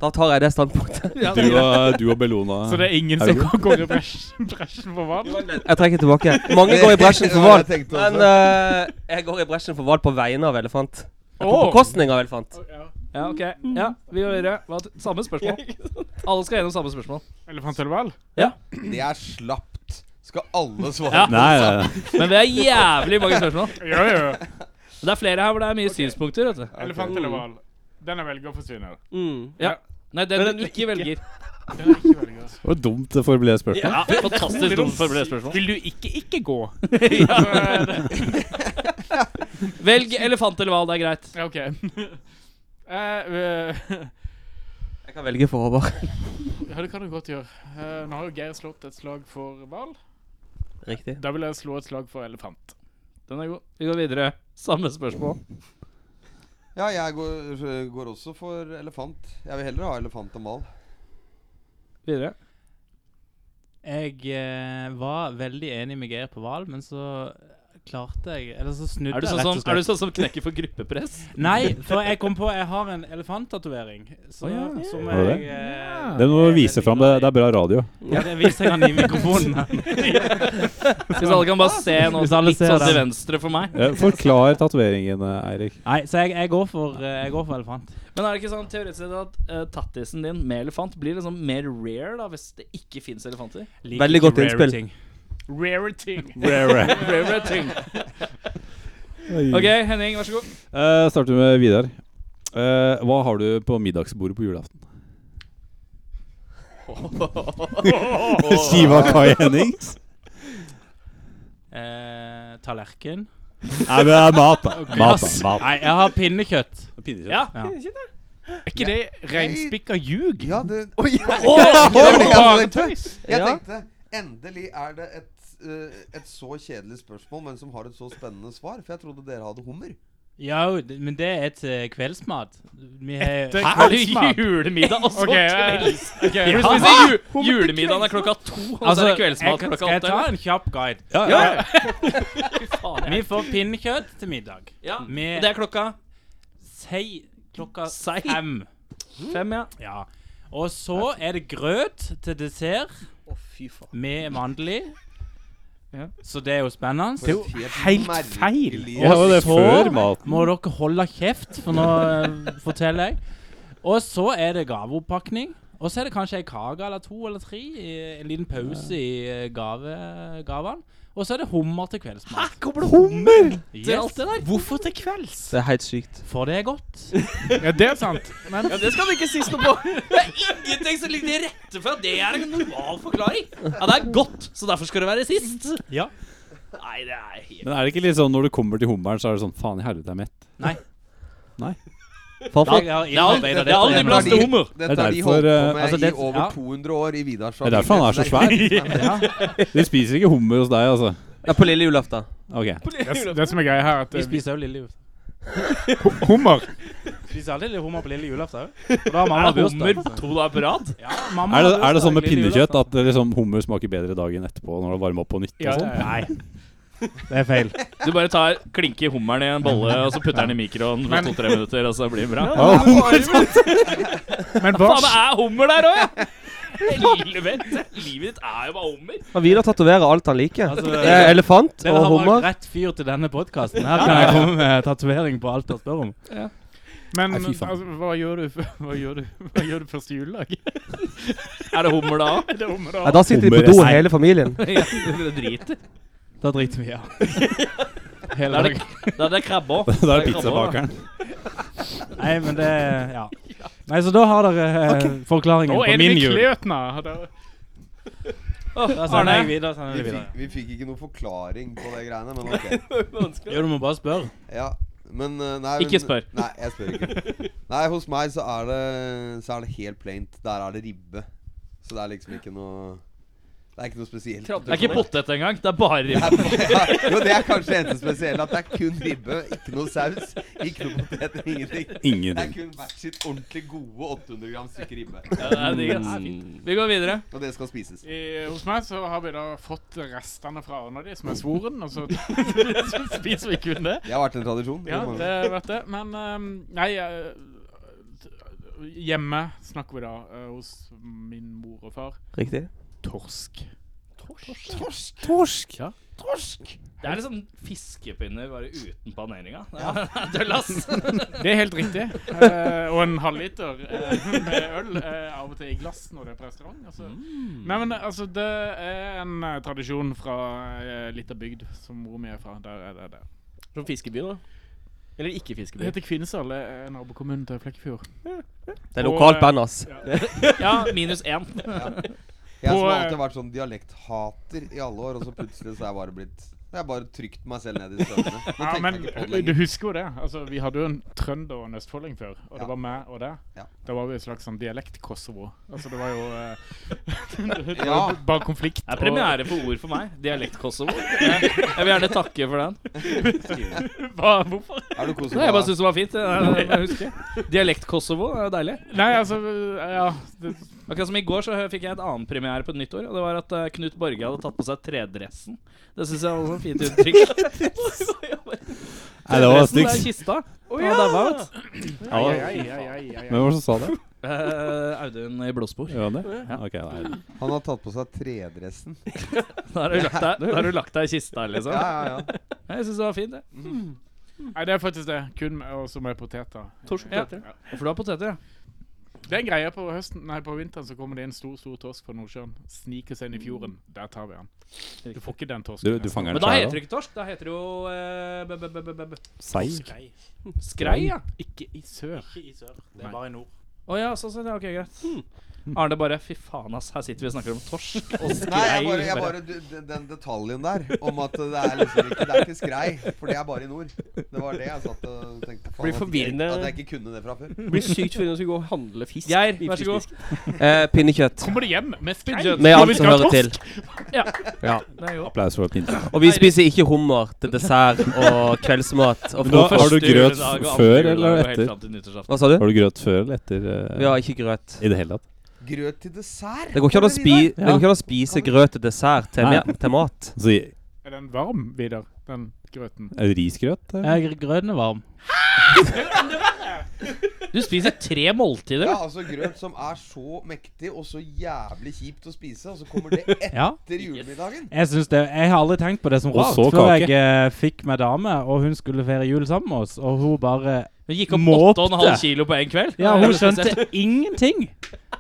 Speaker 7: da tar jeg det standpunktet.
Speaker 5: Ja, det er
Speaker 3: du, og, du og Bellona
Speaker 9: Så det er ingen som
Speaker 3: Herregud.
Speaker 9: går i bresjen, bresjen for vann.
Speaker 7: Jeg trekker tilbake. Mange går i bresjen for
Speaker 8: Det var
Speaker 7: hval,
Speaker 8: det jeg tenkte
Speaker 7: men eh, jeg går i bresjen for hval på vegne av elefant. På
Speaker 9: Åh.
Speaker 7: bekostning av elefant.
Speaker 5: Ja, ok. Ja, vi går videre. Hva, samme spørsmål. Alle skal gjennom samme spørsmål.
Speaker 9: Elefant eller hval?
Speaker 8: Det er slapt. Skal alle svare?
Speaker 5: Ja.
Speaker 3: Nei, nei, nei.
Speaker 5: Men vi har jævlig mange spørsmål.
Speaker 9: Ja, ja.
Speaker 5: Det er flere her hvor det er mye synspunkter. vet du
Speaker 9: Elefant eller hval? Den jeg velger, forsvinner.
Speaker 6: Mm.
Speaker 5: ja. Nei, den du ikke velger.
Speaker 9: Den jeg ikke velger.
Speaker 3: Det var dumt det formulerte spørsmålet.
Speaker 5: Ja, Fantastisk dumt formulert spørsmål.
Speaker 9: Vil du ikke ikke gå?
Speaker 5: Velg elefant eller hval, det er greit.
Speaker 9: Ja, OK. Eh, eh,
Speaker 7: Jeg kan velge for Håvard.
Speaker 9: ja, det kan du godt gjøre. Eh, nå har jo Geir slått et slag for hval.
Speaker 7: Riktig.
Speaker 9: Da vil jeg slå et slag for elefant.
Speaker 5: Den er god. Vi går videre. Samme spørsmål.
Speaker 8: Ja, jeg går, går også for elefant. Jeg vil heller ha elefant enn hval.
Speaker 5: Videre.
Speaker 11: Jeg eh, var veldig enig med Geir på hval, men så klarte jeg Eller så snudde
Speaker 5: Er du
Speaker 11: jeg
Speaker 5: sånn
Speaker 11: rett
Speaker 5: som,
Speaker 11: og
Speaker 5: er du
Speaker 11: slett.
Speaker 5: sånn som knekker for gruppepress?
Speaker 11: Nei, for jeg kom på jeg har en elefanttatovering. så-
Speaker 5: Å ja.
Speaker 11: Som
Speaker 3: Har du
Speaker 11: jeg
Speaker 3: det?
Speaker 11: eh,
Speaker 3: Det må
Speaker 11: er
Speaker 3: du vise
Speaker 11: veldig
Speaker 3: fram. Det,
Speaker 11: glad i.
Speaker 3: det er bra radio.
Speaker 11: Ja, det viser jeg han i mikrofonen.
Speaker 5: Hvis alle kan bare se nå
Speaker 11: Hvis alle
Speaker 5: litt
Speaker 11: ser
Speaker 5: sånn til
Speaker 11: den.
Speaker 5: venstre for meg.
Speaker 3: Eh, Forklar tatoveringen, eh, Eirik.
Speaker 11: Nei, så jeg, jeg, går for, eh, jeg går for elefant.
Speaker 5: Men er det ikke sånn teoretisk sett at eh, tattisen din med elefant blir liksom mer rare da hvis det ikke fins elefanter?
Speaker 11: Liker
Speaker 7: Veldig
Speaker 11: ikke
Speaker 7: godt
Speaker 11: rare
Speaker 7: innspill.
Speaker 11: ting.
Speaker 9: Rare ting.
Speaker 5: Rare ting. OK, Henning, vær så god.
Speaker 3: Eh, starter med Vidar. Eh, hva har du på middagsbordet på julaften? Skiva Kai Hennings?
Speaker 11: Eh, tallerken.
Speaker 3: Nei, men det er mat, da. Mat, da. Mat.
Speaker 11: Nei, jeg har pinnekjøtt.
Speaker 3: Ja.
Speaker 9: Er ikke det reinspikka ljug?
Speaker 8: Ja, det Oi!
Speaker 9: Bare tøys.
Speaker 8: Jeg
Speaker 7: Ja.
Speaker 8: tenkte endelig er det et, eh, et så kjedelig spørsmål, men som har et så spennende svar. For jeg trodde dere hadde hummer.
Speaker 11: Ja, jo, d- men det er til kveldsmat. Vi har
Speaker 9: Etter
Speaker 5: Er det
Speaker 9: eh, kveldsmat.
Speaker 5: julemiddag og så
Speaker 9: Ok, eh,
Speaker 5: kvelds?
Speaker 9: ok.
Speaker 5: Du spiser ju julemiddagen er klokka to, og så er det
Speaker 11: Altså, jeg
Speaker 5: kveldsmat
Speaker 11: kan,
Speaker 5: klokka
Speaker 11: skal jeg
Speaker 5: åtte.
Speaker 11: ta en kjapp guide?
Speaker 3: Ja.
Speaker 5: eller?
Speaker 11: Vi får pinnekjøtt til middag.
Speaker 5: Ja,
Speaker 11: Med
Speaker 5: Og det er klokka
Speaker 11: sei klokka
Speaker 5: Sei.
Speaker 11: fem.
Speaker 5: fem, ja.
Speaker 11: Ja. Og så er det grøt til dessert
Speaker 7: Å, fy faen.
Speaker 11: med mandel i. Så det er jo spennende.
Speaker 14: Det er jo
Speaker 11: helt
Speaker 14: helt
Speaker 11: feil!
Speaker 14: merkelig. Ja, det var det før maten.
Speaker 11: må dere holde kjeft, for nå eh, forteller jeg. Og så er det gaveoppakning. Og så er det kanskje ei kake eller to eller tre. eh, En liten pause i eh, gave, gavene. Og så er det hummer til kveldsmat. Hæ,
Speaker 9: kommer det hummer
Speaker 11: Yes.
Speaker 9: til alt det der?
Speaker 11: Hvorfor til kvelds?
Speaker 7: Det er helt sykt.
Speaker 11: For det er godt.
Speaker 9: Ja, det er sant.
Speaker 11: Men
Speaker 9: Ja, det skal vi ikke sies noe
Speaker 11: på.
Speaker 5: Det er ingenting som ligger til rette for at det er en normal forklaring. Ja, det er godt, så derfor skal det være sist.
Speaker 11: Ja.
Speaker 5: Nei, det er helt
Speaker 3: Men er det ikke litt sånn når du kommer til hummeren, så er det sånn Faen i helvete, jeg er mett.
Speaker 11: Nei.
Speaker 3: Nei.
Speaker 5: for- Det er- det er aldri- det er aldri plass til hummer.
Speaker 3: Det
Speaker 8: Dette
Speaker 3: er
Speaker 8: har de holdt
Speaker 3: derfor
Speaker 8: på
Speaker 3: eh,
Speaker 8: med
Speaker 3: altså, det-
Speaker 8: i over
Speaker 3: ja.
Speaker 8: 200 år i Vidars
Speaker 3: Det er derfor han er så svær. De spiser ikke hummer hos deg, altså.
Speaker 7: Ja, på lille julaften.
Speaker 3: Ok.
Speaker 9: Det, det som er greia her, er at
Speaker 11: Vi
Speaker 9: eh,
Speaker 11: spiser jo lille julaften.
Speaker 9: Hummer.
Speaker 11: Spiser aldri lille hummer på lille julaften òg. Og da har mamma
Speaker 5: Er det
Speaker 11: bursdag.
Speaker 5: hummer to dager på rad?
Speaker 11: Ja, mamma
Speaker 3: Er det,
Speaker 11: har
Speaker 3: er det sånn med
Speaker 11: bursdag lille
Speaker 3: pinnekjøtt
Speaker 11: julaften.
Speaker 3: at eh, liksom, hummer smaker bedre dagen etterpå når det varmer opp på nytt?
Speaker 11: Ja,
Speaker 3: og sånn?
Speaker 11: ja, ja. Det er feil.
Speaker 5: Du bare tar klinker hummeren i en bolle, og så putter den i mikroen
Speaker 9: Men-
Speaker 5: for Sånn, to-tre minutter, og så blir det bra.
Speaker 9: Ja, det er bare- Men hva
Speaker 5: Faen, det er hummer der òg, ja! Helvete! Livet ditt er jo bare hummer.
Speaker 7: Og Vidar tatoverer alt han liker.
Speaker 11: Altså,
Speaker 7: det er elefant
Speaker 11: det
Speaker 7: og
Speaker 11: har valgt
Speaker 7: hummer.
Speaker 11: rett fyr til denne podkasten. Her kan jeg komme med tatovering på alt han spør om.
Speaker 9: Men
Speaker 11: Nei, fy faen.
Speaker 9: altså, hva gjør du Hva gjør du, hva gjør du første juledag?
Speaker 5: Er det hummer da?
Speaker 9: Det er hummer da.
Speaker 7: Nei, da sitter de på do, hele familien.
Speaker 5: Ja, det driter.
Speaker 11: Da driter vi, ja.
Speaker 5: Da er det, da er det krabbe òg.
Speaker 3: Da er det pizzabakeren.
Speaker 11: Nei, men det Ja. Nei, så da har dere eh, forklaringen
Speaker 9: Nå
Speaker 11: på
Speaker 9: er det
Speaker 11: min jul.
Speaker 9: Mikløtna.
Speaker 11: Da sender
Speaker 5: Arne.
Speaker 11: jeg videre. Sender
Speaker 8: Vi
Speaker 11: jeg videre.
Speaker 8: fikk, vi fikk ikke noe forklaring på de greiene, men ok.
Speaker 11: Jo, du må bare spørre.
Speaker 8: Ja, men eh, nei,
Speaker 5: Ikke
Speaker 8: men-
Speaker 5: spør.
Speaker 8: Nei, jeg spør ikke. Nei, hos meg så er det Så er det helt plaint. Der er det ribbe. Så det er liksom ikke noe Det er ikke noe spesielt.
Speaker 5: Det er ikke potet engang. Det er bare
Speaker 8: Det
Speaker 5: ribbe.
Speaker 8: er bare- ja, jo, det er kanskje det eneste spesielle. At det er kun ribbe, ikke noe saus, ikke noe potet, ingenting. Det er
Speaker 3: Ingenting.
Speaker 8: kun hvert sitt ordentlig gode 800 gram stykke ribbe.
Speaker 5: Ja, det er digg, ass. Vi går videre.
Speaker 8: Og det skal spises.
Speaker 9: I, hos meg så har vi da fått restene fra ørna di, som er svoren, og så spiser vi kun det.
Speaker 8: Det har vært en tradisjon.
Speaker 9: Ja,
Speaker 8: mange-
Speaker 9: det vet jeg. Men ehm, nei eh, Hjemme snakker vi da eh, hos min mor og far.
Speaker 7: Riktig.
Speaker 9: Torsk.
Speaker 5: Torsk.
Speaker 11: Torsk. Ja.
Speaker 5: Torsk. Det er liksom fiskepinner bare uten paneringa. Døllass.
Speaker 9: Det er helt riktig. Eh, og en halvliter eh, med øl eh, av og til i glass når det er på restaurant. Altså. Nei, men eh, altså, det er en eh, tradisjon fra uh, lita bygd som mor mi er fra. Der er det det.
Speaker 5: Fra fiskeby, da? Eller ikke
Speaker 9: Det
Speaker 5: fiskeby?
Speaker 9: heter Kvinesdal, det er nabokommunen til Flekkefjord.
Speaker 7: Det er lokalt band, ass.
Speaker 5: Ja, minus én.
Speaker 8: Jeg som
Speaker 9: På,
Speaker 8: har alltid
Speaker 9: eh,
Speaker 8: vært sånn dialekthater i alle år, og så plutselig så er jeg bare blitt Jeg har bare trykt meg selv ned i støvlene.
Speaker 9: Ja,
Speaker 8: Nå tenker
Speaker 9: men
Speaker 8: jeg ikke på det
Speaker 9: du
Speaker 8: lenger.
Speaker 9: husker jo det. Altså, vi hadde jo en trønder og en østfolding før, og
Speaker 8: Ja.
Speaker 9: det var meg og det.
Speaker 8: Ja.
Speaker 9: Da var vi et slags sånn dialekt-Kosovo. Altså, det var jo eh, det var
Speaker 8: Ja.
Speaker 9: bare konflikt.
Speaker 5: Det er
Speaker 9: og-
Speaker 5: premiere på ord for meg. Dialekt-Kosovo. Jeg jeg vil gjerne takke for den. Hva, hvorfor?
Speaker 8: Er du koset
Speaker 5: Nei, jeg bare
Speaker 8: med deg?
Speaker 5: syns det var fint. Jeg, jeg husker Dialekt-Kosovo er deilig.
Speaker 9: Nei, altså Ja. Det,
Speaker 5: Akkurat som i går så fikk jeg et annen premiere på et nytt år. Og det var at eh, Knut Borge hadde tatt på seg tredressen. Det syns jeg var også et fint uttrykk.
Speaker 3: Nei, det var
Speaker 5: Tredressen er
Speaker 3: stygt.
Speaker 5: kista. Han daua ut.
Speaker 3: Ja,
Speaker 9: ai,
Speaker 3: det-
Speaker 9: ai, ai, ai, ai,
Speaker 3: Hvem var det som sa det?
Speaker 5: Eh, Audun i blodspor.
Speaker 3: Gjør han det? Ok, nei.
Speaker 8: Han har tatt på seg tredressen.
Speaker 5: Da har du lagt deg, da har du lagt deg i kista, liksom.
Speaker 8: Ja, ja, ja.
Speaker 5: Jeg syns det var fint, det.
Speaker 9: Nei, det er faktisk det. Kun med, og så med poteter.
Speaker 5: Torsk
Speaker 9: Ja.
Speaker 5: poteter. For du har poteter, ja.
Speaker 9: Det er en greie på høsten Nei, på vinteren så kommer det en stor stor torsk fra Nordsjøen. Sniker seg inn i fjorden.
Speaker 10: Mm.
Speaker 9: Der tar vi den. Du får ikke den torsken.
Speaker 3: Du, du fanger
Speaker 5: Men
Speaker 3: den
Speaker 5: da
Speaker 3: sjæl,
Speaker 5: heter det ikke torsk. Da heter det jo eh, b- b- b- b- b-
Speaker 3: Seig.
Speaker 11: Skrei.
Speaker 5: Skrei, ja.
Speaker 9: Ikke i sør.
Speaker 11: Ikke i sør. Det er bare i nord.
Speaker 5: Å ja, sånn sett. Ja, ok, greit. Arne bare Fy faen, ass. Her sitter vi og snakker om torsk og
Speaker 8: Nei, jeg
Speaker 5: skrei.
Speaker 8: bare, jeg bare du, den- Den detaljen der om at det er liksom ikke Det er ikke skrei, for det er bare i nord. Det var det jeg satt og tenkte faen,
Speaker 6: Blir
Speaker 8: at jeg-
Speaker 6: forvirrende.
Speaker 8: At jeg ikke kunne det fra før.
Speaker 6: Blir sykt forvirrende å skulle gå og handle fisk.
Speaker 5: Geir,
Speaker 6: i
Speaker 5: vær så god.
Speaker 6: frysedisk.
Speaker 7: Eh, pinnekjøtt.
Speaker 9: Kommer det hjem med skrei?
Speaker 7: Med
Speaker 9: Når
Speaker 7: alt
Speaker 9: vi
Speaker 7: som
Speaker 9: skal ha
Speaker 7: hører til.
Speaker 5: Ja.
Speaker 7: Ja.
Speaker 5: Det er jo
Speaker 3: Applaus for pinsen.
Speaker 7: Og vi spiser ikke hummer til dessert og kveldsmat og
Speaker 3: Men da-
Speaker 7: frokost.
Speaker 3: Har du grøt før eller etter?
Speaker 11: Altså-
Speaker 7: Hva sa du?
Speaker 3: Har du grøt før eller etter? eh,
Speaker 7: Vi har ikke grøt.
Speaker 3: I det hele tatt?
Speaker 8: Grøt til dessert?
Speaker 7: Det går ikke an å,
Speaker 8: Vidar?
Speaker 7: spi det går ikke an å spise grøt til dessert til,
Speaker 3: Nei.
Speaker 7: ma- til mat.
Speaker 3: Så i-
Speaker 9: torsken- Er den varm, Vidar? Den grøten?
Speaker 3: er det risgrøt? eller?
Speaker 11: Er grøten varm?
Speaker 5: Du spiser tre måltider?
Speaker 8: Ja, altså grøt som er så mektig og så jævlig kjipt å spise, og så kommer det etter
Speaker 11: Ja.
Speaker 8: julemiddagen.
Speaker 11: Jeg, synes det, jeg har aldri tenkt på det som
Speaker 8: Og
Speaker 11: rart
Speaker 8: så
Speaker 11: før
Speaker 8: kake.
Speaker 11: jeg eh, fikk meg dame, og hun skulle feire jul sammen med oss, og hun bare
Speaker 5: Hun gikk opp
Speaker 11: måpte.
Speaker 5: 8,5 kilo på en kveld.
Speaker 11: Ja,
Speaker 5: Det
Speaker 11: hun
Speaker 5: er spesielt.
Speaker 11: skjønte ingenting.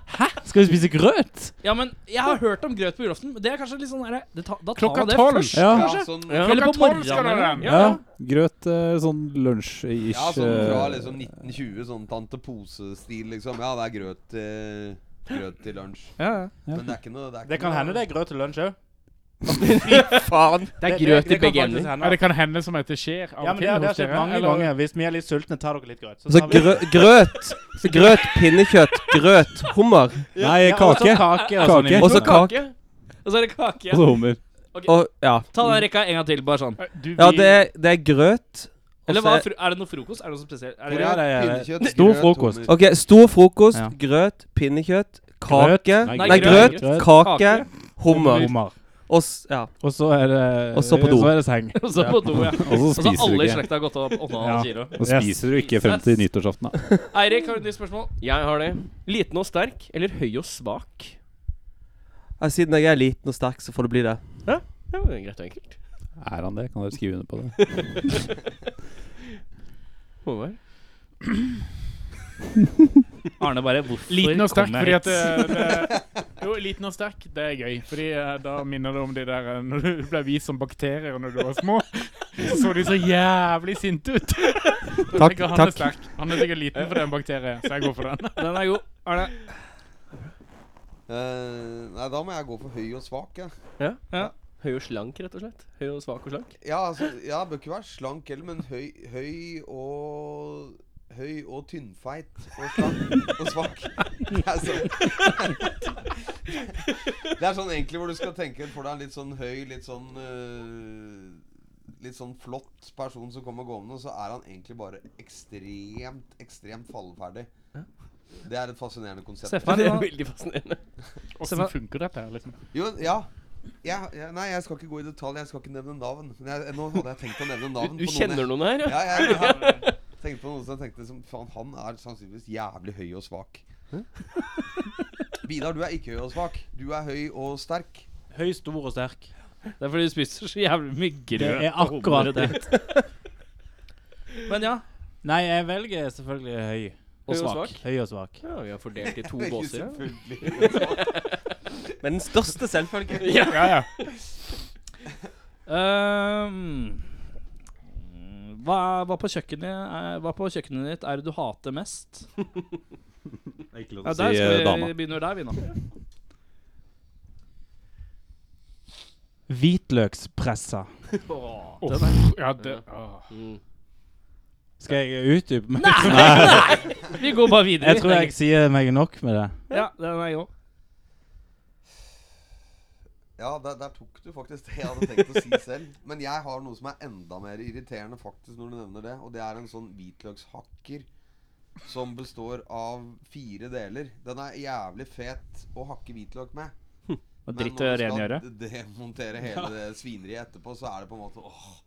Speaker 11: Hæ? Skal vi spise grøt?
Speaker 5: Ja, men Jeg har hørt om grøt på julaften. Men det er kanskje litt sånn der, det ta, Da tar
Speaker 11: Klokka
Speaker 5: man det
Speaker 11: tolv.
Speaker 5: først,
Speaker 11: Ja.
Speaker 5: kanskje.
Speaker 11: Ja, sånn- Ja.
Speaker 5: Eller
Speaker 11: Klokka
Speaker 5: på
Speaker 11: tolv
Speaker 5: morgenen.
Speaker 11: skal det
Speaker 5: eller-
Speaker 11: være.
Speaker 5: Ja, ja.
Speaker 2: Grøt eh, sånn lunsj-ish.
Speaker 8: Ja, sånn fra
Speaker 2: eh,
Speaker 8: liksom 1920, sånn Tante Pose-stil, liksom. Ja, det er grøt til, grøt til lunsj.
Speaker 11: Ja, ja, ja.
Speaker 8: Men det er ikke noe er
Speaker 10: Det
Speaker 8: ikke
Speaker 10: kan
Speaker 8: noe-
Speaker 10: hende det er grøt til lunsj òg.
Speaker 9: Det er grøt i begge ender. Ja, det kan hende som at det skjer
Speaker 10: Ja,
Speaker 9: av og
Speaker 10: men
Speaker 9: til
Speaker 10: det, det
Speaker 9: hos
Speaker 10: har skjedd
Speaker 9: dere,
Speaker 10: mange
Speaker 9: eller-
Speaker 10: ganger. Hvis vi er litt sultne, tar dere litt grøt.
Speaker 7: Så
Speaker 10: tar vi-
Speaker 7: Altså, grø grøt, så grøt, pinnekjøtt, grøt, hummer.
Speaker 2: Nei, Ja, og så kake. kake og sånn. Kake.
Speaker 7: Og så kake.
Speaker 5: Og så er det kake.
Speaker 2: Og så hummer.
Speaker 5: Ok.
Speaker 7: Og, ja.
Speaker 5: Ta den rekka en gang til, bare
Speaker 9: eh,
Speaker 5: sånn.
Speaker 7: Ja, det er, det er grøt. og
Speaker 5: Eller
Speaker 7: så
Speaker 5: hva,
Speaker 7: er-
Speaker 5: fro- er det noe frokost? Er det noe spesielt? Er det
Speaker 11: Ja, det er-
Speaker 5: Pinnekjøtt,
Speaker 11: Stor
Speaker 5: grøt,
Speaker 11: frokost.
Speaker 7: Ok, stor frokost, grøt, pinnekjøtt, kake
Speaker 11: Grøt.
Speaker 7: Nei, grøt, kake, hummer.
Speaker 11: Hummer.
Speaker 7: Og s- ja.
Speaker 11: Og så er det
Speaker 7: Og så på do.
Speaker 11: eh, Så er det seng.
Speaker 5: Og så på do, ja.
Speaker 2: Og så
Speaker 5: Og så
Speaker 2: spiser du
Speaker 5: alle i
Speaker 2: ikke.
Speaker 5: slekta har gått opp 8,5 kilo.
Speaker 2: Og spiser du ikke frem til nyttårsaften, da.
Speaker 5: Eirik, har du et nytt spørsmål?
Speaker 6: Jeg har det. Liten og sterk, eller høy og svak?
Speaker 7: Ja, Siden jeg er liten og sterk, så får det bli det.
Speaker 6: Ja, det var greit og enkelt.
Speaker 2: Er han det? Kan dere skrive under på det?
Speaker 6: Håvard?
Speaker 5: Arne bare Hvorfor
Speaker 9: Liten og sterk
Speaker 5: kom jeg
Speaker 9: fordi at
Speaker 5: hit?
Speaker 9: eh, det, Jo, liten og sterk, det er gøy. Fordi eh, da minner det om de der eh, Når du ble vist som bakterier når du var små, så så de så jævlig sinte ut. Da
Speaker 11: Takk,
Speaker 9: tenker jeg, han
Speaker 11: takk.
Speaker 9: er sterk. Han er sikkert liten for det er en bakterie, så jeg går for den.
Speaker 5: Den er god. Arne.
Speaker 8: Eh, nei, da må jeg gå for høy og svak, jeg.
Speaker 6: Ja. ja. Høy og slank, rett og slett. Høy og svak og slank.
Speaker 8: Ja, altså, ja, bør ikke være slank heller, men høy, høy og Høy og tynnfeit og slank og svak. Det er, sånn. det er sånn egentlig hvor du skal tenke for deg en litt sånn høy, litt sånn øh, Litt sånn flott person som kommer gående, og så er han egentlig bare ekstremt, ekstremt falleferdig. Det er et fascinerende konsept.
Speaker 5: Se for deg nå- Se
Speaker 9: Åssen
Speaker 5: for-
Speaker 9: funker dette her, liksom?
Speaker 8: Jo, ja. Jeg, jeg, nei, jeg skal ikke gå i detalj. Jeg skal ikke nevne navn. Men jeg, nå hadde jeg tenkt å nevne navn.
Speaker 6: Du- du
Speaker 8: på noen jeg-
Speaker 6: kjenner noen her,
Speaker 8: Ja,
Speaker 6: ja?
Speaker 8: jeg, jeg, har tenkt på noen som jeg tenkte som Faen, han er sånn. sannsynligvis jævlig høy og svak. Vidar, du er ikke høy og svak. Du er høy og sterk.
Speaker 11: Høy, stor og sterk.
Speaker 5: Det er fordi du spiser så jævlig mye grøt.
Speaker 11: Det er
Speaker 5: og hummer
Speaker 11: akkurat
Speaker 5: og
Speaker 11: det.
Speaker 5: Men ja.
Speaker 11: Nei, jeg velger selvfølgelig høy.
Speaker 6: Høy og svak.
Speaker 11: Høy og svak.
Speaker 6: Ja, vi har fordelt i to
Speaker 8: Veldig
Speaker 6: båser. ja.
Speaker 5: selvfølgelig.
Speaker 7: Men den største selvfølge.
Speaker 11: Ja,
Speaker 6: ja.
Speaker 5: Ehm, hva, hva, på kjøkkenet, er- hva på kjøkkenet ditt er det du hater mest?
Speaker 2: ikke lov til å
Speaker 5: ja, der
Speaker 2: si,
Speaker 5: skal
Speaker 2: eh,
Speaker 5: vi
Speaker 2: dama.
Speaker 5: begynner der, vi nå.
Speaker 11: Hvitløkspressa.
Speaker 5: Åh,
Speaker 9: Uff,
Speaker 5: den er-
Speaker 9: ja, det, åh.
Speaker 11: Skal jeg utdype meg?
Speaker 5: Nei! Nei! Vi går bare videre.
Speaker 11: Jeg tror jeg sier meg nok med det.
Speaker 5: Ja, den er god.
Speaker 8: Ja, der, der tok du faktisk det jeg hadde tenkt å si selv. Men jeg har noe som er enda mer irriterende faktisk når du nevner det. Og det er en sånn hvitløkshakker som består av fire deler. Den er jævlig fet å hakke hvitløk med.
Speaker 5: Og
Speaker 8: Men
Speaker 5: Hm, dritt å
Speaker 8: når du skal
Speaker 5: rengjøre.
Speaker 8: d- Demontere hele det svineriet etterpå, så er det på en måte åh,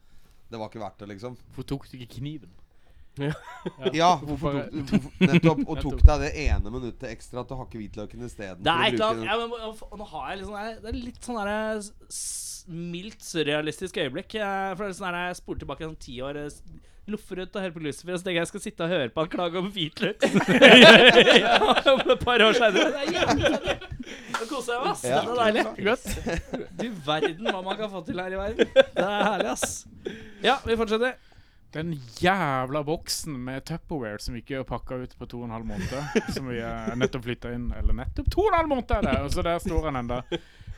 Speaker 8: det var ikke verdt det, liksom.
Speaker 9: Hvorfor tok du ikke kniven?
Speaker 6: Ja.
Speaker 8: Ja, hvorfor tok du hvorfor- Nettopp. Og tok deg det ene minuttet ekstra til å hakke hvitløken isteden.
Speaker 5: Det
Speaker 8: for
Speaker 5: er
Speaker 8: å
Speaker 5: et eller
Speaker 8: bruke
Speaker 5: annet ja, men, må- f- Nå har jeg liksom Det er litt sånn der s- s- mildt surrealistisk øyeblikk. Jeg, for det er sånn der, jeg spoler tilbake sånn ti år, eh, s- loffer ut og hører på Lucifer, og så tenker jeg jeg skal sitte og høre på han klage om hvitløk. Om et par år senere. Det er jævlig gøy. Nå koser jeg meg, ass.
Speaker 1: Ja.
Speaker 5: Det er deilig. Godt. Du verden hva man kan få til her i verden. Det er herlig, ass. Ja, vi fortsetter.
Speaker 9: Den jævla boksen med Tupperware som vi ikke pakka ut på to og en halv måned. Som vi eh, nettopp flytta inn. Eller nettopp to og en halv måned er det! Og så der står han enda.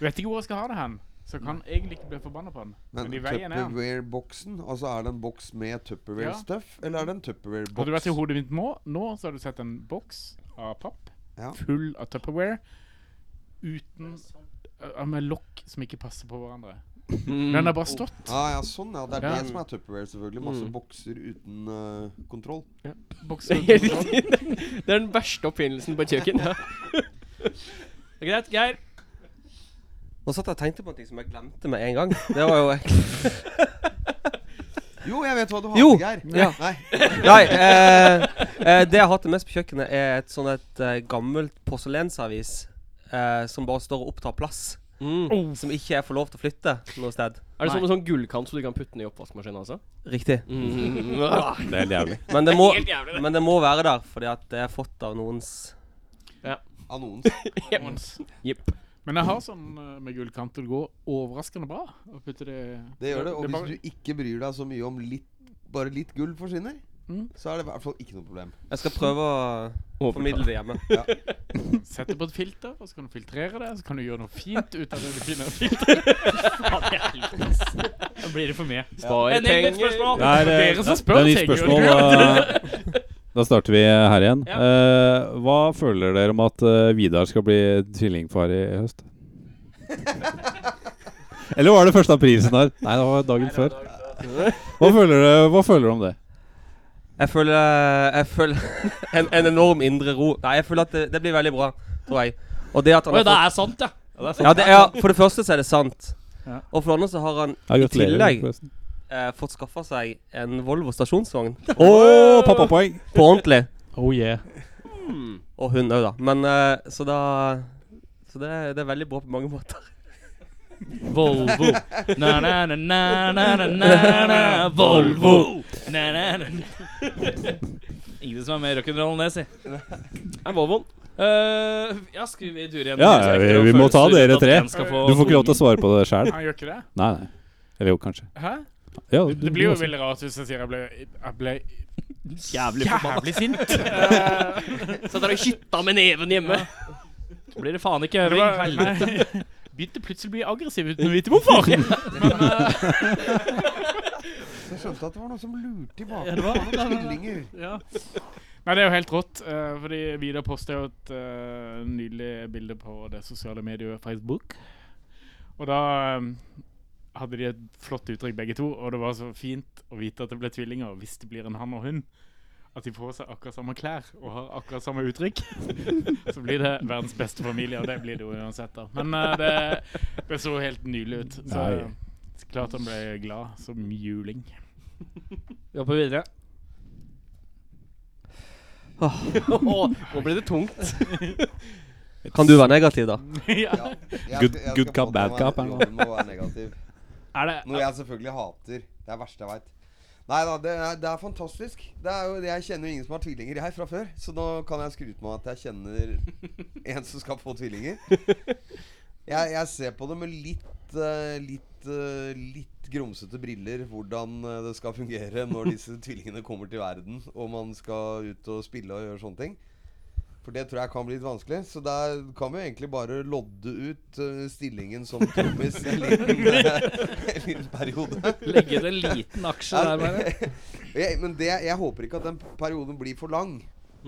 Speaker 9: Vet ikke hvor jeg skal ha det hen. Så jeg kan egentlig ikke bli forbanna på den. Men
Speaker 8: Men
Speaker 9: i veien er han.
Speaker 8: Tupperware-boksen? Altså Er det en boks med
Speaker 9: Ja.
Speaker 8: Tupperware-stuff? Eller er det en Tupperware-boks?
Speaker 9: Har du vært i hodet mitt nå? Nå så har du sett en boks av papp full av Tupperware uten eh, Med lokk som ikke passer på hverandre. Den har bare stått.
Speaker 8: Ja, ja, sånn, ja. Det er
Speaker 9: Ja.
Speaker 8: det som er Tupperware, selvfølgelig. Masse
Speaker 9: Mm.
Speaker 8: bokser uten eh, kontroll.
Speaker 9: Bokser uten
Speaker 6: Helt
Speaker 9: kontroll.
Speaker 6: riktig. Det er den verste oppfinnelsen på et kjøkken. Ja.
Speaker 5: Det er greit, Geir.
Speaker 7: Nå satt jeg og tenkte på noe som jeg glemte med en gang. Det var jo egentlig
Speaker 8: Jo, jeg vet hva du har
Speaker 7: Jo!
Speaker 8: med her.
Speaker 7: Ja.
Speaker 8: Nei.
Speaker 7: Nei eh, eh, det jeg har hatt mest på kjøkkenet, er et sånn et eh, gammelt porselensavis eh, som bare står og opptar plass.
Speaker 6: Mm.
Speaker 7: Som ikke jeg får lov til å flytte noe sted.
Speaker 6: Er det sånn med sånn gullkant så du kan putte den i oppvaskmaskinen? altså?
Speaker 7: Riktig.
Speaker 6: Mm.
Speaker 7: Det er helt jævlig. Men det, må, men det må være der, fordi at det er fått av noens
Speaker 6: Ja.
Speaker 8: Av noens.
Speaker 6: Noens. Jepp.
Speaker 9: Men jeg har sånn eh, med gullkant til å gå overraskende bra. Å putte det
Speaker 8: Det gjør det. Og
Speaker 9: bare-
Speaker 8: hvis du ikke bryr deg så mye om litt, bare litt gull forsvinner,
Speaker 7: Mm.
Speaker 8: så er det i hvert fall ikke noe problem.
Speaker 7: Jeg skal prøve å
Speaker 8: Overta.
Speaker 7: formidle det hjemme.
Speaker 8: Ja.
Speaker 9: Sett det på et filter, og så kan du filtrere det. Så kan du gjøre noe fint ut av det du finner filter.
Speaker 11: Da blir det for mye.
Speaker 9: Spar
Speaker 11: Men jeg- nytt
Speaker 9: penger.
Speaker 11: spørsmål.
Speaker 2: Det er, eh,
Speaker 11: Dere som
Speaker 2: det
Speaker 11: spør,
Speaker 2: er nytt
Speaker 11: tenker jo
Speaker 2: spørsmål.
Speaker 11: ikke.
Speaker 2: Da, da starter vi her igjen. Eh, hva føler dere om at eh, Vidar skal bli tvillingfar i høst? Eller var det første april snar? Nei, det var dagen før. Hva føler dere hva føler dere om det?
Speaker 7: Jeg føler, eh, jeg føler en, en enorm indre ro. Nei, jeg føler at det, det blir veldig bra, tror jeg. Og det at han
Speaker 5: Oi,
Speaker 7: har
Speaker 5: det
Speaker 7: fått-
Speaker 5: er sant, ja. Ja, det er sant.
Speaker 7: Ja, det er, for det første så er det sant.
Speaker 5: Ja.
Speaker 7: Og for det andre så har han
Speaker 2: Ja,
Speaker 7: i
Speaker 2: gratulerer,
Speaker 7: tillegg
Speaker 2: forresten.
Speaker 7: eh, fått skaffa seg en Volvo stasjonsvogn.
Speaker 2: Åh, pappapoeng.
Speaker 7: På ordentlig.
Speaker 5: Oh yeah.
Speaker 7: Og hun òg, da. Men eh, så da Så det, er- det er veldig bra på mange måter.
Speaker 5: Volvo. Na, na, na, na, na, na, na, na, Volvo. Na, na, na, na. Ingen som er mer rock'n'roll enn det, si. Eh,
Speaker 6: Er Volvoen?
Speaker 5: ja, skal vi dure igjen?
Speaker 2: Ja, ja, vi, vi må ta dere tre.
Speaker 5: At en skal få
Speaker 2: Du får ikke lov til å svare på det sjæl.
Speaker 9: Han gjør ikke det?
Speaker 2: Nei, nei. Eller jo, kanskje.
Speaker 9: Hæ?
Speaker 2: Ja,
Speaker 9: det,
Speaker 2: du-
Speaker 9: blir
Speaker 2: du
Speaker 9: jo
Speaker 2: også.
Speaker 9: veldig rart hvis jeg sier jeg ble, jeg ble
Speaker 5: Jævlig forbanna.
Speaker 9: jævlig sint.
Speaker 5: Så dere har skytta med neven hjemme. Så blir det faen ikke
Speaker 9: Det
Speaker 5: øving.
Speaker 9: var-
Speaker 5: Helvete.
Speaker 9: nei. Begynte plutselig å bli aggressiv uten å vite hvorfor.
Speaker 5: Ja.
Speaker 9: Men, eh,
Speaker 8: Så jeg skjønte at det var noen som lurte i
Speaker 9: Ja,
Speaker 8: bakgrunnen.
Speaker 9: det var-
Speaker 8: Det var noen tvillinger.
Speaker 9: Ja. Nei, det er jo helt rått. eh, fordi Vidar posta jo et eh, nydelig bilde på det sosiale mediet Facebook. Og da eh, hadde de et flott uttrykk, begge to. Og det var så fint å vite at det ble tvillinger hvis det blir en han og hun. At de får seg akkurat samme klær og har akkurat samme uttrykk. Så blir det verdens beste familie, og det blir det jo uansett. da Men eh, det, det så helt nydelig ut. Så
Speaker 2: Nei.
Speaker 9: eh, klart han ble glad som juling.
Speaker 5: Vi hopper videre.
Speaker 6: Nå ble det tungt.
Speaker 7: Kan du være negativ, da?
Speaker 9: Ja.
Speaker 8: Jeg
Speaker 7: Good-
Speaker 8: skal- jeg
Speaker 7: good
Speaker 8: skal
Speaker 7: cop,
Speaker 8: få
Speaker 7: bad
Speaker 8: ta meg-
Speaker 7: cop, er det noe?
Speaker 8: Jobben må være negativ. Noe jeg selvfølgelig hater. Det er det verste jeg veit. Nei da, det er, det er fantastisk. Det er jo, jeg kjenner jo ingen som har tvillinger her fra før, så nå kan jeg skryte meg av at jeg kjenner en som skal få tvillinger. Jeg, jeg ser på det med litt eh, litt, eh, litt grumsete briller hvordan eh, det skal fungere når disse tvillingene kommer til verden, og man skal ut og spille og gjøre sånne ting. For det tror jeg kan bli litt vanskelig. Så der kan vi jo egentlig bare lodde ut eh, stillingen som trommis en liten, eh, en liten periode.
Speaker 5: Legge ut en liten aksje
Speaker 8: Ja,
Speaker 5: der, bare.
Speaker 8: jeg, men det, jeg håper ikke at den perioden blir for lang.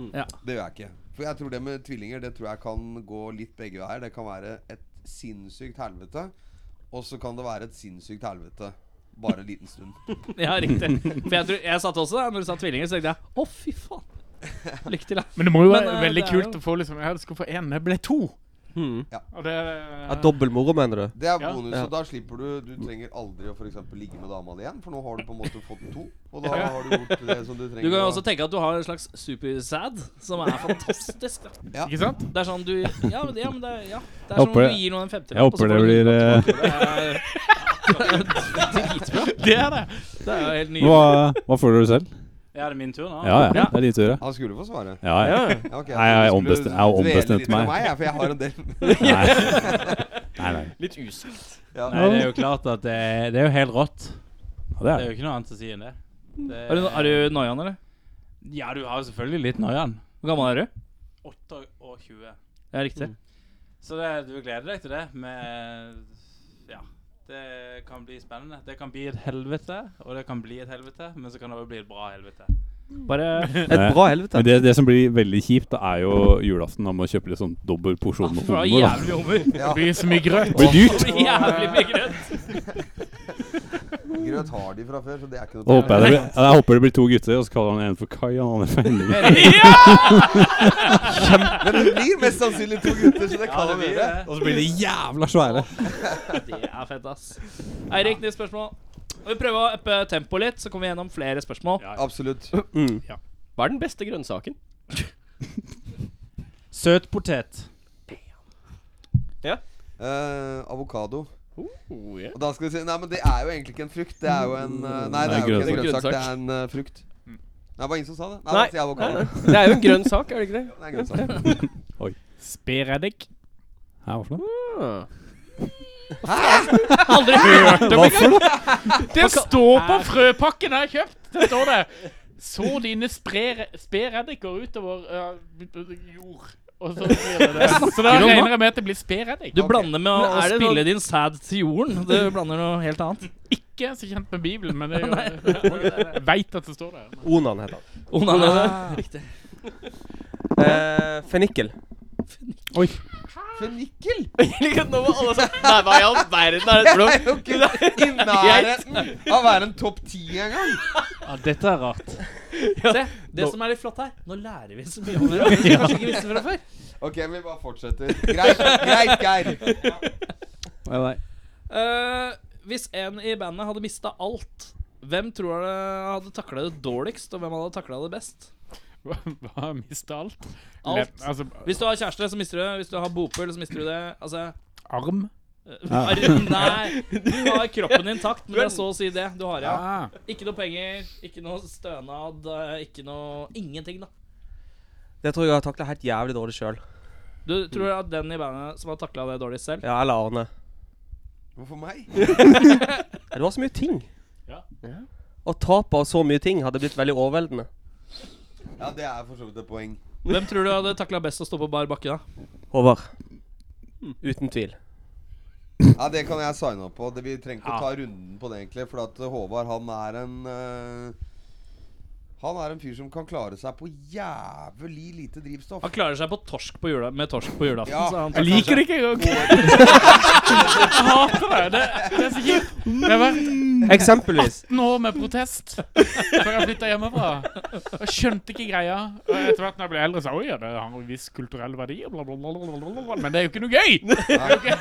Speaker 5: Ja.
Speaker 8: Det gjør jeg ikke. For jeg tror det med tvillinger Det tror jeg kan gå litt begge veier. Det kan være et sinnssykt helvete, og så kan det være et sinnssykt helvete bare en liten stund.
Speaker 5: Ja, riktig. For jeg, tror, jeg satt også der når du sa tvillinger, så tenkte jeg å, fy faen. Lykke til, da.
Speaker 9: Men det må jo
Speaker 5: Men,
Speaker 9: være
Speaker 5: eh,
Speaker 9: veldig
Speaker 5: det er
Speaker 9: kult
Speaker 5: jo-
Speaker 9: å få liksom Jeg skulle få én, jeg ble to.
Speaker 8: Ja.
Speaker 9: Og det
Speaker 7: Ja, Dobbel moro, mener du?
Speaker 8: Det er
Speaker 9: Ja.
Speaker 8: bonus,
Speaker 7: Ja.
Speaker 8: og da slipper du Du trenger aldri å for eksempel ligge med dama di igjen, for nå har du på en måte fått to. Og da
Speaker 5: Ja.
Speaker 8: har du gjort det som du trenger.
Speaker 5: Du kan jo
Speaker 8: å-
Speaker 5: også tenke at du har en slags super-sad, som er fantastisk. Da.
Speaker 8: Ja.
Speaker 9: Ikke sant?
Speaker 5: Det er sånn du Ja, men det, ja, men det, er- ja. det
Speaker 2: Jeg
Speaker 5: er som om
Speaker 2: håper
Speaker 5: du
Speaker 2: det-
Speaker 5: gir noen en
Speaker 2: jeg
Speaker 5: femtilapp. og så
Speaker 2: håper
Speaker 5: får
Speaker 2: det
Speaker 5: du en
Speaker 2: blir,
Speaker 5: lapp.
Speaker 2: eh,
Speaker 5: Det er- det er dritbra.
Speaker 9: Det er det.
Speaker 5: Det er jo helt nydelig.
Speaker 2: Hva, hva føler du selv?
Speaker 11: Ja, det er min tur nå?
Speaker 2: Ja, ja. Det er din tur, ja.
Speaker 8: Han skulle få svare.
Speaker 2: Ja, ja.
Speaker 8: Ja, ok,
Speaker 2: Nei, jeg
Speaker 8: skulle
Speaker 2: ombestem- jeg har
Speaker 8: dvele
Speaker 2: ombestemt
Speaker 8: litt med
Speaker 2: meg.
Speaker 8: jeg, for jeg har en del.
Speaker 2: Nei, nei.
Speaker 6: Litt usagt.
Speaker 8: Ja.
Speaker 11: Nei, det er jo klart at det, det er jo helt rått.
Speaker 2: det er
Speaker 11: jo ikke noe annet å si enn det. det
Speaker 5: Er du, er du noiaen, eller?
Speaker 11: Ja, du har jo selvfølgelig litt noiaen.
Speaker 5: Hvor gammel er du?
Speaker 11: 8 og 20.
Speaker 5: Ja, riktig.
Speaker 11: Så det, du gleder deg til det med Ja. Det kan bli spennende. Det kan bli et helvete, og det kan bli et helvete, men så kan det også bli et bra helvete.
Speaker 5: Bare
Speaker 2: Nei.
Speaker 7: bra helvete.
Speaker 2: Eh, Men det, det som blir veldig kjipt, da er jo julaften. Da må jeg kjøpe litt sånn dobbel porsjon med
Speaker 5: Ah, For det
Speaker 2: hummer. da.
Speaker 5: er jævlig mye hummer.
Speaker 9: Det blir så mye grøt.
Speaker 2: Det blir dyrt.
Speaker 5: Det blir jævlig mye grøt.
Speaker 8: Grøt har de fra før, så det er ikke noe
Speaker 2: Da håper jeg, det blir, ja, jeg håper det blir to gutter, og så kaller han en for Kai og han andre for Henning.
Speaker 8: Men det blir mest sannsynlig to gutter, så det kan
Speaker 11: det
Speaker 8: jo
Speaker 11: blir
Speaker 8: være.
Speaker 11: det.
Speaker 2: Og så blir de jævla svære.
Speaker 5: Det er fett, ass. Eirik, nytt spørsmål. Vi prøver å uppe tempoet litt, så kommer vi gjennom flere spørsmål.
Speaker 8: Absolutt.
Speaker 5: Ja.
Speaker 6: Hva er den beste grønnsaken?
Speaker 11: Søtpotet.
Speaker 6: Ja.
Speaker 8: Eh, avokado. Og da skal vi si Nei, men det er jo egentlig ikke en frukt. Det er jo en eh, Nei,
Speaker 6: Nei,
Speaker 8: det er jo ikke en
Speaker 6: grønnsak.
Speaker 8: grønnsak. Det er en eh, frukt. Nei, det var ingen som sa det. Nei,
Speaker 6: Nei,
Speaker 8: da sier jeg avokado.
Speaker 6: nei, nei. Det er jo en grønn sak, er det ikke det?
Speaker 8: Ja, det er en grønn sak.
Speaker 2: Oi.
Speaker 11: Spereddik.
Speaker 2: Hæ, hva for noe?
Speaker 6: Ah.
Speaker 8: Hæ?
Speaker 9: Aldri hørt om
Speaker 2: Hva for
Speaker 9: engang!
Speaker 2: noe?
Speaker 9: Det står på frøpakken jeg har kjøpt! Der står det Så dine spre- spereddiker utover eh, jord. Og så blir det det. Så da regner jeg med at det blir spereddik.
Speaker 5: Du blander med å,
Speaker 9: Men er det
Speaker 5: spille
Speaker 9: sånn-
Speaker 5: din sæd til jorden. Du blander noe helt annet.
Speaker 9: Ikke så kjent med Bibelen, men det er jo, jeg veit at det står der.
Speaker 7: Onan heter han.
Speaker 5: Onan, ja, det er
Speaker 7: Ah.
Speaker 5: riktig.
Speaker 7: Eh, fennikel.
Speaker 11: Oi.
Speaker 8: Fennikel?
Speaker 6: Nå var alle sånn Nei, hva i all verden er det for
Speaker 8: Jeg er jo
Speaker 6: noe?
Speaker 8: ikke i nærheten av å være en topp ti engang.
Speaker 11: Ja, dette er rart.
Speaker 5: Se, det
Speaker 11: Nå-
Speaker 5: som er litt flott her, nå lærer vi så mye om hverandre. som vi Kanskje ikke visste fra før.
Speaker 8: Ok, vi bare fortsetter. Greit, greit, Geir.
Speaker 2: Nei, nei.
Speaker 5: Eh, hvis en i bandet hadde mista alt, hvem tror dere hadde takla det dårligst, og hvem hadde takla det best?
Speaker 9: Hva, hva mista alt?
Speaker 5: Alt.
Speaker 9: Le- altså,
Speaker 5: hvis du har kjæreste, så mister du det. Hvis du har bopel, så mister du det. Altså
Speaker 9: Arm?
Speaker 5: Eh, Arm, nei. Du har kroppen intakt, men det er så å si det. Du har ja.
Speaker 9: Ah.
Speaker 5: Ikke noe penger, ikke noe stønad, eh, ikke noe Ingenting, da.
Speaker 7: Det tror jeg jeg har takla helt jævlig dårlig sjøl.
Speaker 5: Du tror at den i bandet som har takla det dårligst selv
Speaker 7: Ja, eller Arne.
Speaker 8: Hvorfor meg?
Speaker 7: Ja, Du har så mye ting.
Speaker 9: Ja.
Speaker 7: Og tapet av så mye ting hadde blitt veldig overveldende.
Speaker 8: Ja, det er for så vidt et poeng.
Speaker 5: Hvem tror du hadde takla best å stå på bar bakke, da?
Speaker 7: Håvard.
Speaker 6: Hmm.
Speaker 7: Uten tvil.
Speaker 8: Ja, Det kan jeg signe opp på. Det, vi trenger ikke å ta runden på det, egentlig. For at eh, Håvard, han er en eh, Han er en fyr som kan klare seg på jævlig lite drivstoff.
Speaker 5: Han klarer seg på torsk på jula, med torsk på julaften.
Speaker 8: Ja.
Speaker 5: så han
Speaker 9: Jeg liker det ikke engang! Jeg hater det! Det, det er så kjipt. Det har vært
Speaker 7: Eksempelvis.
Speaker 9: 18 år med protest før jeg flytta hjemmefra. Jeg skjønte ikke greia. Og etter hvert når jeg ble eldre, sa jeg at det har en viss kulturell verdi. og Bla, bla, bla, bla, bla, bla, bla. Men det er jo ikke noe gøy!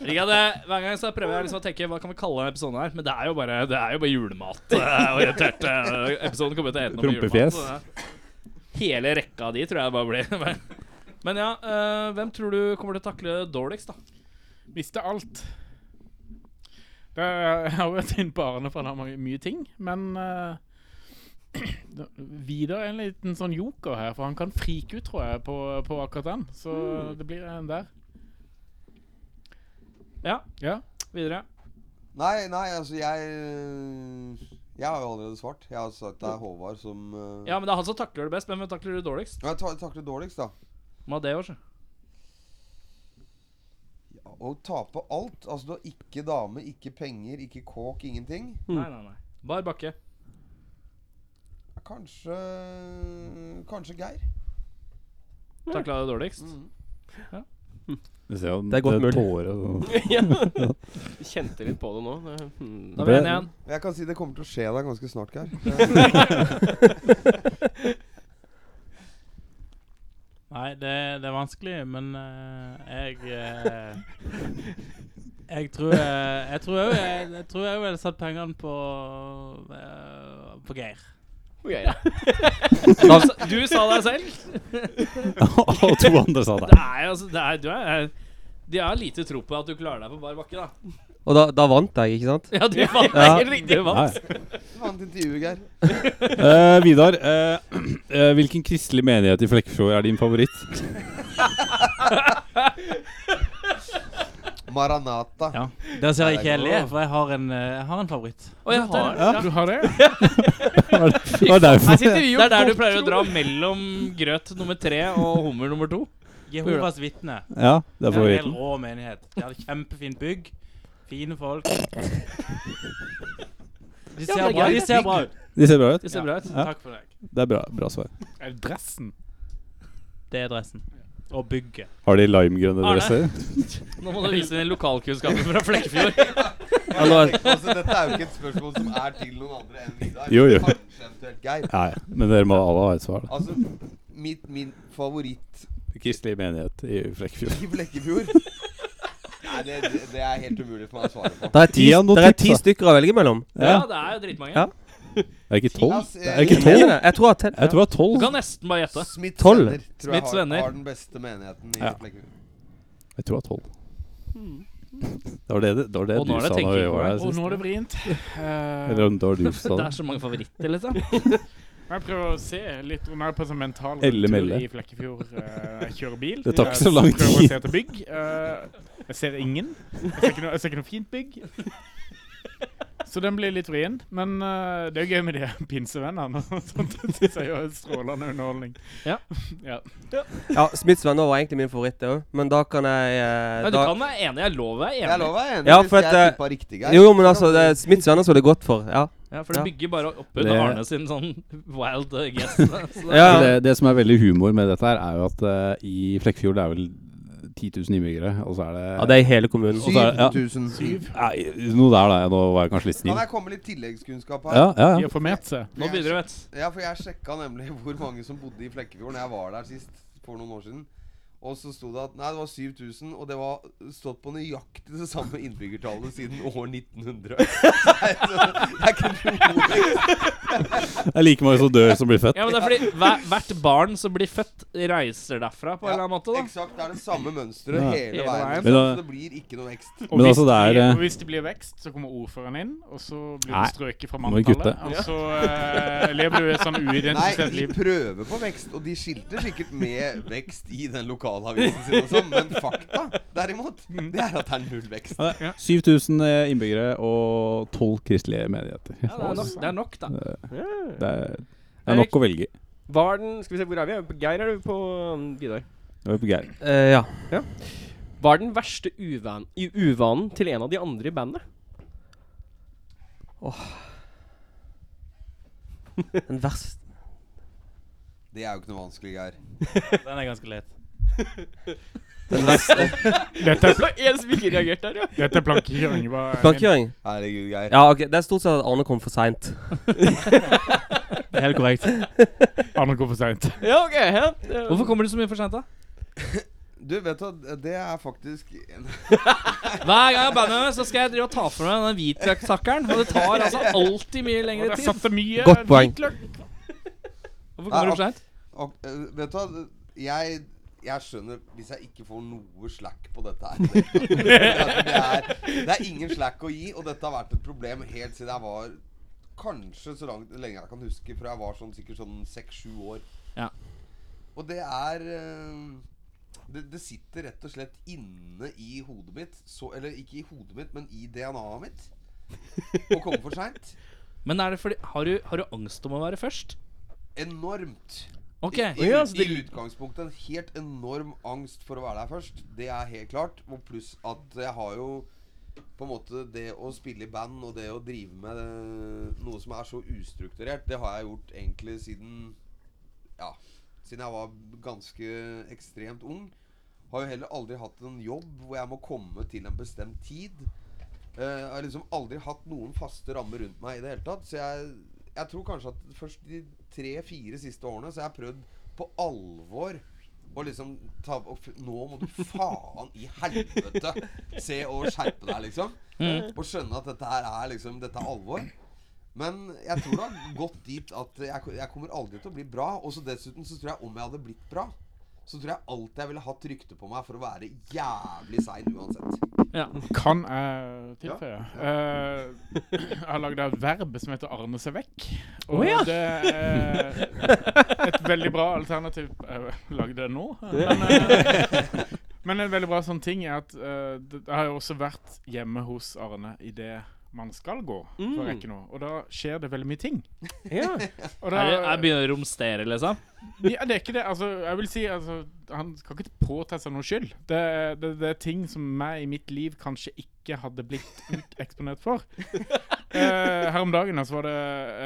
Speaker 5: Slik at det, Hver gang så prøver jeg liksom å tenke hva kan vi kalle denne episoden her. Men det er jo bare, det er jo bare julemat. eh, orientert eh, episoden kommer til å hete noe med
Speaker 2: Prompefjes.
Speaker 5: julemat. så det- Hele rekka av de tror jeg bare blir. Men ja, eh, hvem tror du kommer til å takle det dårligst, da?
Speaker 9: Miste alt. Det er- jeg har jo vært inne på Arne, for han har mange- mye ting. Men eh, da- Vidar er en liten sånn joker her, for han kan frike ut, tror jeg, på, på akkurat den. Så
Speaker 5: Mm.
Speaker 9: det blir en der.
Speaker 5: Ja,
Speaker 9: Ja.
Speaker 5: videre.
Speaker 8: Nei, nei, altså jeg eh, Jeg har jo allerede svart. Jeg har sagt det er Håvard som eh,
Speaker 5: Ja, men det er han som takler det best. men Hvem takler det dårligst?
Speaker 8: Jeg ta- takler dårligst, da.
Speaker 5: Madeos.
Speaker 8: Å tape alt. Altså, du har ikke dame, ikke penger, ikke kåk, ingenting.
Speaker 5: Nei, nei, nei. Bar bakke.
Speaker 8: Kanskje Kanskje Geir.
Speaker 5: Takla det dårligst.
Speaker 2: Du ser jo
Speaker 7: Det er godt
Speaker 2: det
Speaker 7: mulig.
Speaker 2: tårer og sånn.
Speaker 6: Ja. Kjente litt på det nå. Det, hmm.
Speaker 5: Da er vi enige igjen.
Speaker 8: Jeg kan si det kommer til å skje deg ganske snart, Geir.
Speaker 10: Nei, det, det er vanskelig, men eh, jeg eh, Jeg tror jeg Jeg tror jeg, jeg, jeg, tror jeg ville satt pengene på eh, På Geir.
Speaker 6: Hvor gøy er det?
Speaker 5: Du, sa- Altså, du sa deg selv.
Speaker 2: Og to andre sa
Speaker 5: Det
Speaker 2: det.
Speaker 5: er jo altså det er, du er, De har lite tro på at du klarer deg på bar bakke, da.
Speaker 7: Og da, da vant jeg, ikke sant?
Speaker 5: Ja, du vant.
Speaker 7: Ja.
Speaker 5: Helt riktig. Du vant.
Speaker 2: Nei.
Speaker 8: Vant intervjuet, Geir.
Speaker 2: Eh, Vidar, eh, eh, hvilken kristelig menighet i Flekkefjord er din favoritt?
Speaker 8: Maranata.
Speaker 10: Ja. Der ser jeg ikke jeg ler,
Speaker 8: Åh.
Speaker 10: for jeg har en, eh, jeg har en favoritt.
Speaker 5: Å, ja, det, er,
Speaker 9: Du har det?
Speaker 2: Det var derfor.
Speaker 5: det er der du pleier å dra mellom grøt nummer tre og hummer nummer to.
Speaker 10: Jehovas vitne.
Speaker 2: Ja, det
Speaker 10: Det er
Speaker 2: er
Speaker 10: en
Speaker 2: favoritten.
Speaker 10: helt rå menighet. De har et kjempefint bygg. Fine folk. De ser,
Speaker 5: det er
Speaker 10: bra,
Speaker 5: greit.
Speaker 10: de ser bra ut.
Speaker 2: De ser bra ut.
Speaker 5: Det ser bra ut.
Speaker 2: Ja.
Speaker 10: Takk for deg.
Speaker 2: Det er bra, bra svar.
Speaker 9: Er det dressen?
Speaker 10: Det er dressen. Og bygget.
Speaker 2: Har de limegrønne
Speaker 5: Arne?
Speaker 2: dresser?
Speaker 5: Nå må du vise din lokalkunnskaper fra Flekkefjord.
Speaker 7: Ja, nå er-
Speaker 8: Altså, dette er jo ikke et spørsmål som er til noen andre enn Vidar.
Speaker 2: Jo, jo.
Speaker 8: Kanskje eventuelt Geir.
Speaker 2: Nei, men dere må alle ha et svar. da.
Speaker 8: Altså, mitt, min favoritt
Speaker 2: Kristelig menighet i Flekkefjord.
Speaker 8: i Blekkefjord Nei, det, det- det er helt umulig for meg å svare på.
Speaker 7: Det er ti, det er ti stykker å velge mellom.
Speaker 2: Ja,
Speaker 5: det er jo dritmange.
Speaker 7: Ja.
Speaker 2: Det er ikke tolv?
Speaker 8: Ass,
Speaker 2: Det er ikke
Speaker 8: jeg-
Speaker 2: tolv?
Speaker 7: Jeg tror at-
Speaker 2: Jeg tror det er tolv.
Speaker 5: Du kan nesten bare gjette.
Speaker 8: eh, Smiths
Speaker 2: Tolv.
Speaker 8: venner tror jeg
Speaker 5: Smiths
Speaker 8: har,
Speaker 5: venner.
Speaker 8: har den beste menigheten i
Speaker 2: Ja.
Speaker 8: Flekkefjord.
Speaker 2: Jeg tror det er tolv. Hmm. Det var det, det, var det
Speaker 5: Og nå
Speaker 2: du
Speaker 5: er det
Speaker 2: sa
Speaker 5: tenking
Speaker 2: når vi
Speaker 5: på
Speaker 2: var
Speaker 5: meg.
Speaker 2: her
Speaker 5: Og
Speaker 2: sist.
Speaker 9: nå er det vrient. Eh,
Speaker 2: Eller om det var du som sa
Speaker 5: Det
Speaker 2: det.
Speaker 5: er så mange favoritter, liksom.
Speaker 9: Jeg prøver å se litt mer på sånn mental
Speaker 2: Elle
Speaker 9: tur
Speaker 2: melle.
Speaker 9: i Flekkefjord. Eh, Jeg kjører bil.
Speaker 2: Det tar ikke
Speaker 9: Jeg
Speaker 2: så lang
Speaker 9: prøver å
Speaker 2: tid.
Speaker 9: se etter bygg. Eh, Jeg ser ingen. Jeg ser ikke noe, jeg ser ikke noe fint bygg. Så den blir litt vrien. Men eh, det er gøy med de her pinsevennene. og sånt. Det synes jeg er strålende underholdning.
Speaker 5: Ja.
Speaker 9: ja.
Speaker 7: Ja, Smiths venner var egentlig min favoritt, det òg, men da kan jeg eh,
Speaker 5: Nei, du
Speaker 7: da,
Speaker 5: kan være enig. Jeg lover jeg er enig.
Speaker 8: Jeg lover jeg er enig
Speaker 7: Ja,
Speaker 8: hvis
Speaker 7: for at,
Speaker 8: jeg
Speaker 7: eh,
Speaker 8: tippa riktig her.
Speaker 7: Jo, jo, men altså, det er Smiths venner som det er godt for. Ja.
Speaker 5: Ja, for det bygger bare opp
Speaker 2: Det-
Speaker 5: under Arne sin sånn wild eh, guess. Så det-
Speaker 2: Men Det, det som er veldig humor med dette her, er jo at eh, i Flekkefjord det er vel 10 000 innbyggere, og så er det
Speaker 7: Ja, det er i hele kommunen.
Speaker 2: Og så er det-
Speaker 8: 7000. Syv.
Speaker 2: Nei, noe der, da. Nå var jeg kanskje litt
Speaker 8: Kan
Speaker 2: snill.
Speaker 8: jeg komme med litt tilleggskunnskap her?
Speaker 2: Ja, ja, ja. De
Speaker 9: har formert seg.
Speaker 5: Nå
Speaker 8: Jeg-
Speaker 5: begynner det,
Speaker 8: Ja, for jeg sjekka nemlig hvor mange som bodde i Flekkefjord Når jeg var der sist, for noen år siden. Og så sto det at Nei, det var 7000, og det var stått på nøyaktig det samme innbyggertallet siden år 1900. Nei, så det er ikke
Speaker 2: Det er like mange som dør som blir født.
Speaker 5: Ja, men det er fordi hver, hvert barn som blir født, reiser derfra på en eller annen måte, da.
Speaker 8: Eksakt. Det er det samme mønsteret
Speaker 2: Ja.
Speaker 8: hele
Speaker 5: Hele
Speaker 8: veien.
Speaker 5: veien.
Speaker 2: Men da-
Speaker 8: Så det blir ikke noe vekst.
Speaker 9: Og,
Speaker 2: Men
Speaker 9: hvis
Speaker 2: altså, det er,
Speaker 9: det,
Speaker 2: eh,
Speaker 9: og hvis det blir vekst, så kommer ordføreren inn, og så blir
Speaker 2: Nei,
Speaker 9: du strøket fra
Speaker 2: nå må vi
Speaker 9: manntallet.
Speaker 2: kutte.
Speaker 9: Og så eh, lever du et sånn
Speaker 8: Nei,
Speaker 9: uidentifisert
Speaker 8: de
Speaker 9: liv.
Speaker 8: prøver på vekst, og de skilter sikkert med vekst i den lokalavisen sin og sånn, men fakta derimot,
Speaker 5: Mm.
Speaker 8: det er at det er null vekst.
Speaker 2: Ja, det er 7000 eh, innbyggere og 12 kristelige menigheter.
Speaker 5: Ja, det, er nok, det er nok, da.
Speaker 2: Det er, det er nok å velge i.
Speaker 6: Var den Skal vi se, hvor er vi? Er vi på Geir er du på um, Vidar?
Speaker 2: Det var på Geir.
Speaker 7: Eh, ja.
Speaker 6: Ja. Var den verste uvan, i- uvanen til en av de andre i bandet?
Speaker 7: Den verste
Speaker 8: Det er jo ikke noe vanskelig, Geir.
Speaker 11: Den er ganske lett.
Speaker 7: Den verste
Speaker 9: Dette er,
Speaker 6: En som ikke reagerte her, ja.
Speaker 9: dette er plankekjøring. hva er-
Speaker 7: Plankekjøring?
Speaker 8: Herregud, Geir.
Speaker 7: Ja, ok, det er stort sett at Arne kom for seint. Helt korrekt.
Speaker 9: Andre går for seint.
Speaker 6: Ja, ok. Ja. det-
Speaker 5: Hvorfor kommer du så mye for seint, da?
Speaker 8: Du, vet du, det er faktisk en
Speaker 5: Hver gang jeg er bandet, så skal jeg drive og ta for meg den hvitløkstakkeren. Og det tar altså alltid mye lengre
Speaker 9: Der
Speaker 5: tid.
Speaker 9: satt det mye
Speaker 7: Godt poeng.
Speaker 9: hvitløk.
Speaker 5: Hvorfor kommer du for seint?
Speaker 8: og, eh, Vet du hva, jeg, jeg skjønner hvis jeg ikke får noe slack på dette her. Det er, det er ingen slack å gi, og dette har vært et problem helt siden jeg var Kanskje så langt, lenge jeg kan huske, fra jeg var sånn, sikkert sånn seks-sju år.
Speaker 5: Ja.
Speaker 8: Og det er eh, det, det sitter rett og slett inne i hodet mitt. Så, eller ikke i hodet mitt, men i DNA-et mitt. Å komme for seint.
Speaker 5: Men er det fordi har du, har du angst om å være først?
Speaker 8: Enormt.
Speaker 5: Ok.
Speaker 8: I,
Speaker 6: Ja, altså,
Speaker 8: i
Speaker 6: det-
Speaker 8: utgangspunktet en helt enorm angst for å være der først. Det er helt klart. Og pluss at jeg har jo på en måte det å spille i band og det å drive med eh, noe som er så ustrukturert, det har jeg gjort egentlig siden Ja, siden jeg var ganske ekstremt ung. Har jo heller aldri hatt en jobb hvor jeg må komme til en bestemt tid. Eh, jeg har liksom aldri hatt noen faste rammer rundt meg i det hele tatt. Så jeg, jeg tror kanskje at først de tre-fire siste årene så har jeg prøvd på alvor å liksom ta og f Nå må du faen i helvete se og skjerpe deg, liksom.
Speaker 9: Mm.
Speaker 8: Og skjønne at dette her er liksom Dette er alvor. Men jeg tror det har gått dit at jeg, ko- jeg kommer aldri til å bli bra. Og så dessuten så tror jeg om jeg hadde blitt bra, så tror jeg alltid jeg ville hatt rykte på meg for å være jævlig sein uansett.
Speaker 9: Kan jeg tilføye? Eh, jeg har lagd et verb som heter 'arne seg vekk'. Og det er et veldig bra alternativ Jeg lagde det nå. Men, eh, men en veldig bra sånn ting er at eh, det, Jeg har jo også vært hjemme hos Arne idet man skal gå
Speaker 5: Mm.
Speaker 9: for å rekke noe. Og da skjer det veldig mye ting.
Speaker 6: Ja.
Speaker 9: Og
Speaker 5: Er
Speaker 9: da,
Speaker 5: det, jeg begynner å romstere, liksom?
Speaker 9: ja, det er ikke det. Altså, jeg vil si altså, Han skal ikke påta seg noe skyld. Det, det, det er ting som meg i mitt liv kanskje ikke hadde blitt uteksponert for. Eh, her om dagen altså, var det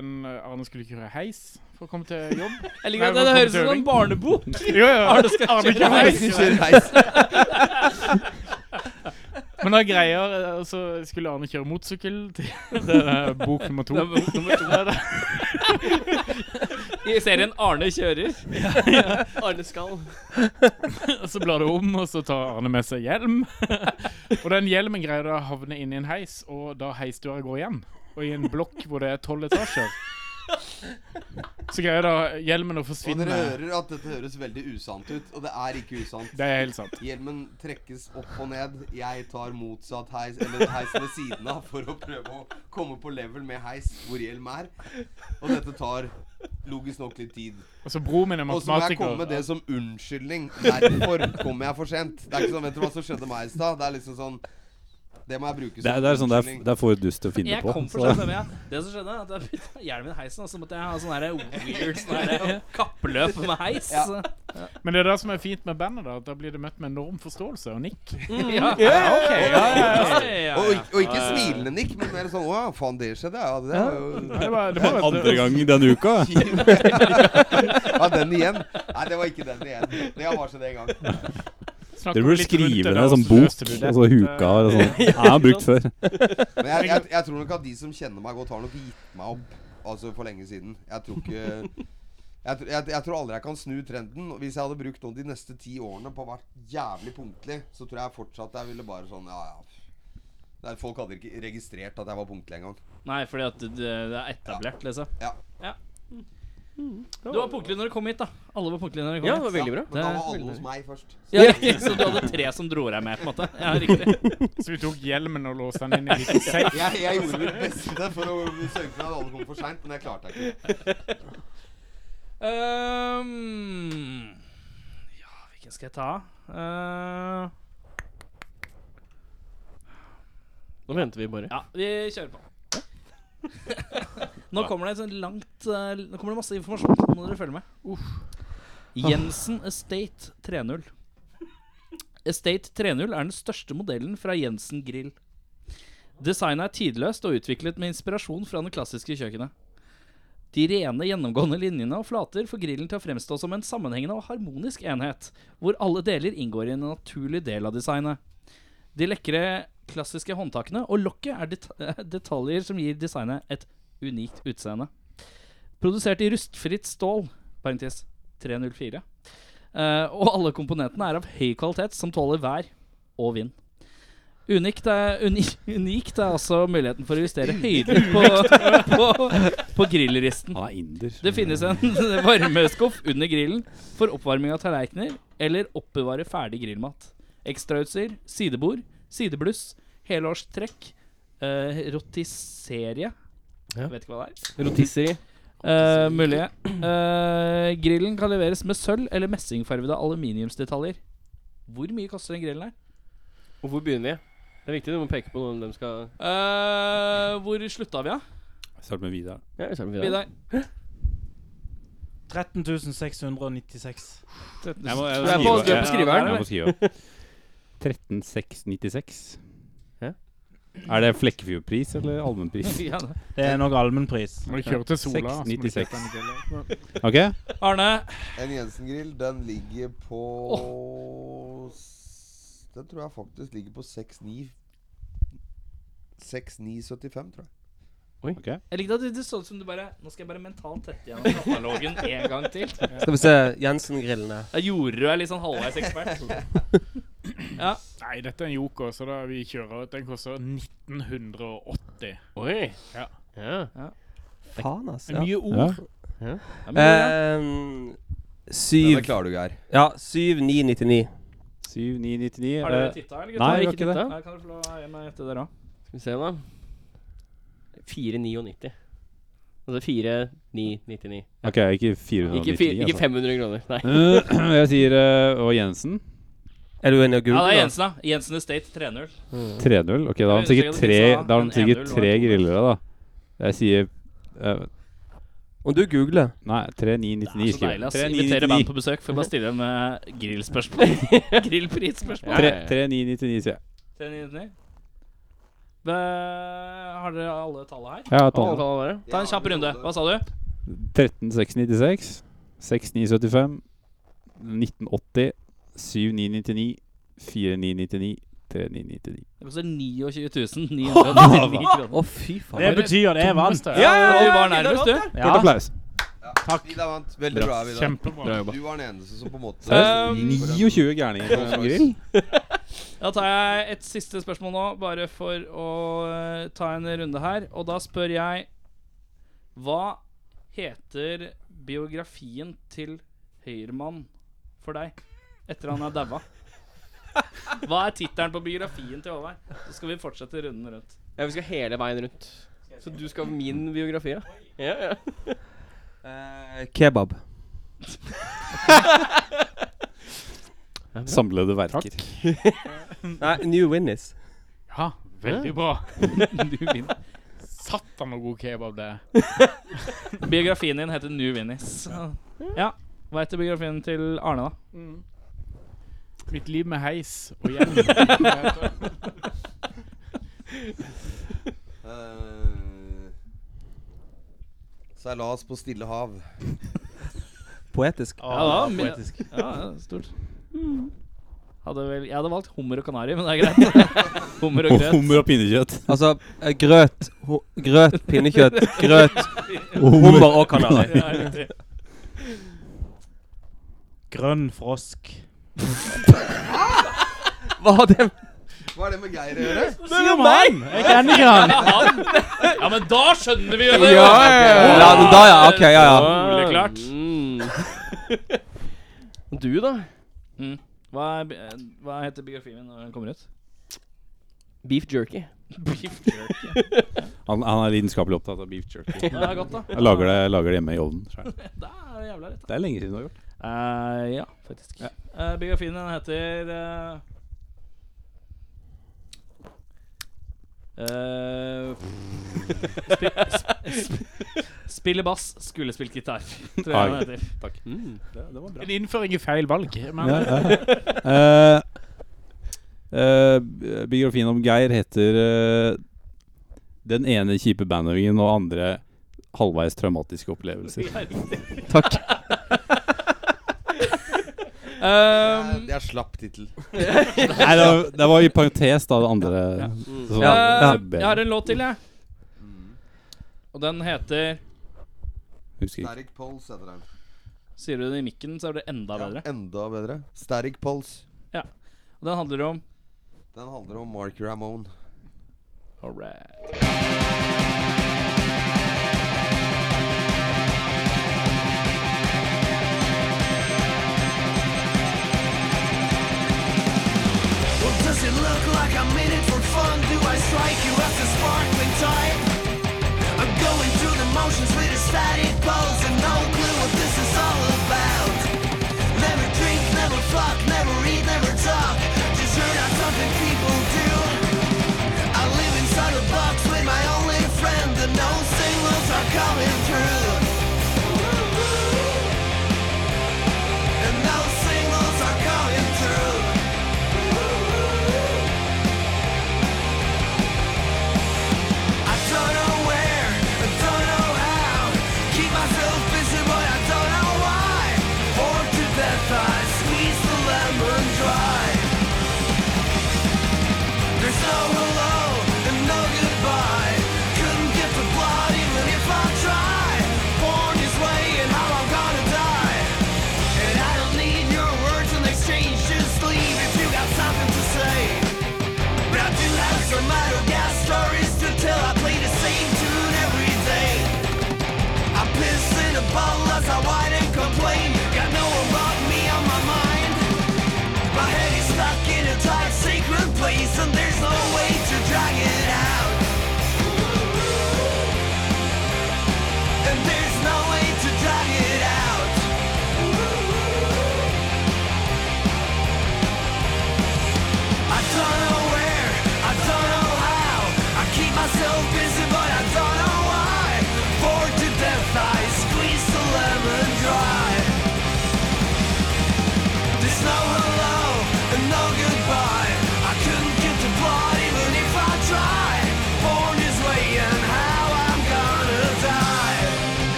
Speaker 9: en Arne skulle kjøre heis for å komme til jobb.
Speaker 5: Jeg
Speaker 9: Nei,
Speaker 5: liker at
Speaker 9: hvor
Speaker 5: Det
Speaker 9: kom
Speaker 5: høres ut som en
Speaker 9: Tøving?
Speaker 5: barnebok.
Speaker 9: Jo, jo, Arne skal
Speaker 5: kjøre
Speaker 9: heis.
Speaker 8: Reis.
Speaker 9: Men Men da greier eh, Så skulle Arne kjøre motorsykkel til det er bok nummer to.
Speaker 5: Det er bok nummer to.
Speaker 9: Ja, det-
Speaker 5: I serien Arne kjører.
Speaker 9: Ja, ja.
Speaker 6: Arne skal.
Speaker 9: Og så blar det om, og så tar Arne med seg hjelm. Og den hjelmen greier da å havne inn i en heis, og da heisdøra går igjen. Og i en blokk hvor det er tolv etasjer. Så greier da hjelmen å
Speaker 8: Og dere
Speaker 9: forsvinne.
Speaker 8: hører at dette høres veldig usant ut, og det er ikke usant.
Speaker 9: Det er helt sant.
Speaker 8: Hjelmen trekkes opp og ned. Jeg tar motsatt heis, eller heis ved siden av, for å prøve å komme på level med heis hvor hjelm er. Og dette tar logisk nok litt tid.
Speaker 9: Altså, broren min er
Speaker 8: Og så må jeg
Speaker 9: matematiker.
Speaker 8: komme med det som unnskyldning. Derfor kom jeg for sent. Det er ikke sånn 'Vet du hva som skjedde meg i stad?' Det er liksom sånn Det må jeg bruke som
Speaker 3: Det er, det er sånn det er,
Speaker 8: unnskyldning.
Speaker 3: det er for dust å finne
Speaker 5: Jeg
Speaker 3: på.
Speaker 5: kom for sånn
Speaker 3: så-
Speaker 5: sent hjemme, ja. Det som skjedde, er at jeg putta hjelmen i heisen, og så måtte jeg ha sånn her weird sånn her kappløp med heis.
Speaker 9: Ja. Men det er det som er fint med bandet, da. at Da blir det møtt med enorm forståelse og nikk.
Speaker 5: Mm.
Speaker 8: Ja.
Speaker 9: ok. Ja, ja, ja.
Speaker 8: Og, ikk- og ikke smilende nikk, men mer sånn 'Å ja, faen, det skjedde', ja. Det, er jo-
Speaker 9: Nei, det var- det var-
Speaker 3: Andre gang denne uka.
Speaker 8: ja, den igjen. Nei, det var ikke den igjen. Det har bare skjedd én gang.
Speaker 3: Dere burde skrive ned en
Speaker 9: altså,
Speaker 3: sånn bok, og
Speaker 9: eh,
Speaker 3: så huka og sånn. Jeg har brukt før.
Speaker 8: Men jeg, jeg, jeg tror nok at de som kjenner meg godt, har nok gitt meg opp Altså for lenge siden. Jeg tror ikke jeg, tr- jeg, jeg tror aldri jeg kan snu trenden. Hvis jeg hadde brukt noen de neste ti årene på å være jævlig punktlig, så tror jeg fortsatt jeg ville bare sånn Ja, ja. Nei, folk hadde ikke registrert at jeg var punktlig engang.
Speaker 5: Nei, fordi at det, det er etablert, liksom.
Speaker 8: Ja.
Speaker 5: Du var punktlig når du kom hit, da. Alle var punktlige når de kom
Speaker 6: Ja,
Speaker 5: hit.
Speaker 6: det var veldig bra.
Speaker 8: Men da var alle hos meg først.
Speaker 5: Ja, riktig. Så du hadde tre som dro deg med, på en måte? Ja, riktig.
Speaker 9: eh, Så vi tok hjelmen og låste den inn i en liten safe.
Speaker 8: Jeg, jeg gjorde mitt beste for å sørge for at alle kom for seint, men jeg klarte det ikke.
Speaker 5: Ehm, ja, hvilken skal jeg ta? Eh,
Speaker 6: Nå venter vi bare.
Speaker 5: ja, vi kjører på. Nå kommer det et sånt langt eh, Nå kommer det masse informasjon. Nå må dere følge med. Jensen Estate 3.0. Estate 3.0 er den største modellen fra Jensen Grill. Designet er tidløst og utviklet med inspirasjon fra det klassiske kjøkkenet. De rene, gjennomgående linjene og flater får grillen til å fremstå som en sammenhengende og harmonisk enhet, hvor alle deler inngår i en naturlig del av designet. De lekre, klassiske håndtakene og lokket er det- detaljer som gir designet et unikt utseende. Produsert i rustfritt stål, parentes 304. Eh, og alle komponentene er av høy kvalitet som tåler vær og vind. Unikt er, uni, unikt er altså muligheten for å justere høyden på, på, på grillristen.
Speaker 3: Han er inder.
Speaker 5: Det finnes en varmeskuff under grillen for oppvarming av tallerkener eller oppbevare ferdig grillmat. Ekstrautstyr, sidebord, sidebluss, helårstrekk, uh, rotisserie Vet ikke hva det er.
Speaker 6: Rotisserie.
Speaker 5: Eh, mulig. Eh, grillen kan leveres med sølv eller messingfarvede aluminiumsdetaljer. Hvor mye koster den grillen her?
Speaker 6: Og hvor begynner vi? Det er viktig du må peke på noen de skal
Speaker 5: Eh, hvor slutta vi, da?
Speaker 3: Start med Vidar.
Speaker 6: Ja, vi starter med Vidar.
Speaker 5: Vidar.
Speaker 11: 13 696.
Speaker 5: Jeg må- jeg
Speaker 11: Du er på- du er på skriveren.
Speaker 3: Jeg må skrive opp. 13696. Er det Flekkefjordpris eller allmennpris?
Speaker 5: Ja,
Speaker 11: Det er nok allmennpris.
Speaker 9: Når du kjører til Sola, så må du kjøpe
Speaker 3: 696.
Speaker 9: en
Speaker 3: Ok?
Speaker 5: Arne?
Speaker 8: En Jensen-grill, den ligger på s- Den tror jeg faktisk ligger på 69 6975, tror jeg.
Speaker 6: Oi.
Speaker 5: Jeg likte at det- det så ut som du bare Nå skal jeg bare mentalt tette gjennom katalogen en gang til.
Speaker 7: Skal vi se Jensen-grillene.
Speaker 5: Da gjorde du deg litt sånn halvveis ekspert. Ja.
Speaker 9: Nei, dette er en joker, så da vi kjører Den koster 1980.
Speaker 6: Oi.
Speaker 9: Ja.
Speaker 5: Ja.
Speaker 7: Faen, ass.
Speaker 9: Det er mye ord.
Speaker 7: Ja.
Speaker 9: Det er mye
Speaker 5: Eh,
Speaker 9: ord,
Speaker 7: Ehm, syv
Speaker 8: Denne klarer du, Geir.
Speaker 7: Ja, 7999.
Speaker 3: 7999
Speaker 5: Har dere titta, eller? gutter?
Speaker 3: eh, Nei, vi har ikke det.
Speaker 5: eh, Nei, kan dere få lov å gi meg etter der òg?
Speaker 6: Skal vi se, da. 4,99. Altså 4,999.
Speaker 3: Ok, ikke 499.
Speaker 6: Ikke, fire-
Speaker 3: altså.
Speaker 6: ikke 500 kroner, nei.
Speaker 3: Eh, Jeg sier eh, Og Jensen?
Speaker 7: Er du enig i
Speaker 5: Ja, det er Jensen, da. Jensen Estate 3-0.
Speaker 3: 3-0? Ok, da har han
Speaker 5: Jeg
Speaker 3: sikkert
Speaker 5: husker ikke
Speaker 3: tre,
Speaker 5: at de sa
Speaker 3: da har han
Speaker 5: en
Speaker 3: sikkert
Speaker 5: 1-0 var
Speaker 3: tre
Speaker 5: en
Speaker 3: grillere, da. Jeg sier eh,
Speaker 7: Om du googler
Speaker 3: Nei, 3999
Speaker 5: Så deilig, ass.
Speaker 3: skriver
Speaker 5: Invitere band
Speaker 3: 3999.
Speaker 5: på besøk for å bare stille dem eh, grillspørsmål. Grillprisspørsmål.
Speaker 3: Tre- 3999, sier jeg.
Speaker 5: 399. Hva- Har dere alle tallene her?
Speaker 3: Jeg har tallene.
Speaker 6: Alle tallene
Speaker 5: Ta en kjapp runde. Hva sa du?
Speaker 3: 13696, 6975, 1980, 7999, 4999, 3999.
Speaker 5: Det koster 29 999 kroner.
Speaker 3: Å, fy faen.
Speaker 11: Det betyr at jeg vant.
Speaker 5: Ja, ja, ja, du var nærmest, du.
Speaker 3: Kort applaus.
Speaker 11: Takk.
Speaker 8: Vidar vant. Veldig bra, Vidar.
Speaker 11: Kjempebra.
Speaker 3: Bra jobba.
Speaker 8: Du var den eneste som på en måte
Speaker 5: Eh,
Speaker 3: Um,
Speaker 8: gikk for den.
Speaker 3: 29 gærninger på en grill.
Speaker 5: Da tar jeg et siste spørsmål nå, bare for å eh, ta en runde her. Og da spør jeg Hva heter biografien til Høyremann for deg etter han er daua? Hva er tittelen på biografien til Håvard? Så skal vi fortsette runden rundt.
Speaker 6: Ja, vi skal hele veien rundt. Så du skal ha min biografi, ja? Ja, ja.
Speaker 7: Eh, kebab.
Speaker 3: Samlede verker.
Speaker 7: Nei, New Winnies.
Speaker 9: Ja, veldig bra.
Speaker 5: Du vinner.
Speaker 9: Satan så god kebab det er.
Speaker 5: Biografien din heter New Winnies. Ja. Hva heter biografien til Arne, da?
Speaker 9: Mitt liv med heis og hjelm.
Speaker 8: Eh, Seilas på Stille hav.
Speaker 7: Poetisk.
Speaker 5: Ah, Ja, da, poetisk. Ja, ja, stort. Hadde vel, jeg hadde valgt hummer og kanari, men det er greit. hummer og grøt.
Speaker 3: Hummer og pinnekjøtt.
Speaker 7: Altså eh, grøt, ho grøt, pinnekjøtt, grøt, hummer og kanari.
Speaker 5: Ja, riktig.
Speaker 11: Grønn frosk.
Speaker 7: Hva har det
Speaker 8: Hva er det med Geir å gjøre?
Speaker 5: Um,
Speaker 11: Det er meg! Jeg kjenner ikke han.
Speaker 5: Ja, men da skjønner vi jo det!
Speaker 7: Ja, ja, da, ja. Ok, ja, ja.
Speaker 5: Soleklart.
Speaker 6: Mm. Du, da?
Speaker 5: Hva, er, bi- eh, hva heter biografien min når den kommer ut?
Speaker 6: Beef jerky.
Speaker 5: Beef jerky.
Speaker 3: Han, han er lidenskapelig opptatt av beef jerky.
Speaker 5: Ja, det er godt, da.
Speaker 3: Jeg lager det, lager det hjemme i ovnen. selv.
Speaker 5: Da er det jævla rett, da.
Speaker 3: Det er lenge siden du har gjort
Speaker 5: Eh, ja, faktisk. Eh, biografien min heter eh, eh, spi, sp, sp, spille bass, skuespilt gitar. Tror jeg den
Speaker 3: Oi.
Speaker 5: heter.
Speaker 9: En innføring i feil valg. Men
Speaker 3: Ja, ja, ja. Eh, eh, b- biografien om Geir heter eh, 'Den ene kjipe bandøvingen og andre halvveis traumatiske opplevelser'.
Speaker 8: Det er-
Speaker 5: Um,
Speaker 8: Det er slapp tittel.
Speaker 3: Nei, det var, det var i parentes, da, det andre. Så- det er
Speaker 5: eh, jeg har
Speaker 3: bedre.
Speaker 5: en låt til, jeg. Mm. Og den heter
Speaker 3: Husker ikke.
Speaker 8: Sterk Pols heter den.
Speaker 5: Sier du det i mikken, så er det enda
Speaker 8: Ja,
Speaker 5: bedre.
Speaker 8: enda bedre. Sterk Pols.
Speaker 5: Og den handler om
Speaker 8: Den handler om Mark Ramone.
Speaker 5: Alright.
Speaker 2: Well, does it look like I'm in it for fun? Do I strike you as the sparkling type? I'm going through the motions with a static pulse and no clue what this is all about. Never drink, never fuck, never eat, never talk. Just heard out something people do. I live inside a box with my only friend, and no signals are coming through. And no signals are coming through. I don't know where, I don't know how. Keep myself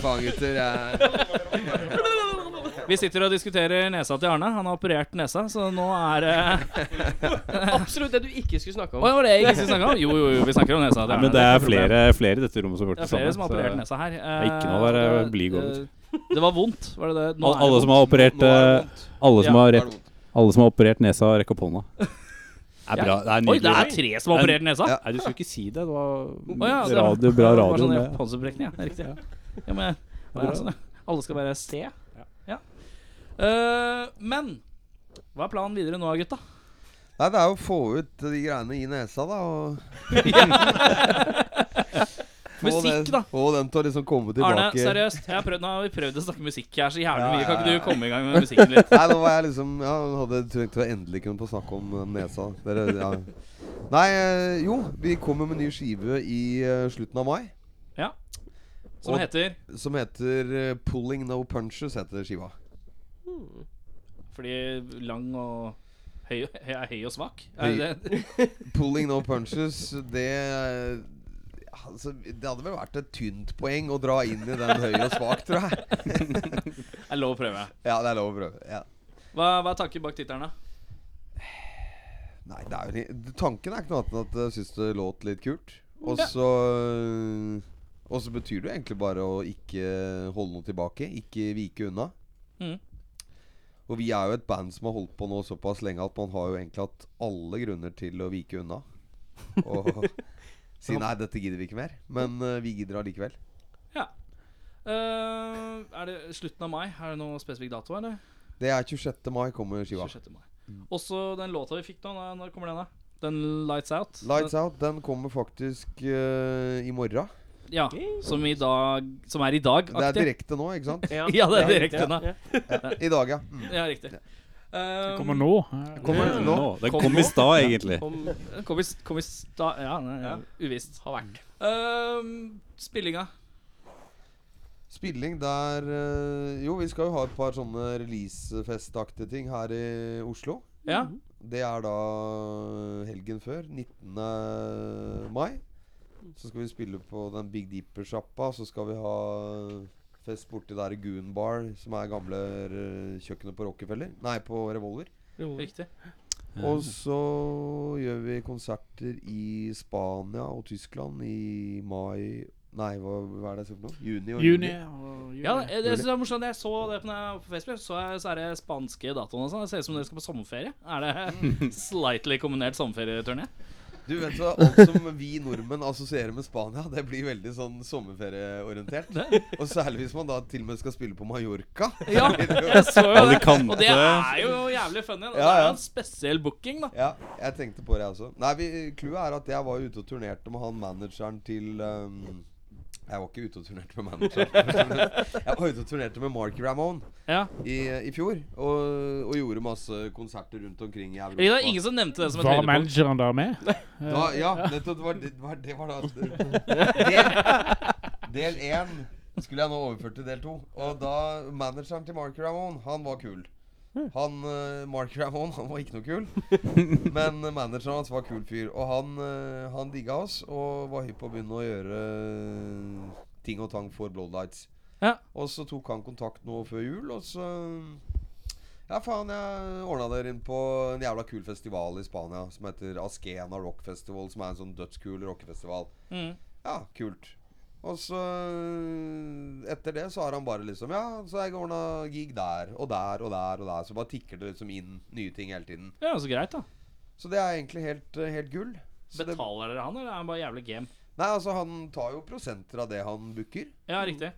Speaker 8: Fangetur, ja.
Speaker 5: Vi sitter og diskuterer nesa til Arne. Han har operert nesa, så nå er det
Speaker 6: Absolutt det du ikke skulle snakke om.
Speaker 5: Å, det var det jeg ikke skulle snakke om? Jo, jo, jo, vi snakker om nesa.
Speaker 2: Nei,
Speaker 5: er
Speaker 2: men
Speaker 5: det,
Speaker 2: det
Speaker 5: er
Speaker 2: er
Speaker 5: ikke noe
Speaker 2: flere,
Speaker 5: problem.
Speaker 2: flere i dette rommet som har gjort
Speaker 5: Det
Speaker 2: det
Speaker 5: er flere som har
Speaker 2: så-
Speaker 5: operert nesa her.
Speaker 2: er ikke noe å være
Speaker 5: Eh,
Speaker 2: blyg over.
Speaker 5: eh, Det var vondt, var det det? Nå
Speaker 2: Al-
Speaker 5: er
Speaker 2: alle
Speaker 5: det
Speaker 2: som har
Speaker 5: vondt.
Speaker 2: operert
Speaker 5: Nå er det
Speaker 2: eh,
Speaker 5: vondt.
Speaker 2: Alle som
Speaker 5: Ja.
Speaker 2: har rett Alle som har operert nesa, rekk opp hånda. Det er bra. Det er
Speaker 5: Oi,
Speaker 2: nydelig.
Speaker 5: det er tre som
Speaker 2: Det er-
Speaker 5: har operert nesa?
Speaker 2: Nei, du skulle ikke si det. Det var
Speaker 5: Å ja, det-
Speaker 2: radio, bra
Speaker 5: det var
Speaker 2: radio.
Speaker 5: sånn
Speaker 2: det.
Speaker 5: håndsopprekning, ja. Det er Riktig. Ja, men det er sånn, ja. Alle skal være C. Ja. Eh, men hva er planen videre nå, gutta?
Speaker 8: Nei, det er jo å få ut de greiene i nesa, da. Og Få
Speaker 5: Musikk,
Speaker 8: den-
Speaker 5: da.
Speaker 8: Få den til å liksom komme tilbake.
Speaker 5: Arne, seriøst. Jeg har prøvd, nå har vi prøvd å snakke musikk her så jævlig
Speaker 8: Ja,
Speaker 5: mye. Kan
Speaker 8: ja,
Speaker 5: ikke
Speaker 8: ja.
Speaker 5: du komme i gang med musikken litt?
Speaker 8: Nei, nå var jeg liksom Ja, jeg hadde trengt å endelig kunne få snakke om eh, nesa. Dere, ja. Nei, eh, jo. Vi kommer med ny skive i eh, slutten av mai.
Speaker 5: Ja. Som heter?
Speaker 8: Som heter eh, 'Pulling No Punches', heter skiva.
Speaker 5: Fordi lang og høy, høy, høy og svak? Er det det?
Speaker 8: Pulling no punches, det eh, Altså, det hadde vel vært et tynt poeng å dra inn i den høy og svak, tror jeg.
Speaker 5: Det er lov å prøve.
Speaker 8: Ja, det er lov å prøve. Ja.
Speaker 5: Hva, hva er tanken bak tittelen, da?
Speaker 8: Nei, det er jo li- Tanken er ikke noe annet enn at jeg syns det låt litt kult. Og
Speaker 5: Ja.
Speaker 8: så Og så betyr det jo egentlig bare å ikke holde noe tilbake. Ikke vike unna.
Speaker 5: Mhm.
Speaker 8: Og vi er jo et band som har holdt på nå såpass lenge at man har jo egentlig hatt alle grunner til å vike unna. Og si nei, dette gidder vi ikke mer. Men eh, vi gidder allikevel.
Speaker 5: Ja. Eh, er det slutten av mai? Er det noen spesifikk dato, eller?
Speaker 8: Det er 26. mai kommer skiva.
Speaker 5: 26. mai. Også den låta vi fikk nå, når- når kommer den, da? Den Lights Out?
Speaker 8: Lights Out den kommer faktisk eh, i morgen.
Speaker 5: Ja, som, i dag, som er i dag?
Speaker 8: Det er direkte nå, ikke sant?
Speaker 5: Ja, det er direkte nå.
Speaker 8: Ja, I dag, ja. Mm.
Speaker 5: Ja, riktig. Um,
Speaker 9: Kommer nå.
Speaker 8: Kommer nå.
Speaker 2: Nå. Den kom i stad, egentlig.
Speaker 5: Den Kom i, s- kom i stad Ja, nei, ja. uvisst. Har vært. spillinga.
Speaker 8: Spilling der eh, Jo, vi skal jo ha et par sånne releasefestaktige ting her i Oslo.
Speaker 5: Ja.
Speaker 8: Det er da helgen før, 19. mai. Så skal vi spille på den Big Dipper-sjappa. Så skal vi ha fest borti der i Goon Bar, som er gamle eh, kjøkkenet på Rockefeller. Nei, på Revolver.
Speaker 5: Riktig.
Speaker 8: Og så gjør vi konserter i Spania og Tyskland i mai Nei, hva, hva er det jeg sier for noe? Juni og
Speaker 9: Eh, Juni.
Speaker 8: juli.
Speaker 9: og juli.
Speaker 5: Ja, det, det synes jeg er morsomt. Jeg så det på, når jeg var på Facebook. Så, jeg, så er det spanske datoene og sånn. Det ser ut som dere skal på sommerferie. Er
Speaker 8: Mm.
Speaker 5: det slightly kombinert sommerferieturné?
Speaker 8: Du vet hva, Alt som vi nordmenn assosierer med Spania, det blir veldig sånn sommerferieorientert. Og særlig hvis man da til og med skal spille på Mallorca.
Speaker 5: Ja, jeg så jo det.
Speaker 2: Alicante.
Speaker 5: Og det er jo jævlig funny. da. Det
Speaker 8: Ja,
Speaker 5: er
Speaker 8: ja.
Speaker 5: jo en spesiell booking, da.
Speaker 8: Ja, jeg tenkte på det, jeg også. Nei, vi- Clouet er at jeg var ute og turnerte med han manageren til ehm, Jeg var ikke ute og turnerte med manageren. jeg var ute og turnerte med Mark Ramone
Speaker 5: Ja.
Speaker 8: i, i fjor. Og, og gjorde masse konserter rundt omkring i Europa.
Speaker 5: Det er ingen som nevnte det som et
Speaker 9: Var
Speaker 5: høydepunkt.
Speaker 9: manageren der med?
Speaker 8: da, ja, nettopp. Det var, det var, det var da Del én skulle jeg nå overført til del to. Og da manageren til Mark Ramone, han var kul. Han, eh, Mark Ramone han var ikke noe kul, men manageren hans var kul fyr. Og han, eh, han digga oss og var hypp på å begynne å gjøre eh, ting og tang for Blowlights.
Speaker 5: Ja.
Speaker 8: Og så tok han kontakt nå før jul, og så ja, faen, jeg ordna dere inn på en jævla kul festival i Spania som heter Askena Rock Festival, som er en sånn dødskul rockefestival.
Speaker 5: Mm.
Speaker 8: Ja, kult. Og så øh, Etter det så har han bare liksom Ja, så jeg ordna gig der og der og der og der. Så bare tikker det liksom inn nye ting hele tiden.
Speaker 5: Det er jo så greit, da.
Speaker 8: Så det er egentlig helt, øh, helt gull. Så det,
Speaker 5: Betaler dere han, eller er han bare jævlig game?
Speaker 8: nei, altså, han tar jo prosenter av det han booker.
Speaker 5: Ja, riktig.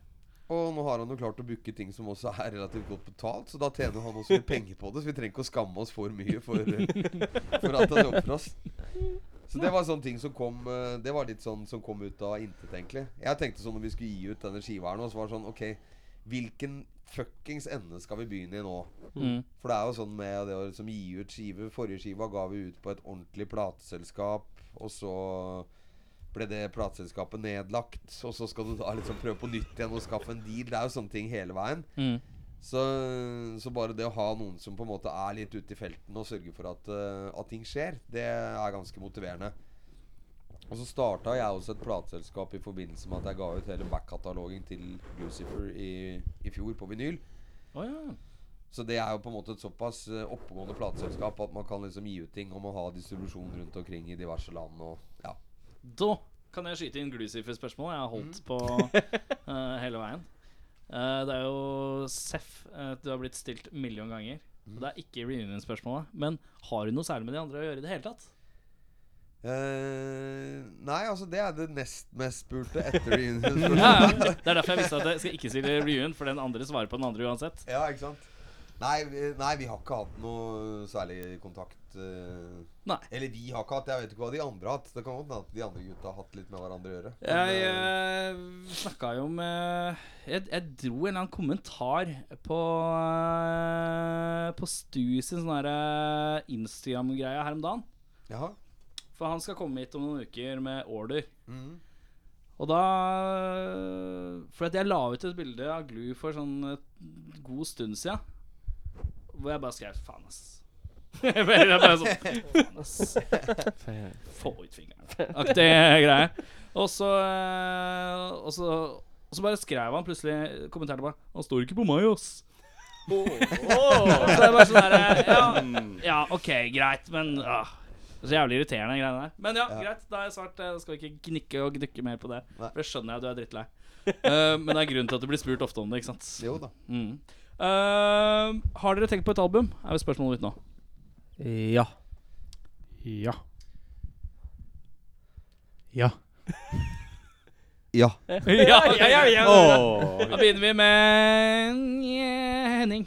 Speaker 8: Og nå har han jo klart å booke ting som også er relativt godt betalt, så da tjener han også litt penger på det. Så vi trenger ikke å skamme oss for mye for, eh, for at han jobber for oss. Så det var sånne ting som kom eh, Det var litt sånn som kom ut av intet, egentlig. Jeg tenkte sånn når vi skulle gi ut denne skiva her nå, så var det sånn OK, hvilken fuckings ende skal vi begynne i nå?
Speaker 5: Mm.
Speaker 8: For det er jo sånn med det å liksom gi ut skive Forrige skiva ga vi ut på et ordentlig plateselskap, og så ble det plateselskapet nedlagt, og så skal du da liksom prøve på nytt igjen og skaffe en deal. Det er jo sånne ting hele veien.
Speaker 5: Mm.
Speaker 8: Så, så bare det å ha noen som på en måte er litt ute i felten og sørger for at, eh, at ting skjer, det er ganske motiverende. Og så starta jeg også et plateselskap i forbindelse med at jeg ga ut hele back-katalogen til Lucifer i, i fjor på vinyl. Så det er jo på en måte et såpass eh, oppegående plateselskap at man kan liksom gi ut ting om å ha distribusjon rundt omkring i diverse land og ja.
Speaker 5: Da kan jeg skyte inn Glucifer-spørsmål. Jeg har holdt på eh, hele veien. Eh, det er jo Seff eh, du har blitt stilt million ganger. Og det er ikke reunion-spørsmålet. Men har du noe særlig med de andre å gjøre i det hele tatt?
Speaker 8: Eh, nei, altså det er det nest mest spurte etter reunion.
Speaker 5: ja, ja. Det er derfor jeg visste at jeg skal ikke stille reunion, for den andre svarer på den andre uansett.
Speaker 8: Ja, ikke sant? Nei, vi- nei, vi har ikke hatt noe særlig kontakt. eh.
Speaker 5: Nei.
Speaker 8: Eller vi har ikke hatt. Jeg vet ikke hva de andre har hatt. Det kan godt hende at de andre gutta har hatt litt med hverandre å gjøre. Men,
Speaker 5: Jeg
Speaker 8: eh,
Speaker 5: uh, snakka jo med jeg, jeg dro en eller annen kommentar på eh, På Stu sin sånn derre Instagram-greie her om dagen.
Speaker 8: Jaha.
Speaker 5: For han skal komme hit om noen uker med order.
Speaker 8: Mhm.
Speaker 5: Og da For at jeg la ut et bilde av Glu for sånn et god stund sia. Hvor jeg bare skrev 'faen, ass'. jeg bare bare sånn Faen, ass. Få ut fingeren. Aktig greie. Og så eh, Og så og så bare skrev han plutselig kommenterte bare 'Han står ikke på meg, ass'. Så det er bare sånn der, ja, ja, ok, greit, men ah, det er Så jævlig irriterende, de greiene der. Men ja, greit, da har jeg svart. eh, Da skal vi ikke gnikke og gnukke mer på det. For det skjønner jeg at du er drittlei. Eh, men det er grunnen til at du blir spurt ofte om det, ikke sant?
Speaker 8: Jo da.
Speaker 5: Mm. Eh, har dere tenkt på et album? Er jo spørsmålet mitt nå.
Speaker 11: Ja.
Speaker 9: Ja. Ja.
Speaker 8: ja.
Speaker 5: ja, ja, ja, ja.
Speaker 3: Åh.
Speaker 5: Da begynner vi med eh, Henning.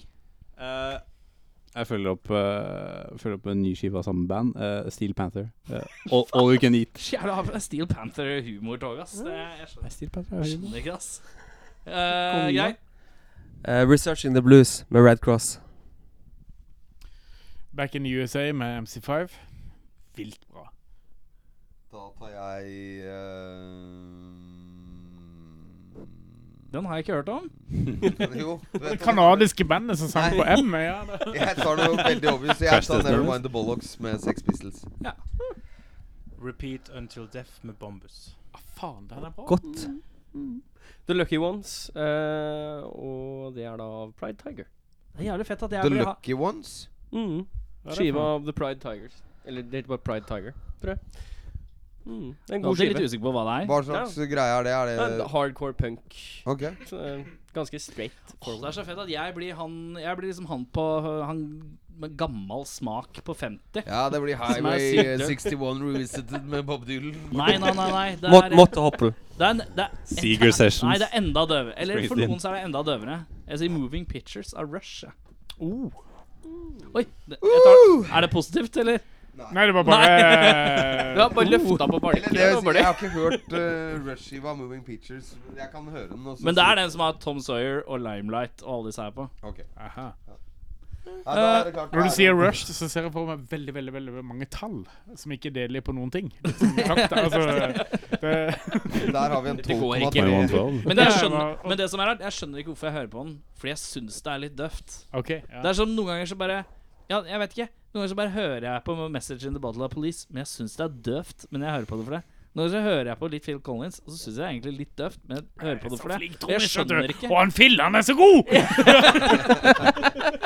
Speaker 3: Jeg følger opp, eh, følger opp en ny skive av samme band, eh, Steel Panther. Eh, all, all You Can Eat.
Speaker 5: Jævla har Steel Panther-humortog, ass. Det, jeg skjønner, jeg skjønner ikke, ass.
Speaker 7: Konge.
Speaker 5: Uh, Geir?
Speaker 7: Eh, 'Researching the Blues' med Red Cross.
Speaker 9: Back in the USA med MC5. Vilt bra.
Speaker 8: Da tar jeg eh,
Speaker 5: Den har jeg ikke hørt om.
Speaker 8: Jo. du vet-
Speaker 9: Det kanadiske bandet som sang på M. Ja, det.
Speaker 8: Jeg tar noe veldig obvious. Jeg
Speaker 3: Crash
Speaker 8: tar
Speaker 3: Test Dummies.
Speaker 8: Nevermind the Bollocks med Sex Pistols.
Speaker 11: Repeat Until Death med Bombus.
Speaker 9: Ah, faen, den er bra.
Speaker 7: Godt.
Speaker 6: The Lucky Ones, eh, og det er da av Pride Tiger.
Speaker 5: Det er jævlig fett at
Speaker 8: The
Speaker 5: jeg blir ha
Speaker 8: Lucky Ones.
Speaker 9: Hva
Speaker 6: Mm.
Speaker 9: er det for
Speaker 6: Skiva
Speaker 9: noe?
Speaker 6: av The Pride Tigers. Eller det heter bare Pride Tiger, tror jeg. Mm. Det er en
Speaker 5: Nå
Speaker 6: god
Speaker 5: er jeg
Speaker 6: skive.
Speaker 5: litt usikker på hva det er.
Speaker 8: Hva slags greie er det?
Speaker 6: Det er
Speaker 8: Er
Speaker 6: en
Speaker 8: det
Speaker 6: Hardcore punk.
Speaker 8: Ok.
Speaker 6: Så, eh, ganske straight.
Speaker 5: Åh, det er så fett at jeg blir han Jeg blir liksom han på Han med gammel smak på 50.
Speaker 8: Ja, det blir
Speaker 5: er
Speaker 8: Highway
Speaker 5: sykt,
Speaker 8: eh,
Speaker 5: du.
Speaker 8: 61 Revisited med Bob Dylan.
Speaker 5: Nei, nei, nei. nei det
Speaker 7: Mott
Speaker 5: er,
Speaker 7: Mott og Hoppel.
Speaker 5: det er, en- det er
Speaker 3: Seeger Sessions.
Speaker 5: Nei, det er enda døvere. Eller for
Speaker 3: Springsteen.
Speaker 5: noen så er det enda døvere. Jeg sier Moving Pictures av Rush. jeg.
Speaker 6: Uh.
Speaker 5: Oi. Det, jeg tar, er det positivt, eller?
Speaker 9: Nei, det var bare
Speaker 6: Du har bare løfta på
Speaker 8: Eller det, vil
Speaker 6: balken.
Speaker 8: si, jeg har ikke hørt eh, Rush-skiva Moving Pictures. men Jeg kan høre den. Også,
Speaker 5: Men det er den som har Tom Sawyer og Limelight og alle disse her på.
Speaker 9: Aha.
Speaker 8: Ja, da er det klart,
Speaker 9: Når
Speaker 8: det
Speaker 9: du
Speaker 8: er-
Speaker 9: sier Rush, så ser jeg for meg veldig veldig, veldig mange tall som ikke deler på noen ting. Litt sånn takt, altså, det,
Speaker 8: Der har vi en
Speaker 5: Det går
Speaker 8: 12,3.
Speaker 5: Men det, jeg
Speaker 9: Ja,
Speaker 5: skjønner,
Speaker 9: hva-
Speaker 5: men det som er rart, jeg skjønner ikke hvorfor jeg hører på den. Fordi jeg syns det er litt døvt.
Speaker 9: OK. Ja.
Speaker 5: Det er som noen ganger så bare Ja, jeg vet ikke. Noen ganger så bare hører jeg på Message in the Bottle of Police, men jeg syns det er døvt. Men jeg hører på det for det. Noen ganger så hører jeg på litt Phil Collins, og så syns jeg det er egentlig litt døvt, men jeg hører på det for det. Men Jeg skjønner ikke
Speaker 9: Og han Phil, han er så god!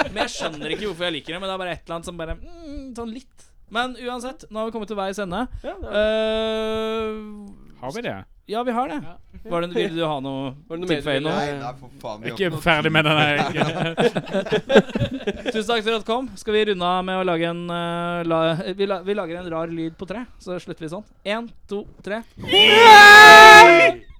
Speaker 5: Men jeg skjønner ikke hvorfor jeg liker det, men det er bare et eller annet som bare mm, Sånn litt. Men uansett, nå har vi kommet til veis ende.
Speaker 6: Ja, det
Speaker 5: Eh,
Speaker 9: Har vi det?
Speaker 5: ja, vi har det. Var det, ville du ha noe
Speaker 6: Var det noe mer du
Speaker 5: tilføye
Speaker 6: ville-
Speaker 5: nå?
Speaker 8: Nei, nei, for faen. Vi har
Speaker 9: Ikke
Speaker 8: ikke noe
Speaker 9: ferdig med den her.
Speaker 5: Tusen takk for at du kom. Skal vi runde av med å lage en eh, la, vi, la, vi lager en rar lyd på tre, så slutter vi sånn. Én, to, tre.
Speaker 9: ikke-